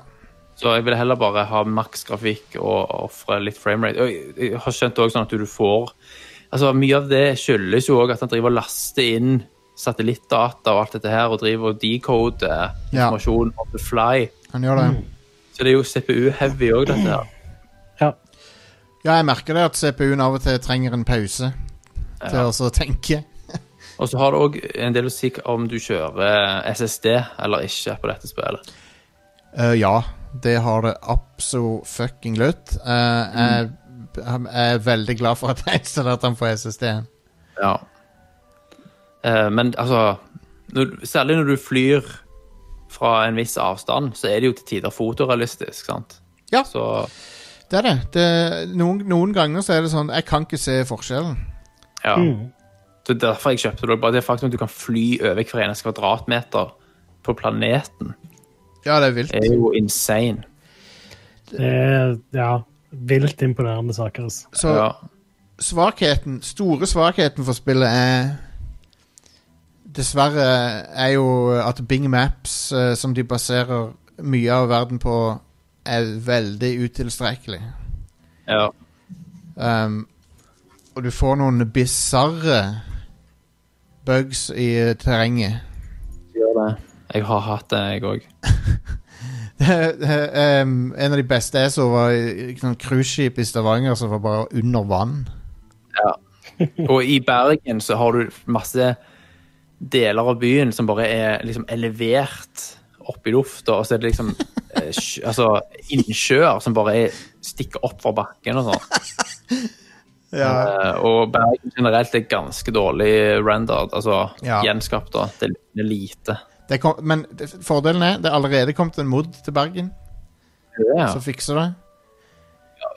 [SPEAKER 3] Så jeg vil heller bare ha maks grafikk og ofre litt framerate. Og jeg- jeg har skjønt også sånn at du får Altså, Mye av det skyldes jo òg at han driver og laster inn satellittdata og alt dette her, og driver og decoder
[SPEAKER 1] Ja.
[SPEAKER 3] informasjon on the fly.
[SPEAKER 1] Han gjør det.
[SPEAKER 3] Så det er jo CPU-heavy òg, dette her.
[SPEAKER 2] Ja.
[SPEAKER 1] Ja, jeg merker det at CPU-en av og til trenger en pause til å så tenke.
[SPEAKER 3] Og så har det òg en del å si om du kjører SSD eller ikke på dette spillet.
[SPEAKER 1] Eh, ja, det har det absolutt. Uh, Jeg er veldig glad for at jeg installerte den på SSD-en.
[SPEAKER 3] Ja. Eh, men altså når, Særlig når du flyr fra en viss avstand, så er det jo til tider fotorealistisk, sant?
[SPEAKER 1] Ja.
[SPEAKER 3] Så
[SPEAKER 1] Det er det. det noen, noen ganger så er det sånn Jeg kan ikke se forskjellen.
[SPEAKER 3] Ja.
[SPEAKER 1] Mm.
[SPEAKER 3] Det er derfor jeg kjøpte det. Bare det faktum at du kan fly over hver eneste kvadratmeter på planeten,
[SPEAKER 1] Ja, det er vilt.
[SPEAKER 3] er jo insane.
[SPEAKER 2] Det er ja, vilt imponerende saker. Altså.
[SPEAKER 1] Så
[SPEAKER 3] ja.
[SPEAKER 1] svakheten, store svakheten for spillet er Dessverre er jo at Bing Maps, eh, som de baserer mye av verden på, er veldig utilstrekkelig.
[SPEAKER 3] ja.
[SPEAKER 1] Um, og du får noen bisarre bugs i eh, terrenget.
[SPEAKER 3] Jeg har hatt det, jeg òg.
[SPEAKER 1] um, en av de beste jeg så, var i- i sånn cruiseskip i Stavanger som var bare under vann.
[SPEAKER 3] Og i Bergen så har du masse deler av byen som bare er liksom elevert opp i lufta, og så er det liksom eh, sj- altså, innsjøer som bare er, stikker opp fra bakken og sånn.
[SPEAKER 1] Ja.
[SPEAKER 3] Eh, og Bergen generelt er ganske dårlig rendered, altså
[SPEAKER 1] Ja.
[SPEAKER 3] gjenskapt. da. Det er lite.
[SPEAKER 1] Det kom, men det- fordelen er det er allerede kommet en mod til Bergen
[SPEAKER 3] Ja.
[SPEAKER 1] som fikser det.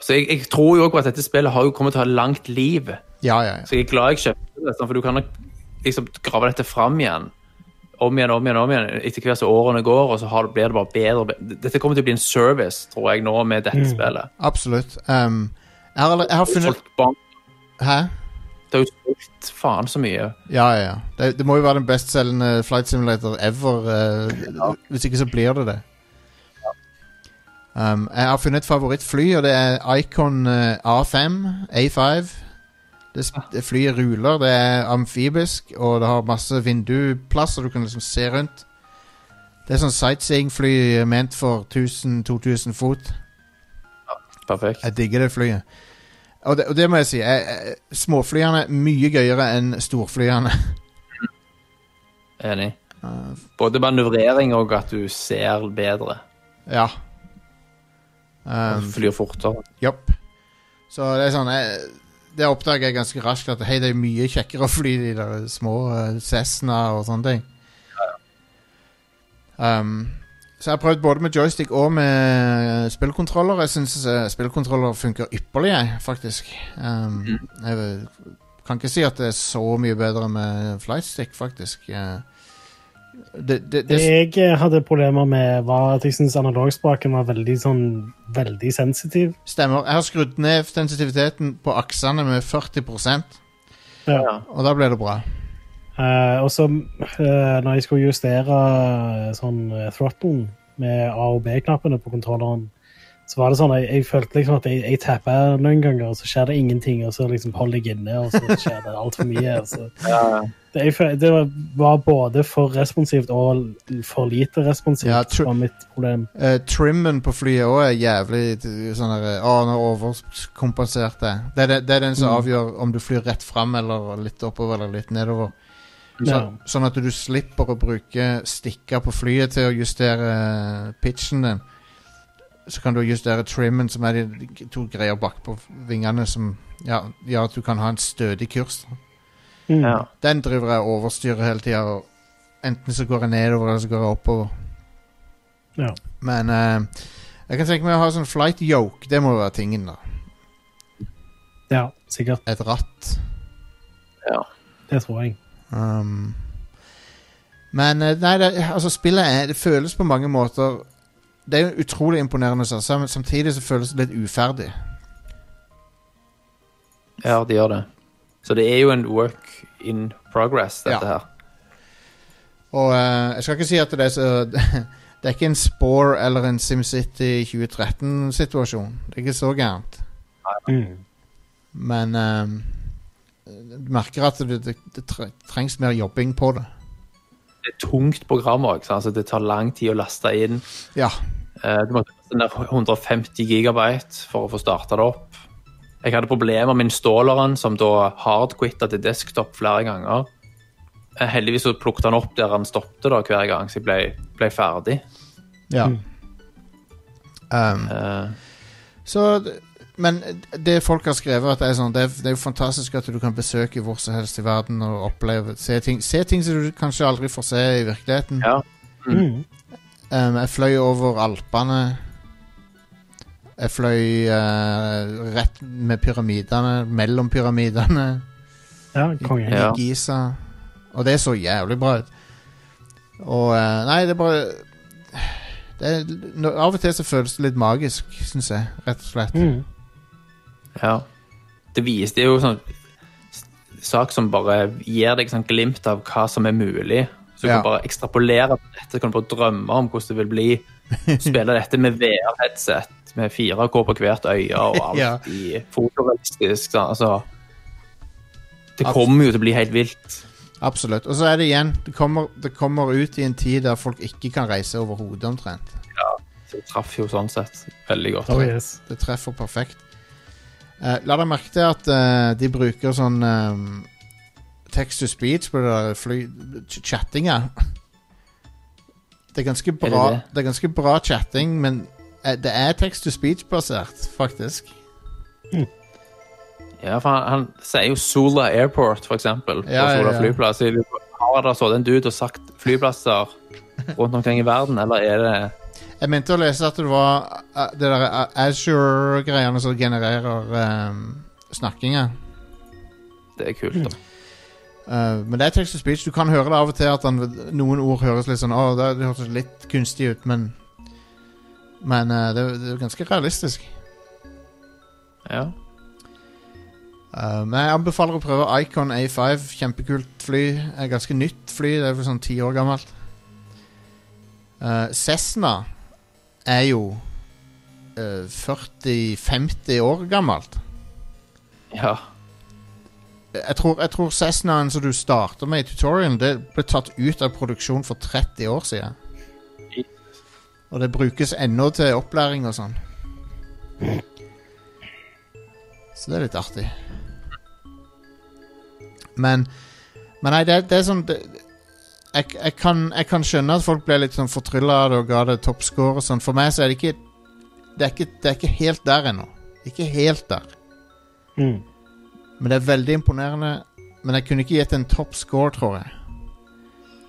[SPEAKER 3] Så jeg, jeg tror jo også at dette spillet har jo kommet til å ha langt liv.
[SPEAKER 1] Ja, ja, ja.
[SPEAKER 3] Så jeg er glad jeg kjøpte det, sånn, for du kan nok liksom grave dette fram igjen. Om igjen, om igjen, om igjen, etter hvert som årene går, og så har, det- blir det bare bedre og bedre. Dette kommer til å bli en service, tror jeg, nå med dette spillet.
[SPEAKER 1] Absolutt. Um, jeg, har, allerede- jeg Mm. har funnet
[SPEAKER 3] Folk bank,
[SPEAKER 1] Hæ?
[SPEAKER 3] det har jo solgt faen så mye.
[SPEAKER 1] Ja, ja, ja. Det, det må jo være den bestselgende flight simulator ever. eh, Hvis ikke så blir det det. Um, jeg har funnet et favorittfly, og det er Icon eh, A5. A5. Det, sp- det flyet ruler, det er amfibisk, og det har masse vinduplass, og du kan liksom se rundt. Det er sånn sightseeingfly eh, ment for 1000-2000 fot.
[SPEAKER 3] Perfekt.
[SPEAKER 1] Jeg digger det flyet. Og det, og det må jeg si. Jeg, jeg, småflyene er mye gøyere enn storflyene.
[SPEAKER 3] Enig.
[SPEAKER 1] Uh,
[SPEAKER 3] Både manøvrering og at du ser bedre.
[SPEAKER 1] ja.
[SPEAKER 3] Du
[SPEAKER 1] Um,
[SPEAKER 3] Flyr fortere.
[SPEAKER 1] Jopp. Så det er sånn jeg, Det oppdager jeg ganske raskt, at hei, det er mye kjekkere å fly de der små eh, Cessna og sånne ting. Um, så jeg har prøvd både med joystick og med spillkontroller. Jeg syns spillkontroller funker ypperlig, jeg, faktisk. Um, Jeg kan ikke si at det er så mye bedre med flightstick, faktisk. Eh, Det, det,
[SPEAKER 2] Det
[SPEAKER 1] det,
[SPEAKER 2] jeg eh, hadde problemer med, var at jeg syntes analogspaken var veldig sånn veldig sensitiv.
[SPEAKER 1] stemmer. Jeg har skrudd ned sensitiviteten på aksene med 40
[SPEAKER 2] Ja.
[SPEAKER 1] og da blir det bra.
[SPEAKER 2] Eh, og så, eh, når jeg skulle justere eh, sånn eh, throttlen med A- og B-knappene på kontrolleren, så var det sånn jeg, jeg følte liksom at jeg, jeg tappa noen ganger, og så skjer det ingenting, og så liksom holder jeg inne, og så skjer det altfor mye. og Så. Det, jeg, føl- det var- var både for responsivt og l- for lite responsivt,
[SPEAKER 1] Ja, tr-
[SPEAKER 2] var mitt problem.
[SPEAKER 1] Eh, trimmen på flyet òg er jævlig t- sånn der, Å, nå overkompenserte jeg. Det, er det, det er den som
[SPEAKER 2] Mm.
[SPEAKER 1] avgjør om du flyr rett fram eller litt oppover eller litt nedover. Så,
[SPEAKER 2] Ja.
[SPEAKER 1] Sånn at du slipper å bruke stikker på flyet til å justere eh, pitchen din. Så kan du justere trimmen, som er de de to greier bakpå vingene som ja, gjør at du kan ha en stødig kurs.
[SPEAKER 2] Mm.
[SPEAKER 3] Ja.
[SPEAKER 1] Den driver jeg og overstyrer hele tida. og Enten så går jeg nedover, eller så går jeg oppover.
[SPEAKER 2] Ja.
[SPEAKER 1] Men eh, jeg kan tenke meg å ha sånn flight yoke. Det må være tingen, da.
[SPEAKER 2] ja, sikkert.
[SPEAKER 1] Et ratt.
[SPEAKER 2] Det tror jeg.
[SPEAKER 1] Um, men eh, nei, det, altså spillet er, det føles på mange måter Det er jo utrolig imponerende, så, sam- samtidig så føles det litt uferdig.
[SPEAKER 3] Ja, det gjør det. Så det er jo en work in progress, dette
[SPEAKER 1] Ja.
[SPEAKER 3] her.
[SPEAKER 1] Og eh, jeg skal ikke si at det er så Det er ikke en Spore eller en SimCity 2013-situasjon. Det er ikke så gærent.
[SPEAKER 2] Mm.
[SPEAKER 1] Men ehm, du merker at det, det, det tre- trengs mer jobbing på det.
[SPEAKER 3] Det er tungt program òg. Altså, det tar lang tid å laste inn.
[SPEAKER 1] Ja.
[SPEAKER 3] Eh, Du måtte laste ned 150 gigabyte for å få starta det opp. Jeg hadde problemer med installeren, som da hardquitta til desktop flere ganger. Eh, Heldigvis så plukket han opp der han stoppte da, hver gang, så jeg ble, ble ferdig.
[SPEAKER 1] ja.
[SPEAKER 2] Mm.
[SPEAKER 1] Ehm,
[SPEAKER 3] Eh,
[SPEAKER 1] så d- Men det folk har skrevet, at det er sånn det er, det er jo fantastisk at du kan besøke hvor som helst i verden og oppleve Se ting, se ting som du kanskje aldri får se i virkeligheten.
[SPEAKER 3] Ja.
[SPEAKER 2] Mm.
[SPEAKER 1] Ehm, jeg fløy over Alpene. Jeg fløy eh, rett med pyramidene, mellom pyramidene.
[SPEAKER 2] Ja, konge.
[SPEAKER 1] I
[SPEAKER 3] Ja.
[SPEAKER 1] Giza. Og det så jævlig bra ut. Og eh, Nei, det er bare det er, nå- Av og til så føles det litt magisk, syns jeg. Rett og slett.
[SPEAKER 2] Mm.
[SPEAKER 3] Ja. Det viser det er jo sånn s- sak som bare gir deg sånn glimt av hva som er mulig. Så du
[SPEAKER 1] Ja.
[SPEAKER 3] kan bare ekstrapolere på dette, kan du bare drømme om hvordan det vil bli. Spille dette med VR-headset med 4K på hvert øye og alt
[SPEAKER 1] Ja.
[SPEAKER 3] i fotorealistisk. Sånn. Altså, det
[SPEAKER 1] Abs-
[SPEAKER 3] kommer jo til å bli helt vilt.
[SPEAKER 1] Absolutt. Og så er det igjen det kommer, det kommer ut i en tid der folk ikke kan reise overhodet, omtrent.
[SPEAKER 3] Så det traff jo sånn sett veldig godt.
[SPEAKER 2] Oh, yes.
[SPEAKER 1] Det treffer perfekt. Eh, la deg merke til at eh, de bruker sånn eh, text to speech på det der fly... ch- chattinga. Det er ganske
[SPEAKER 3] det
[SPEAKER 1] bra,
[SPEAKER 3] det?
[SPEAKER 1] det er ganske bra chatting, men eh, det er text to speech-basert, faktisk.
[SPEAKER 3] Ja, for han, han sier jo Sola Airport, for eksempel,
[SPEAKER 1] Ja,
[SPEAKER 3] på
[SPEAKER 1] ja,
[SPEAKER 3] Sola
[SPEAKER 1] ja.
[SPEAKER 3] flyplass. Har det stått en dude og sagt flyplasser rundt omkring i verden, eller er det
[SPEAKER 1] Jeg mente å lese at det var eh, det der eh, Azure-greiene som genererer eh, snakkinga.
[SPEAKER 3] Det er kult, da.
[SPEAKER 1] Eh, men det er text to speech. Du kan høre det av og til at han, noen ord høres litt sånn Å, det, det hørtes litt kunstig ut, men Men eh, det, det er ganske realistisk.
[SPEAKER 3] Ja.
[SPEAKER 1] Eh, men jeg anbefaler å prøve Icon A5. Kjempekult fly. Eh, ganske nytt fly. Det er vel sånn ti år gammelt. Eh, Cessna er jo eh, 40-50 år gammelt.
[SPEAKER 3] Ja.
[SPEAKER 1] Jeg tror, jeg tror Cessnaen som du starter med i tutorialen, det ble tatt ut av produksjon for 30 år siden. Og det brukes ennå til opplæring og sånn. Så det er litt artig. Men Men nei, det, det er sånn det, jeg, jeg, kan, jeg kan skjønne at folk ble litt sånn fortrylla av det og ga det toppscore og sånn. For meg så er det ikke Det er ikke, det er ikke helt der ennå. Ikke helt der.
[SPEAKER 2] Mm.
[SPEAKER 1] Men det er veldig imponerende. Men jeg kunne ikke gitt en topp score, tror jeg.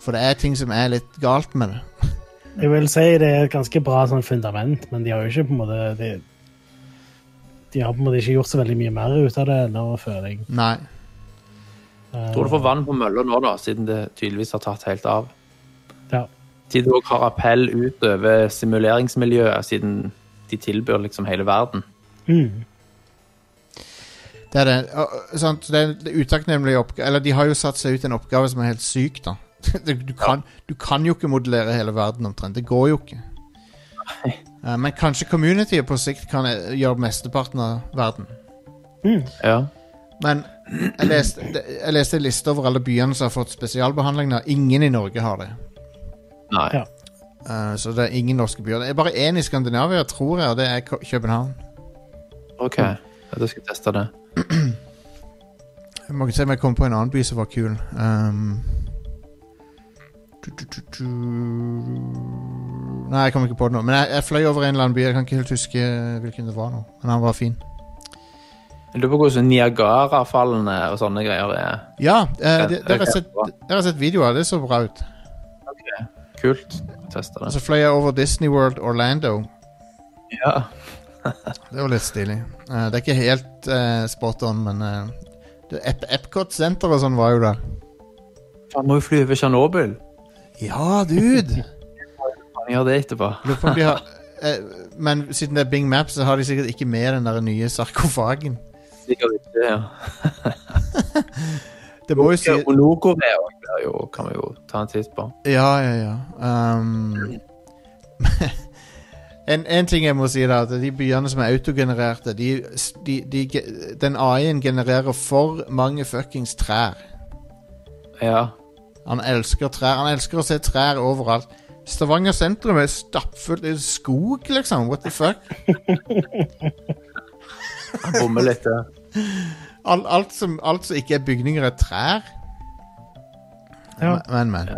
[SPEAKER 1] For det er ting som er litt galt med det.
[SPEAKER 2] Jeg vil si det er et ganske bra sånn fundament, men de har jo ikke på en måte de, de har på en måte ikke gjort så veldig mye mer ut av det ennå, føler jeg.
[SPEAKER 1] Nei.
[SPEAKER 3] Tror du får vann på mølla nå, da, siden det tydeligvis har tatt helt av.
[SPEAKER 2] Ja.
[SPEAKER 3] Siden de også har appell utover simuleringsmiljøet, siden de tilbyr liksom hele verden.
[SPEAKER 2] Mm.
[SPEAKER 1] Det er det. Og, og, sant? Det er en utakknemlig oppgave Eller de har jo satt seg ut en oppgave som er helt syk, da. Du, du, kan, du kan jo ikke modellere hele verden omtrent. Det går jo ikke. Eh, Men kanskje communityet på sikt kan eh, gjøre mesteparten av verden.
[SPEAKER 3] Ja.
[SPEAKER 1] Men jeg leste, jeg leste en liste over alle byene som har fått spesialbehandling. da. Ingen i Norge har det.
[SPEAKER 3] Nei.
[SPEAKER 2] Ja.
[SPEAKER 1] Eh, så det er ingen norske byer. Det er bare én i Skandinavia, tror jeg, og det er Kø- København.
[SPEAKER 3] OK. Ja, da skal jeg teste det.
[SPEAKER 1] Jeg må ikke se om jeg kom på en annen by som var kul. Ehm, tu, tu, tu, tu. Nei, jeg kom ikke på det nå. Men jeg, jeg fløy over en eller annen by. Jeg kan ikke helt huske eh, hvilken det var nå. Men han var fin.
[SPEAKER 3] Jeg lurer på hvordan Niagarafallene og sånne greier er.
[SPEAKER 1] Ja, eh, det-
[SPEAKER 3] Ja,
[SPEAKER 1] der har jeg
[SPEAKER 3] ok,
[SPEAKER 1] sett,
[SPEAKER 3] bra.
[SPEAKER 1] der har jeg sett videoer. Det så bra ut.
[SPEAKER 3] Kult. Jeg tester
[SPEAKER 1] Og
[SPEAKER 3] det.
[SPEAKER 1] så fløy jeg over Disney World Orlando.
[SPEAKER 3] Ja.
[SPEAKER 1] Det var litt stilig. Eh, det er ikke helt eh, spot on, men eh, det- Ep Epcot Center og sånn var jo der.
[SPEAKER 3] Han må jo fly over Tsjernobyl.
[SPEAKER 1] Ja, dude!
[SPEAKER 3] Han gjør det etterpå.
[SPEAKER 1] Lurer på om de har eh, Men siden det er Bing Map, så har de sikkert ikke med den der nye sarkofagen.
[SPEAKER 3] Sikkert ikke, ja.
[SPEAKER 1] Det må jo si
[SPEAKER 3] Og Nord-Korea er jo- kan vi jo ta en titt på.
[SPEAKER 1] Ja, ja, ja. Um, en, en ting jeg må si, da, at de byene som er autogenererte de, de, de, ge- Den AI-en genererer for mange fuckings trær.
[SPEAKER 3] Ja.
[SPEAKER 1] Han elsker trær. Han elsker å se trær overalt. Stavanger sentrum er stappfullt av skog, liksom. What the fuck?
[SPEAKER 3] Han bommer litt eh. der.
[SPEAKER 1] Alt, alt, som, alt som ikke er bygninger, er trær.
[SPEAKER 2] Ja.
[SPEAKER 1] Men, men.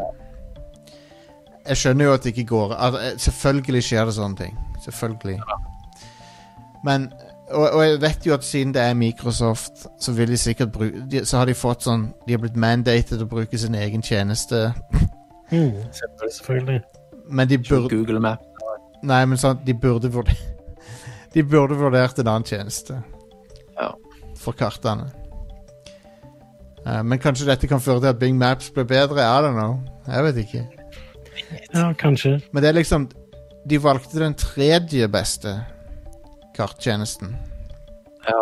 [SPEAKER 1] Jeg skjønner jo at det ikke går. At, eh, selvfølgelig skjer det sånne ting. Selvfølgelig. Men og, og jeg vet jo at siden det er Microsoft, så vil de sikkert bruke de, Så har de fått sånn De har blitt mandated å bruke sin egen tjeneste. Hmm.
[SPEAKER 2] Mm.
[SPEAKER 3] Selvfølgelig.
[SPEAKER 2] Selvfølgelig.
[SPEAKER 1] Men de burde
[SPEAKER 3] Google Map.
[SPEAKER 1] Nei, men sant, de burde vurdert De burde vurdert en annen tjeneste
[SPEAKER 3] Ja.
[SPEAKER 1] For kartene Eh, Men kanskje dette kan føre til at Bing Maps blir bedre I don't know, jeg vet ikke
[SPEAKER 2] Ja, kanskje.
[SPEAKER 1] Men det er liksom De valgte den tredje beste Karttjenesten
[SPEAKER 3] Ja.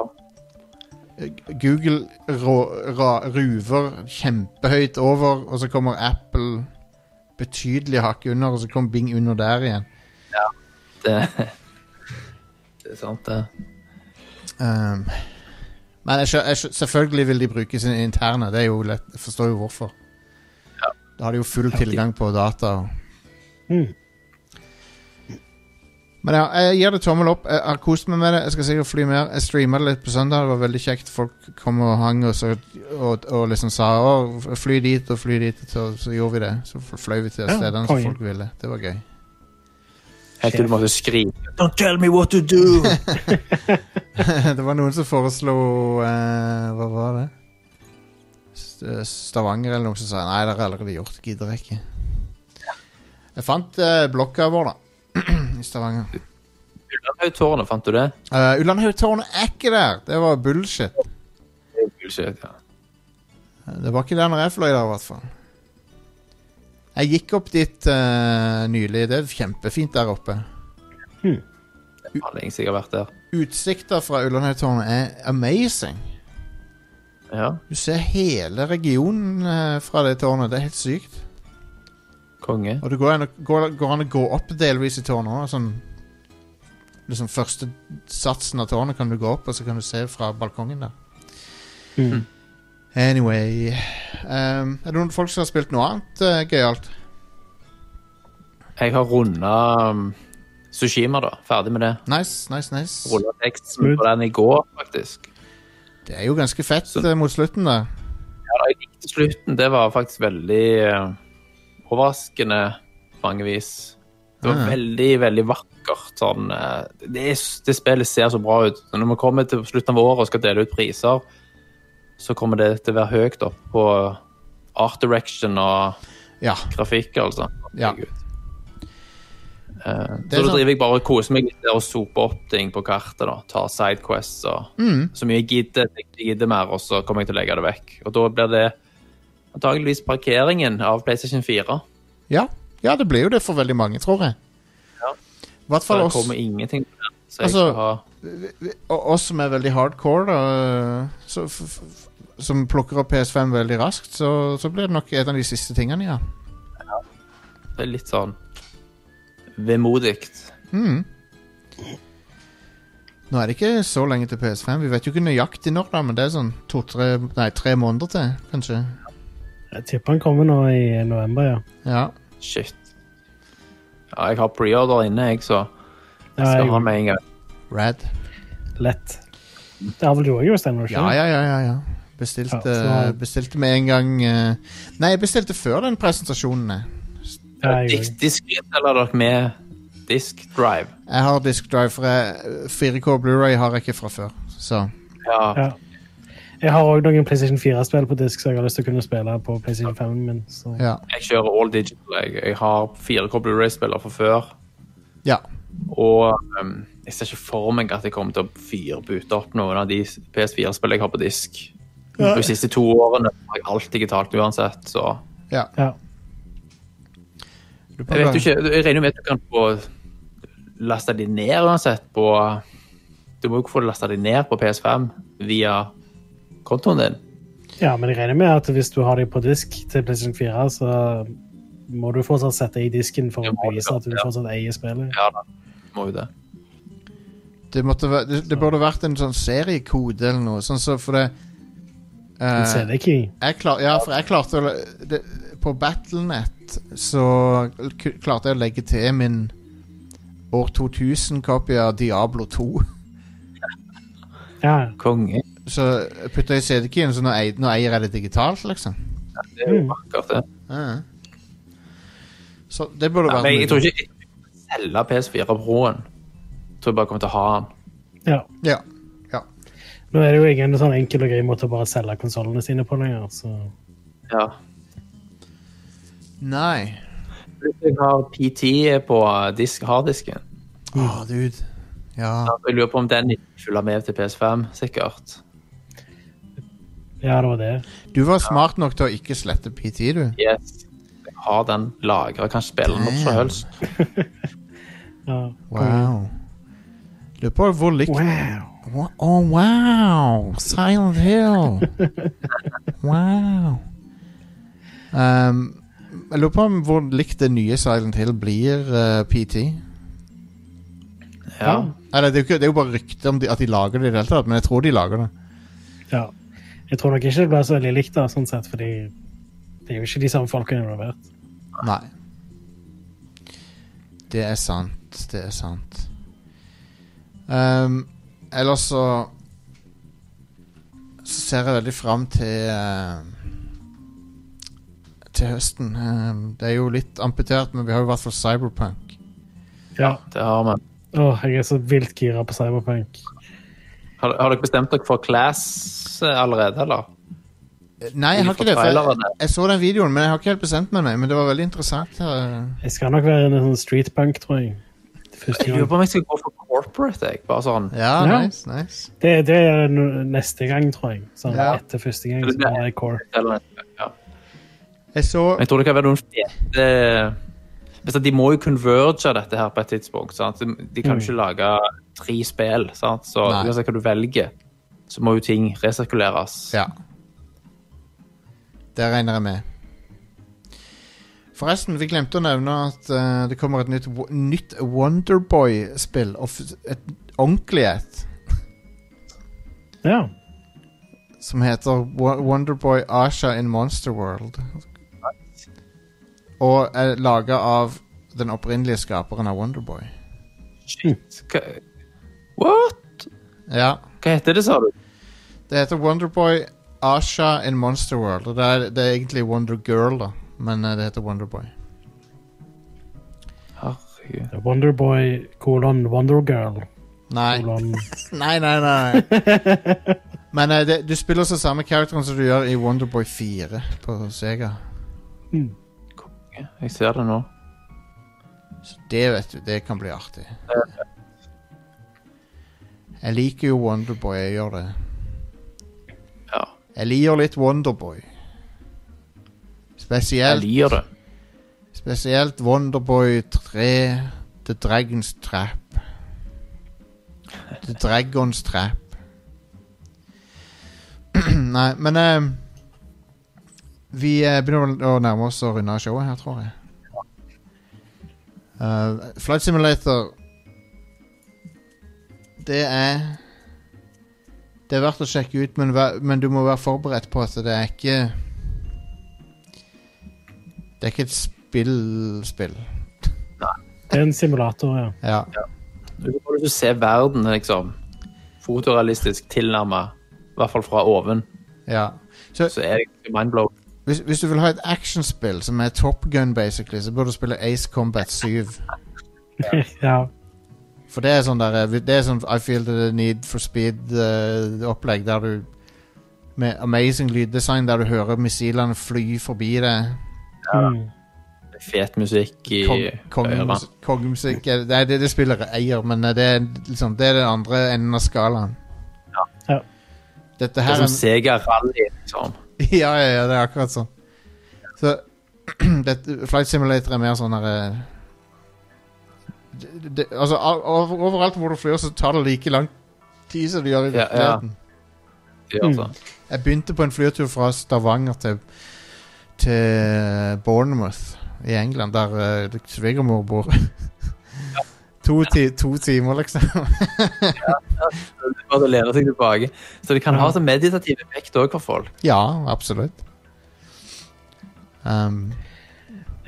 [SPEAKER 1] Google rå, ra, ruver kjempehøyt over, og så kommer Apple betydelig hakk under, og så kommer Bing under der igjen.
[SPEAKER 3] Det, det er sant, det.
[SPEAKER 1] Ehm, men jeg, skjø- jeg, skjø- selvfølgelig vil de bruke sine interne. Det er jo lett, jeg forstår jo hvorfor. Da har de jo full tilgang på data. og-
[SPEAKER 2] Mm.
[SPEAKER 1] Men ja, jeg gir det tommel opp. Jeg har kost meg med det. Jeg skal sikkert fly mer. Jeg streama det litt på søndag. Det var veldig kjekt. Folk kom og hang og, så, og, og liksom sa å, fly dit og fly dit. Så, så gjorde vi det. Så f- fløy vi til
[SPEAKER 2] Ja,
[SPEAKER 1] stedene som
[SPEAKER 2] konge.
[SPEAKER 1] folk ville. Det var gøy.
[SPEAKER 3] Helt til du måtte skrike Don't tell me what to do!
[SPEAKER 1] det var noen som foreslo eh, Hva var det? St- Stavanger eller noe som sa Nei, det har jeg allerede gjort, gidder jeg ikke Jeg fant eh, blokka vår da I Stavanger
[SPEAKER 3] Ullandhaugtårnet, fant du det?
[SPEAKER 1] uh, Ullandhaugtårnet er ikke der Det var bullshit
[SPEAKER 3] Bullshit, ja.
[SPEAKER 1] Det var ikke der når jeg fløy der i hvert fall Jeg gikk opp dit eh, nylig Det er kjempefint der oppe
[SPEAKER 3] Det har lenge sikkert vært der.
[SPEAKER 1] Utsikter fra Ullandhaugtårnet er amazing
[SPEAKER 3] Ja,
[SPEAKER 1] Du ser hele regionen eh, fra det tårnet Det er helt sykt
[SPEAKER 3] konge.
[SPEAKER 1] Og det går an, å- går, går an å gå opp delvis i tårnet også, sånn liksom første satsen av tårnet kan du gå opp, og så kan du se fra balkongen der.
[SPEAKER 2] Mm.
[SPEAKER 1] Anyway ehm, Er det noen folk som har spilt noe annet eh, gøyalt?
[SPEAKER 3] Jeg har runda um, Sushima, da. Ferdig med det.
[SPEAKER 1] Nice, nice, nice.
[SPEAKER 3] Runda teksten på den i går, faktisk.
[SPEAKER 1] Det er jo ganske fett
[SPEAKER 3] Så-
[SPEAKER 1] eh, mot slutten, da.
[SPEAKER 3] Ja, da, jeg likte slutten. Det var faktisk veldig eh, overraskende på mange vis. Det var
[SPEAKER 1] Ah.
[SPEAKER 3] veldig, veldig vakkert. Sånn, eh, det, er, det spillet ser så bra ut. Når vi kommer til slutten av året og skal dele ut priser, så kommer det til å være høyt opp på art direction og
[SPEAKER 1] Ja.
[SPEAKER 3] grafikk, altså.
[SPEAKER 1] Ja.
[SPEAKER 3] Herregud. Eh,
[SPEAKER 1] Det
[SPEAKER 3] så
[SPEAKER 1] er
[SPEAKER 3] da
[SPEAKER 1] sant.
[SPEAKER 3] driver jeg bare og koser meg litt der og soper opp ting på kartet. da, Tar sidequests og
[SPEAKER 1] Mm.
[SPEAKER 3] så mye jeg gidder. Jeg ikke gidder mer, og så kommer jeg til å legge det vekk. Og da blir det antageligvis parkeringen av PlayStation 4.
[SPEAKER 1] Ja. ja, det blir jo det for veldig mange, tror jeg.
[SPEAKER 3] Ja.
[SPEAKER 1] I hvert
[SPEAKER 3] Så
[SPEAKER 1] fall
[SPEAKER 3] det
[SPEAKER 1] oss,
[SPEAKER 3] kommer ingenting på den. Så jeg
[SPEAKER 1] Altså-
[SPEAKER 3] skal ha
[SPEAKER 1] og oss som er veldig hardcore, da, så, f, f, som plukker opp PS5 veldig raskt, så, så blir det nok en av de siste tingene, ja.
[SPEAKER 3] det er litt sånn vemodig.
[SPEAKER 1] Mm. Nå er det ikke så lenge til PS5. Vi vet jo ikke nøyaktig når, da, men det er sånn to-tre Nei, tre måneder til, kanskje.
[SPEAKER 2] Jeg tipper han kommer nå i november, ja.
[SPEAKER 1] Ja.
[SPEAKER 3] Shit. Ja, jeg har preorder inne, jeg, så jeg
[SPEAKER 2] ja
[SPEAKER 3] skal ha
[SPEAKER 2] jeg,
[SPEAKER 3] med en gang.
[SPEAKER 1] Rad.
[SPEAKER 2] lett. Det har vel du òg, Jostein? var det ikke
[SPEAKER 1] Ja,
[SPEAKER 2] det?
[SPEAKER 1] ja, ja. ja, ja. Bestilte,
[SPEAKER 2] Ja, så-
[SPEAKER 1] bestilte med en gang eh, Nei, jeg bestilte før den presentasjonen. jeg.
[SPEAKER 2] Ja, jeg
[SPEAKER 3] Disk,
[SPEAKER 2] gjorde det.
[SPEAKER 3] disk eller dere med disk drive?
[SPEAKER 1] Jeg har disk drive, for jeg, 4K Blu-ray har jeg ikke fra før. Så
[SPEAKER 3] Ja.
[SPEAKER 2] Ja. Jeg har òg noen PlayStation 4-spill på disk, så jeg har lyst til å kunne spille på PlayStation 5 min. Så.
[SPEAKER 1] ja.
[SPEAKER 3] Jeg kjører all digital. Jeg, jeg har fire koblet Blu-ray-spiller fra før.
[SPEAKER 1] ja.
[SPEAKER 3] Og ehm, jeg ser ikke for meg at jeg kommer til å firebute opp noen av de PS4-spillene jeg har på disk. De siste to årene har jeg alt digitalt uansett, så
[SPEAKER 1] ja.
[SPEAKER 2] Ja.
[SPEAKER 1] Du
[SPEAKER 3] Jeg vet jo ikke, jeg regner jo med at du kan få lasta de ned uansett på Du må jo ikke få lasta de ned på PS5 via kontoen din.
[SPEAKER 2] ja, men jeg regner med at hvis du har dem på disk til PlayStation 4, så må du fortsatt sette i disken for
[SPEAKER 3] Det
[SPEAKER 2] å
[SPEAKER 3] må du,
[SPEAKER 2] bevise at du
[SPEAKER 3] ja.
[SPEAKER 2] fortsatt eier spillet.
[SPEAKER 3] Ja da, du må jo det.
[SPEAKER 1] Det, måtte, væ- det, det burde vært en sånn seriekode eller noe, sånn så for det
[SPEAKER 2] En
[SPEAKER 1] eh,
[SPEAKER 2] CD-key.
[SPEAKER 1] jeg klar, ja, for jeg klarte å le- det, På Battlenet så k- klarte jeg å legge til min år 2000-kopie av Diablo 2.
[SPEAKER 2] Ja.
[SPEAKER 3] Konge.
[SPEAKER 1] Så jeg putta i CD-keyen, så nå eier, nå eier jeg det digitalt, liksom.
[SPEAKER 3] Det er jo vakkert, det.
[SPEAKER 1] Ja. Så det burde
[SPEAKER 3] Ja,
[SPEAKER 1] vært
[SPEAKER 3] men jeg,
[SPEAKER 1] mulig.
[SPEAKER 3] jeg tror ikke jeg kommer til å selge PS4 Pro-en. Jeg tror jeg bare kommer til å ha den.
[SPEAKER 2] ja.
[SPEAKER 1] Ja.
[SPEAKER 2] Nå er det jo ingen sånn enkel og grei måte å bare selge konsollene sine på lenger, så
[SPEAKER 3] Ja.
[SPEAKER 1] Nei.
[SPEAKER 3] Hvis jeg har PT på disk, harddisken,
[SPEAKER 1] Å, dude. Ja.
[SPEAKER 3] så jeg lurer på om den ikke følger med til PS5, sikkert.
[SPEAKER 2] ja, det var det.
[SPEAKER 1] Du var smart nok til å ikke slette PT, du.
[SPEAKER 3] Yes. Jeg har den lagra, kan spille den opp så helst.
[SPEAKER 2] Ja.
[SPEAKER 1] Wow. Lurer på hvor likt
[SPEAKER 2] Wow.
[SPEAKER 1] Å, oh, wow! Silent Hill. wow. Um, jeg lurer på om hvor likt det nye Silent Hill blir eh, PT.
[SPEAKER 3] Ja.
[SPEAKER 1] Eller, det, er jo ikke, det er jo bare rykter om de, at de lager det i det hele tatt, men jeg tror de lager det.
[SPEAKER 2] Ja. Jeg tror nok ikke det ble så veldig likt, da, sånn sett, fordi det er jo ikke de samme folkene involvert.
[SPEAKER 1] Nei. Det er sant. Det er sant. Um, ellers så Så ser jeg veldig fram til eh, Til høsten. Um, det er jo litt amputert, men vi har jo i hvert fall Cyberpunk.
[SPEAKER 2] Ja.
[SPEAKER 3] Det har vi.
[SPEAKER 2] Åh, jeg er så vilt gira på Cyberpunk.
[SPEAKER 3] Har, har dere bestemt dere for class allerede, eller?
[SPEAKER 1] Eh, Nei, jeg har ikke det. For jeg, jeg så den videoen, men jeg har ikke helt bestemt meg. nei, Men det var veldig interessant. eh.
[SPEAKER 2] Jeg skal nok være en sånn streetpunk, tror jeg. Første
[SPEAKER 3] Jeg lurer
[SPEAKER 2] gang.
[SPEAKER 3] på om jeg skal gå for corporate, jeg. Bare sånn.
[SPEAKER 1] ja,
[SPEAKER 2] Ja.
[SPEAKER 1] nice, nice.
[SPEAKER 2] Det, det er no- neste gang, tror jeg. Sånn
[SPEAKER 1] Ja.
[SPEAKER 2] etter første gang. Så blir det core.
[SPEAKER 3] Eller, ja.
[SPEAKER 1] Jeg så
[SPEAKER 3] Men Jeg tror det kan være noen fete Hvis at De må jo converge dette her på et tidspunkt. sant? De- De kan jo ikke lage tre spill. sant? Så
[SPEAKER 1] Mm. Nei.
[SPEAKER 3] uansett hva du velger, så må jo ting resirkuleres.
[SPEAKER 1] Ja. Det regner jeg med. Forresten, vi glemte å nevne at eh, det kommer et nytt, wo- nytt Wonderboy-spill. og f- Et ordentlig et.
[SPEAKER 2] Ja.
[SPEAKER 1] Som heter Wo- Wonderboy Asha in Monster World. Og er laga av den opprinnelige skaperen av Wonderboy.
[SPEAKER 3] Shit. Hva? What?
[SPEAKER 1] Ja.
[SPEAKER 3] Hva heter det, sa du?
[SPEAKER 1] Det heter Wonderboy Asha in Monster World. Og det er, det er egentlig Wonder Girl, da. Men eh, det heter Wonderboy.
[SPEAKER 3] Herregud.
[SPEAKER 2] Wonderboy kolon Wondergirl
[SPEAKER 1] Nei.
[SPEAKER 2] kolon
[SPEAKER 1] Nei, nei, nei. Men eh, det, du spiller også samme characteren som du gjør i Wonderboy 4 på Sega.
[SPEAKER 3] Konge. Jeg ser det nå.
[SPEAKER 1] Så det vet du, det kan bli artig. Jeg liker jo Wonderboy, jeg gjør det.
[SPEAKER 3] Ja.
[SPEAKER 1] Jeg liker litt Wonderboy.
[SPEAKER 3] Jeg
[SPEAKER 1] Spesielt,
[SPEAKER 3] lir det.
[SPEAKER 1] spesielt Wonderboy 3, The Dragon's Trap. The Dragon's Trap. Nei, men eh, Vi eh, begynner vel å nærme oss å runde av showet her, tror jeg. Eh, Flight Simulator Det er Det er verdt å sjekke ut, men, vær, men du må være forberedt på at det er ikke Det er ikke et spill-spill.
[SPEAKER 2] Det er en simulator, ja.
[SPEAKER 1] Ja.
[SPEAKER 3] Du kan ikke se verden, liksom. Fotorealistisk tilnærma. I hvert fall fra oven.
[SPEAKER 1] ja. Så
[SPEAKER 3] Så er det mindblow.
[SPEAKER 1] hvis, hvis du vil ha et actionspill som er Top Gun, basically, så bør du spille Ace Combat 7.
[SPEAKER 2] ja.
[SPEAKER 1] For det er sånn der Det er sånn I feel the need for speed-opplegg, der du Med amazing lyddesign, der du hører missilene fly forbi deg.
[SPEAKER 2] Mm.
[SPEAKER 3] Fet musikk i
[SPEAKER 1] Kong-
[SPEAKER 3] ørene.
[SPEAKER 1] kongemus- Kongemusikk er- eh, Det er det det spillet eier, men det er, liksom, det er den andre enden av skalaen.
[SPEAKER 2] Ja.
[SPEAKER 1] Dette
[SPEAKER 3] Det
[SPEAKER 1] her
[SPEAKER 3] er
[SPEAKER 1] er
[SPEAKER 3] som Sega Rally, liksom.
[SPEAKER 1] Ja, ja, ja, det er akkurat sånn. Så dette, Flight Simulator er mer sånn herre det, det, altså, al- over- overalt hvor du flyr, så tar det like lang tid som det gjør i
[SPEAKER 3] Ja, ja.
[SPEAKER 1] virkeligheten. Mm.
[SPEAKER 3] Ja, altså.
[SPEAKER 1] Jeg begynte på en flytur fra Stavanger til, til Bournemouth i England, der uh, svigermor bor. to, ti, to timer, liksom.
[SPEAKER 3] Det er Bare å lene seg tilbake. Så det kan ha sånn meditativ effekt òg for folk.
[SPEAKER 1] ja, absolutt. Um,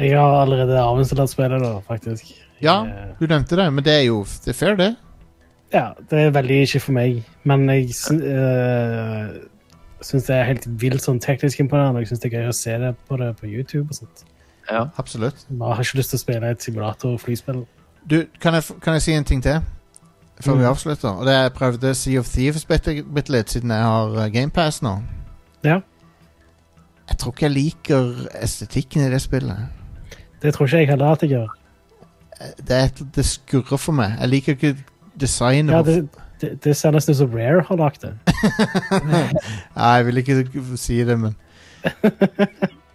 [SPEAKER 2] Jeg har allerede avinstallert spillet, da, faktisk.
[SPEAKER 1] ja,
[SPEAKER 2] Eh,
[SPEAKER 1] du nevnte det, men det er jo det er fair, det.
[SPEAKER 2] ja. Det er veldig ikke for meg, men jeg uh, syns det er helt vilt sånn teknisk imponerende. og Jeg syns det er gøy å se det på det på YouTube og sånt.
[SPEAKER 3] Ja.
[SPEAKER 1] Absolutt.
[SPEAKER 2] Jeg bare har ikke lyst til å spille et simulator-flyspill.
[SPEAKER 1] Du, kan jeg, f- kan jeg si en ting til? Før vi
[SPEAKER 2] Mm.
[SPEAKER 1] avslutter. Og det er Jeg prøvde Sea of Thieves bitte, bitte litt, siden jeg har GamePass nå.
[SPEAKER 2] Ja.
[SPEAKER 1] Jeg tror ikke jeg liker estetikken i det spillet.
[SPEAKER 2] Det tror ikke jeg heller at jeg gjør.
[SPEAKER 1] Eh, Det, er, et- det skurrer for meg. Jeg liker ikke designet.
[SPEAKER 2] Ja,
[SPEAKER 1] på-
[SPEAKER 2] det, det, det ser nesten ut som Rare har lagd det.
[SPEAKER 1] Nei, jeg vil ikke si det, men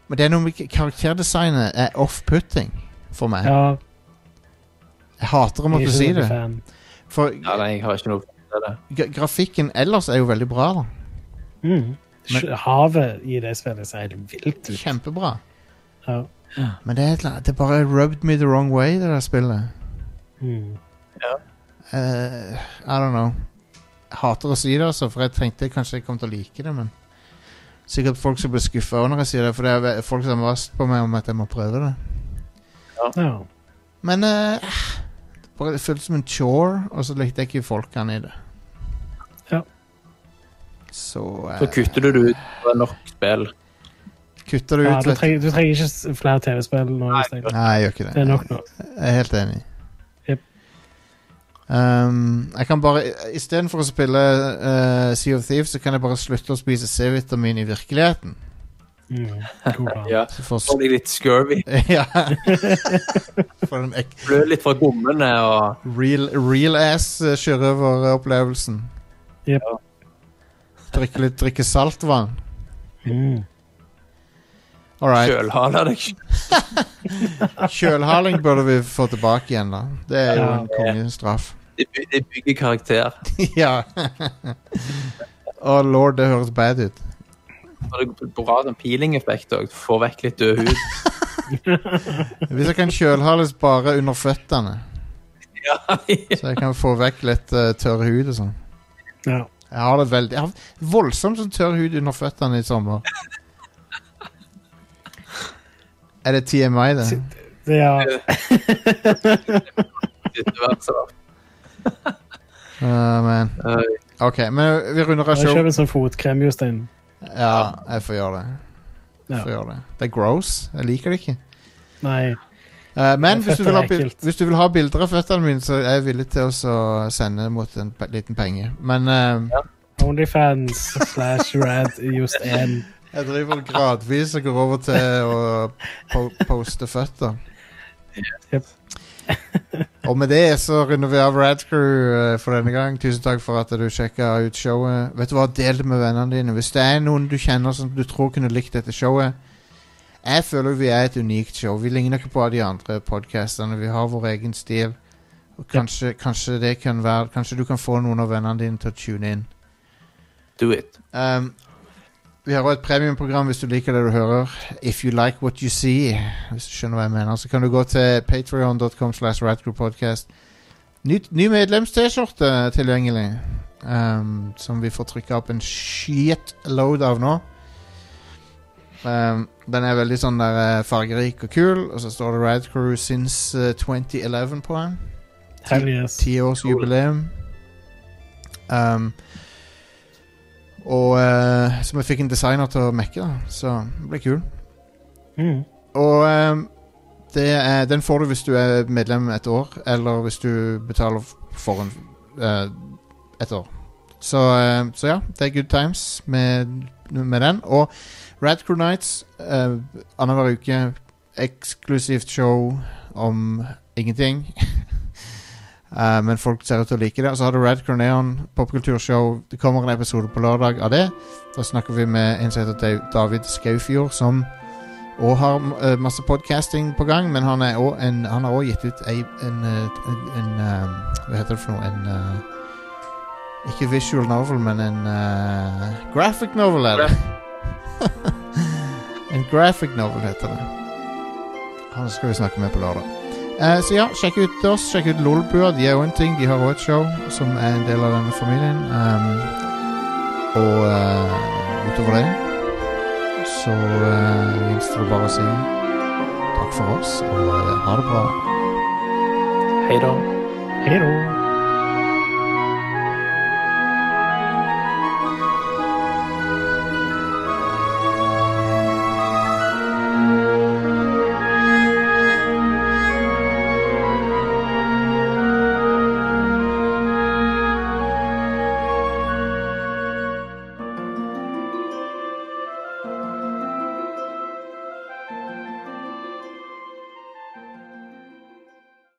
[SPEAKER 1] Men det er noe med k- karakterdesignet er off-putting for meg.
[SPEAKER 2] Ja,
[SPEAKER 1] Jeg hater å
[SPEAKER 2] jeg er
[SPEAKER 1] måtte
[SPEAKER 2] ikke
[SPEAKER 1] si
[SPEAKER 2] så veldig
[SPEAKER 1] det.
[SPEAKER 2] fan.
[SPEAKER 1] For
[SPEAKER 3] ja, nei, jeg har ikke noe til det.
[SPEAKER 1] gra- grafikken ellers er jo veldig bra. da
[SPEAKER 2] Mm.
[SPEAKER 1] Men-
[SPEAKER 2] Havet i det spillet ser helt vilt ut.
[SPEAKER 1] Kjempebra.
[SPEAKER 2] Ja.
[SPEAKER 1] Men det er, et eller annet- det bare rubbed me the wrong way, det der spillet.
[SPEAKER 2] Mm.
[SPEAKER 1] Eh, I don't know. Jeg hater å si det, altså, for jeg tenkte kanskje jeg kom til å like det, men Sikkert folk som blir skuffa når jeg sier det, for det er ve- folk som har mast på meg om at jeg må prøve det.
[SPEAKER 2] Ja.
[SPEAKER 1] Men eh, bare det føltes som en chore, og så likte jeg ikke folkene i det.
[SPEAKER 2] Ja.
[SPEAKER 1] Så, eh,
[SPEAKER 3] Så kutter du det ut på nok spill.
[SPEAKER 1] kutter du ut
[SPEAKER 2] Ja, Ah, du,
[SPEAKER 1] vet du.
[SPEAKER 2] trenger, du trenger ikke s- flere TV-spill nå.
[SPEAKER 3] Nei,
[SPEAKER 2] Jostein.
[SPEAKER 1] Nei, jeg gjør ikke det.
[SPEAKER 2] Det er nok nå.
[SPEAKER 1] Jeg er helt enig.
[SPEAKER 2] Jep.
[SPEAKER 1] Um, jeg kan bare i- Istedenfor å spille eh, Sea of Thieves, så kan jeg bare slutte å spise C-vitamin i virkeligheten.
[SPEAKER 2] Mm. God plan.
[SPEAKER 3] Ja.
[SPEAKER 1] Så får
[SPEAKER 3] Så blir jeg litt scurvy.
[SPEAKER 1] ja. For den ek
[SPEAKER 3] Blør litt fra gommene og
[SPEAKER 1] real, real ass eh, sjørøveropplevelsen.
[SPEAKER 2] Jep.
[SPEAKER 1] Drikke litt drikke saltvann.
[SPEAKER 2] Mm.
[SPEAKER 1] All right.
[SPEAKER 3] kjølhaler deg.
[SPEAKER 1] Kjølhaling burde vi få tilbake igjen, da. Det er jo
[SPEAKER 2] Ja.
[SPEAKER 1] en kongestraff.
[SPEAKER 3] Det by- det bygger karakter.
[SPEAKER 1] ja. Å lord, det høres bad ut.
[SPEAKER 3] Og det er bra sånn peeling-effekt òg. Du får vekk litt død hud.
[SPEAKER 1] Hvis jeg kan kjølhales bare under føttene,
[SPEAKER 3] Ja,
[SPEAKER 1] så jeg kan få vekk litt eh, tørr hud og sånn.
[SPEAKER 2] Ja.
[SPEAKER 1] Jeg har det veldig Jeg har voldsomt sånn tørr hud under føttene i sommer. Er det TMI, det?
[SPEAKER 2] Det er,
[SPEAKER 3] det er verdt det.
[SPEAKER 1] Uh, men
[SPEAKER 3] Oi.
[SPEAKER 1] OK, men vi runder av
[SPEAKER 2] jeg
[SPEAKER 1] show.
[SPEAKER 2] kjøper en sånn fotkrem, Jostein.
[SPEAKER 1] Ja, jeg får gjøre det. Jeg
[SPEAKER 2] Ja.
[SPEAKER 1] får gjøre det. Det er gross. Jeg liker det ikke.
[SPEAKER 2] Nei.
[SPEAKER 1] Eh, men
[SPEAKER 2] Ja,
[SPEAKER 1] hvis du,
[SPEAKER 2] føtter
[SPEAKER 1] vil ha,
[SPEAKER 2] er
[SPEAKER 1] bil-
[SPEAKER 2] ekkelt.
[SPEAKER 1] hvis du vil ha bilder av føttene mine, så er jeg villig til å så sende mot en pe liten penge. Men eh,
[SPEAKER 2] Onlyfans slash rad Jostein.
[SPEAKER 1] jeg driver gradvis og går over til å po poste føtter.
[SPEAKER 2] Jep.
[SPEAKER 1] og med det så runder vi av Radcrew eh, for denne gang. Tusen takk for at du sjekka ut showet. Vet du hva, Del det med vennene dine. Hvis det er noen du kjenner som du tror kunne likt dette showet Jeg føler vi er et unikt show. Vi ligner ikke på de andre podcasterne. Vi har vår egen stil. Og kanskje, kanskje det kan være Kanskje du kan få noen av vennene dine til å tune inn.
[SPEAKER 3] Do it.
[SPEAKER 1] Um, vi har også et premiumprogram hvis du liker det du hører. If you like what you see, hvis du skjønner hva jeg mener, så kan du gå til patreon.com slash radgroupodcast. Ny, ny medlems-T-skjorte tilgjengelig, um, som vi får trykka opp en shitload av nå. Um, den er veldig sånn der eh, fargerik og kul, og så står det Radcrew since eh, 2011 på den
[SPEAKER 2] Hell yes.
[SPEAKER 1] tiårsjubileum. Um, og eh, Så vi fikk en designer til å mekke, da. Så det ble kul.
[SPEAKER 2] Mm.
[SPEAKER 1] Og ehm, det er, den får du hvis du er medlem et år, eller hvis du betaler f- for en eh, et år. Så, ehm, så ja, det er good times med, med den. Og Radcrew Nights uh, annenhver uke. Eksklusivt show om ingenting. Eh, men folk ser ut til å like det. Og så har du Radcrew Neon, popkulturshow. Det kommer en episode på lørdag av det. Da snakker vi med en som heter Dav- David Skaufjord, som og har eh, masse podcasting på gang, men han, er også en, han har også gitt ut ei, en, eh, en, en eh, Hva heter det for noe? En eh, Ikke visual novel, men en eh, graphic novel, er det. en graphic novel heter det. Han skal vi snakke med på lørdag. Eh, så ja, sjekk ut oss. Sjekk ut Lolbua. De er jo en ting. De har også et show som er en del av denne familien. Ehm, og eh, utover det så eh, gjenstår det bare å si takk for oss, og eh, ha det bra.
[SPEAKER 3] Hei da.
[SPEAKER 2] Hei da.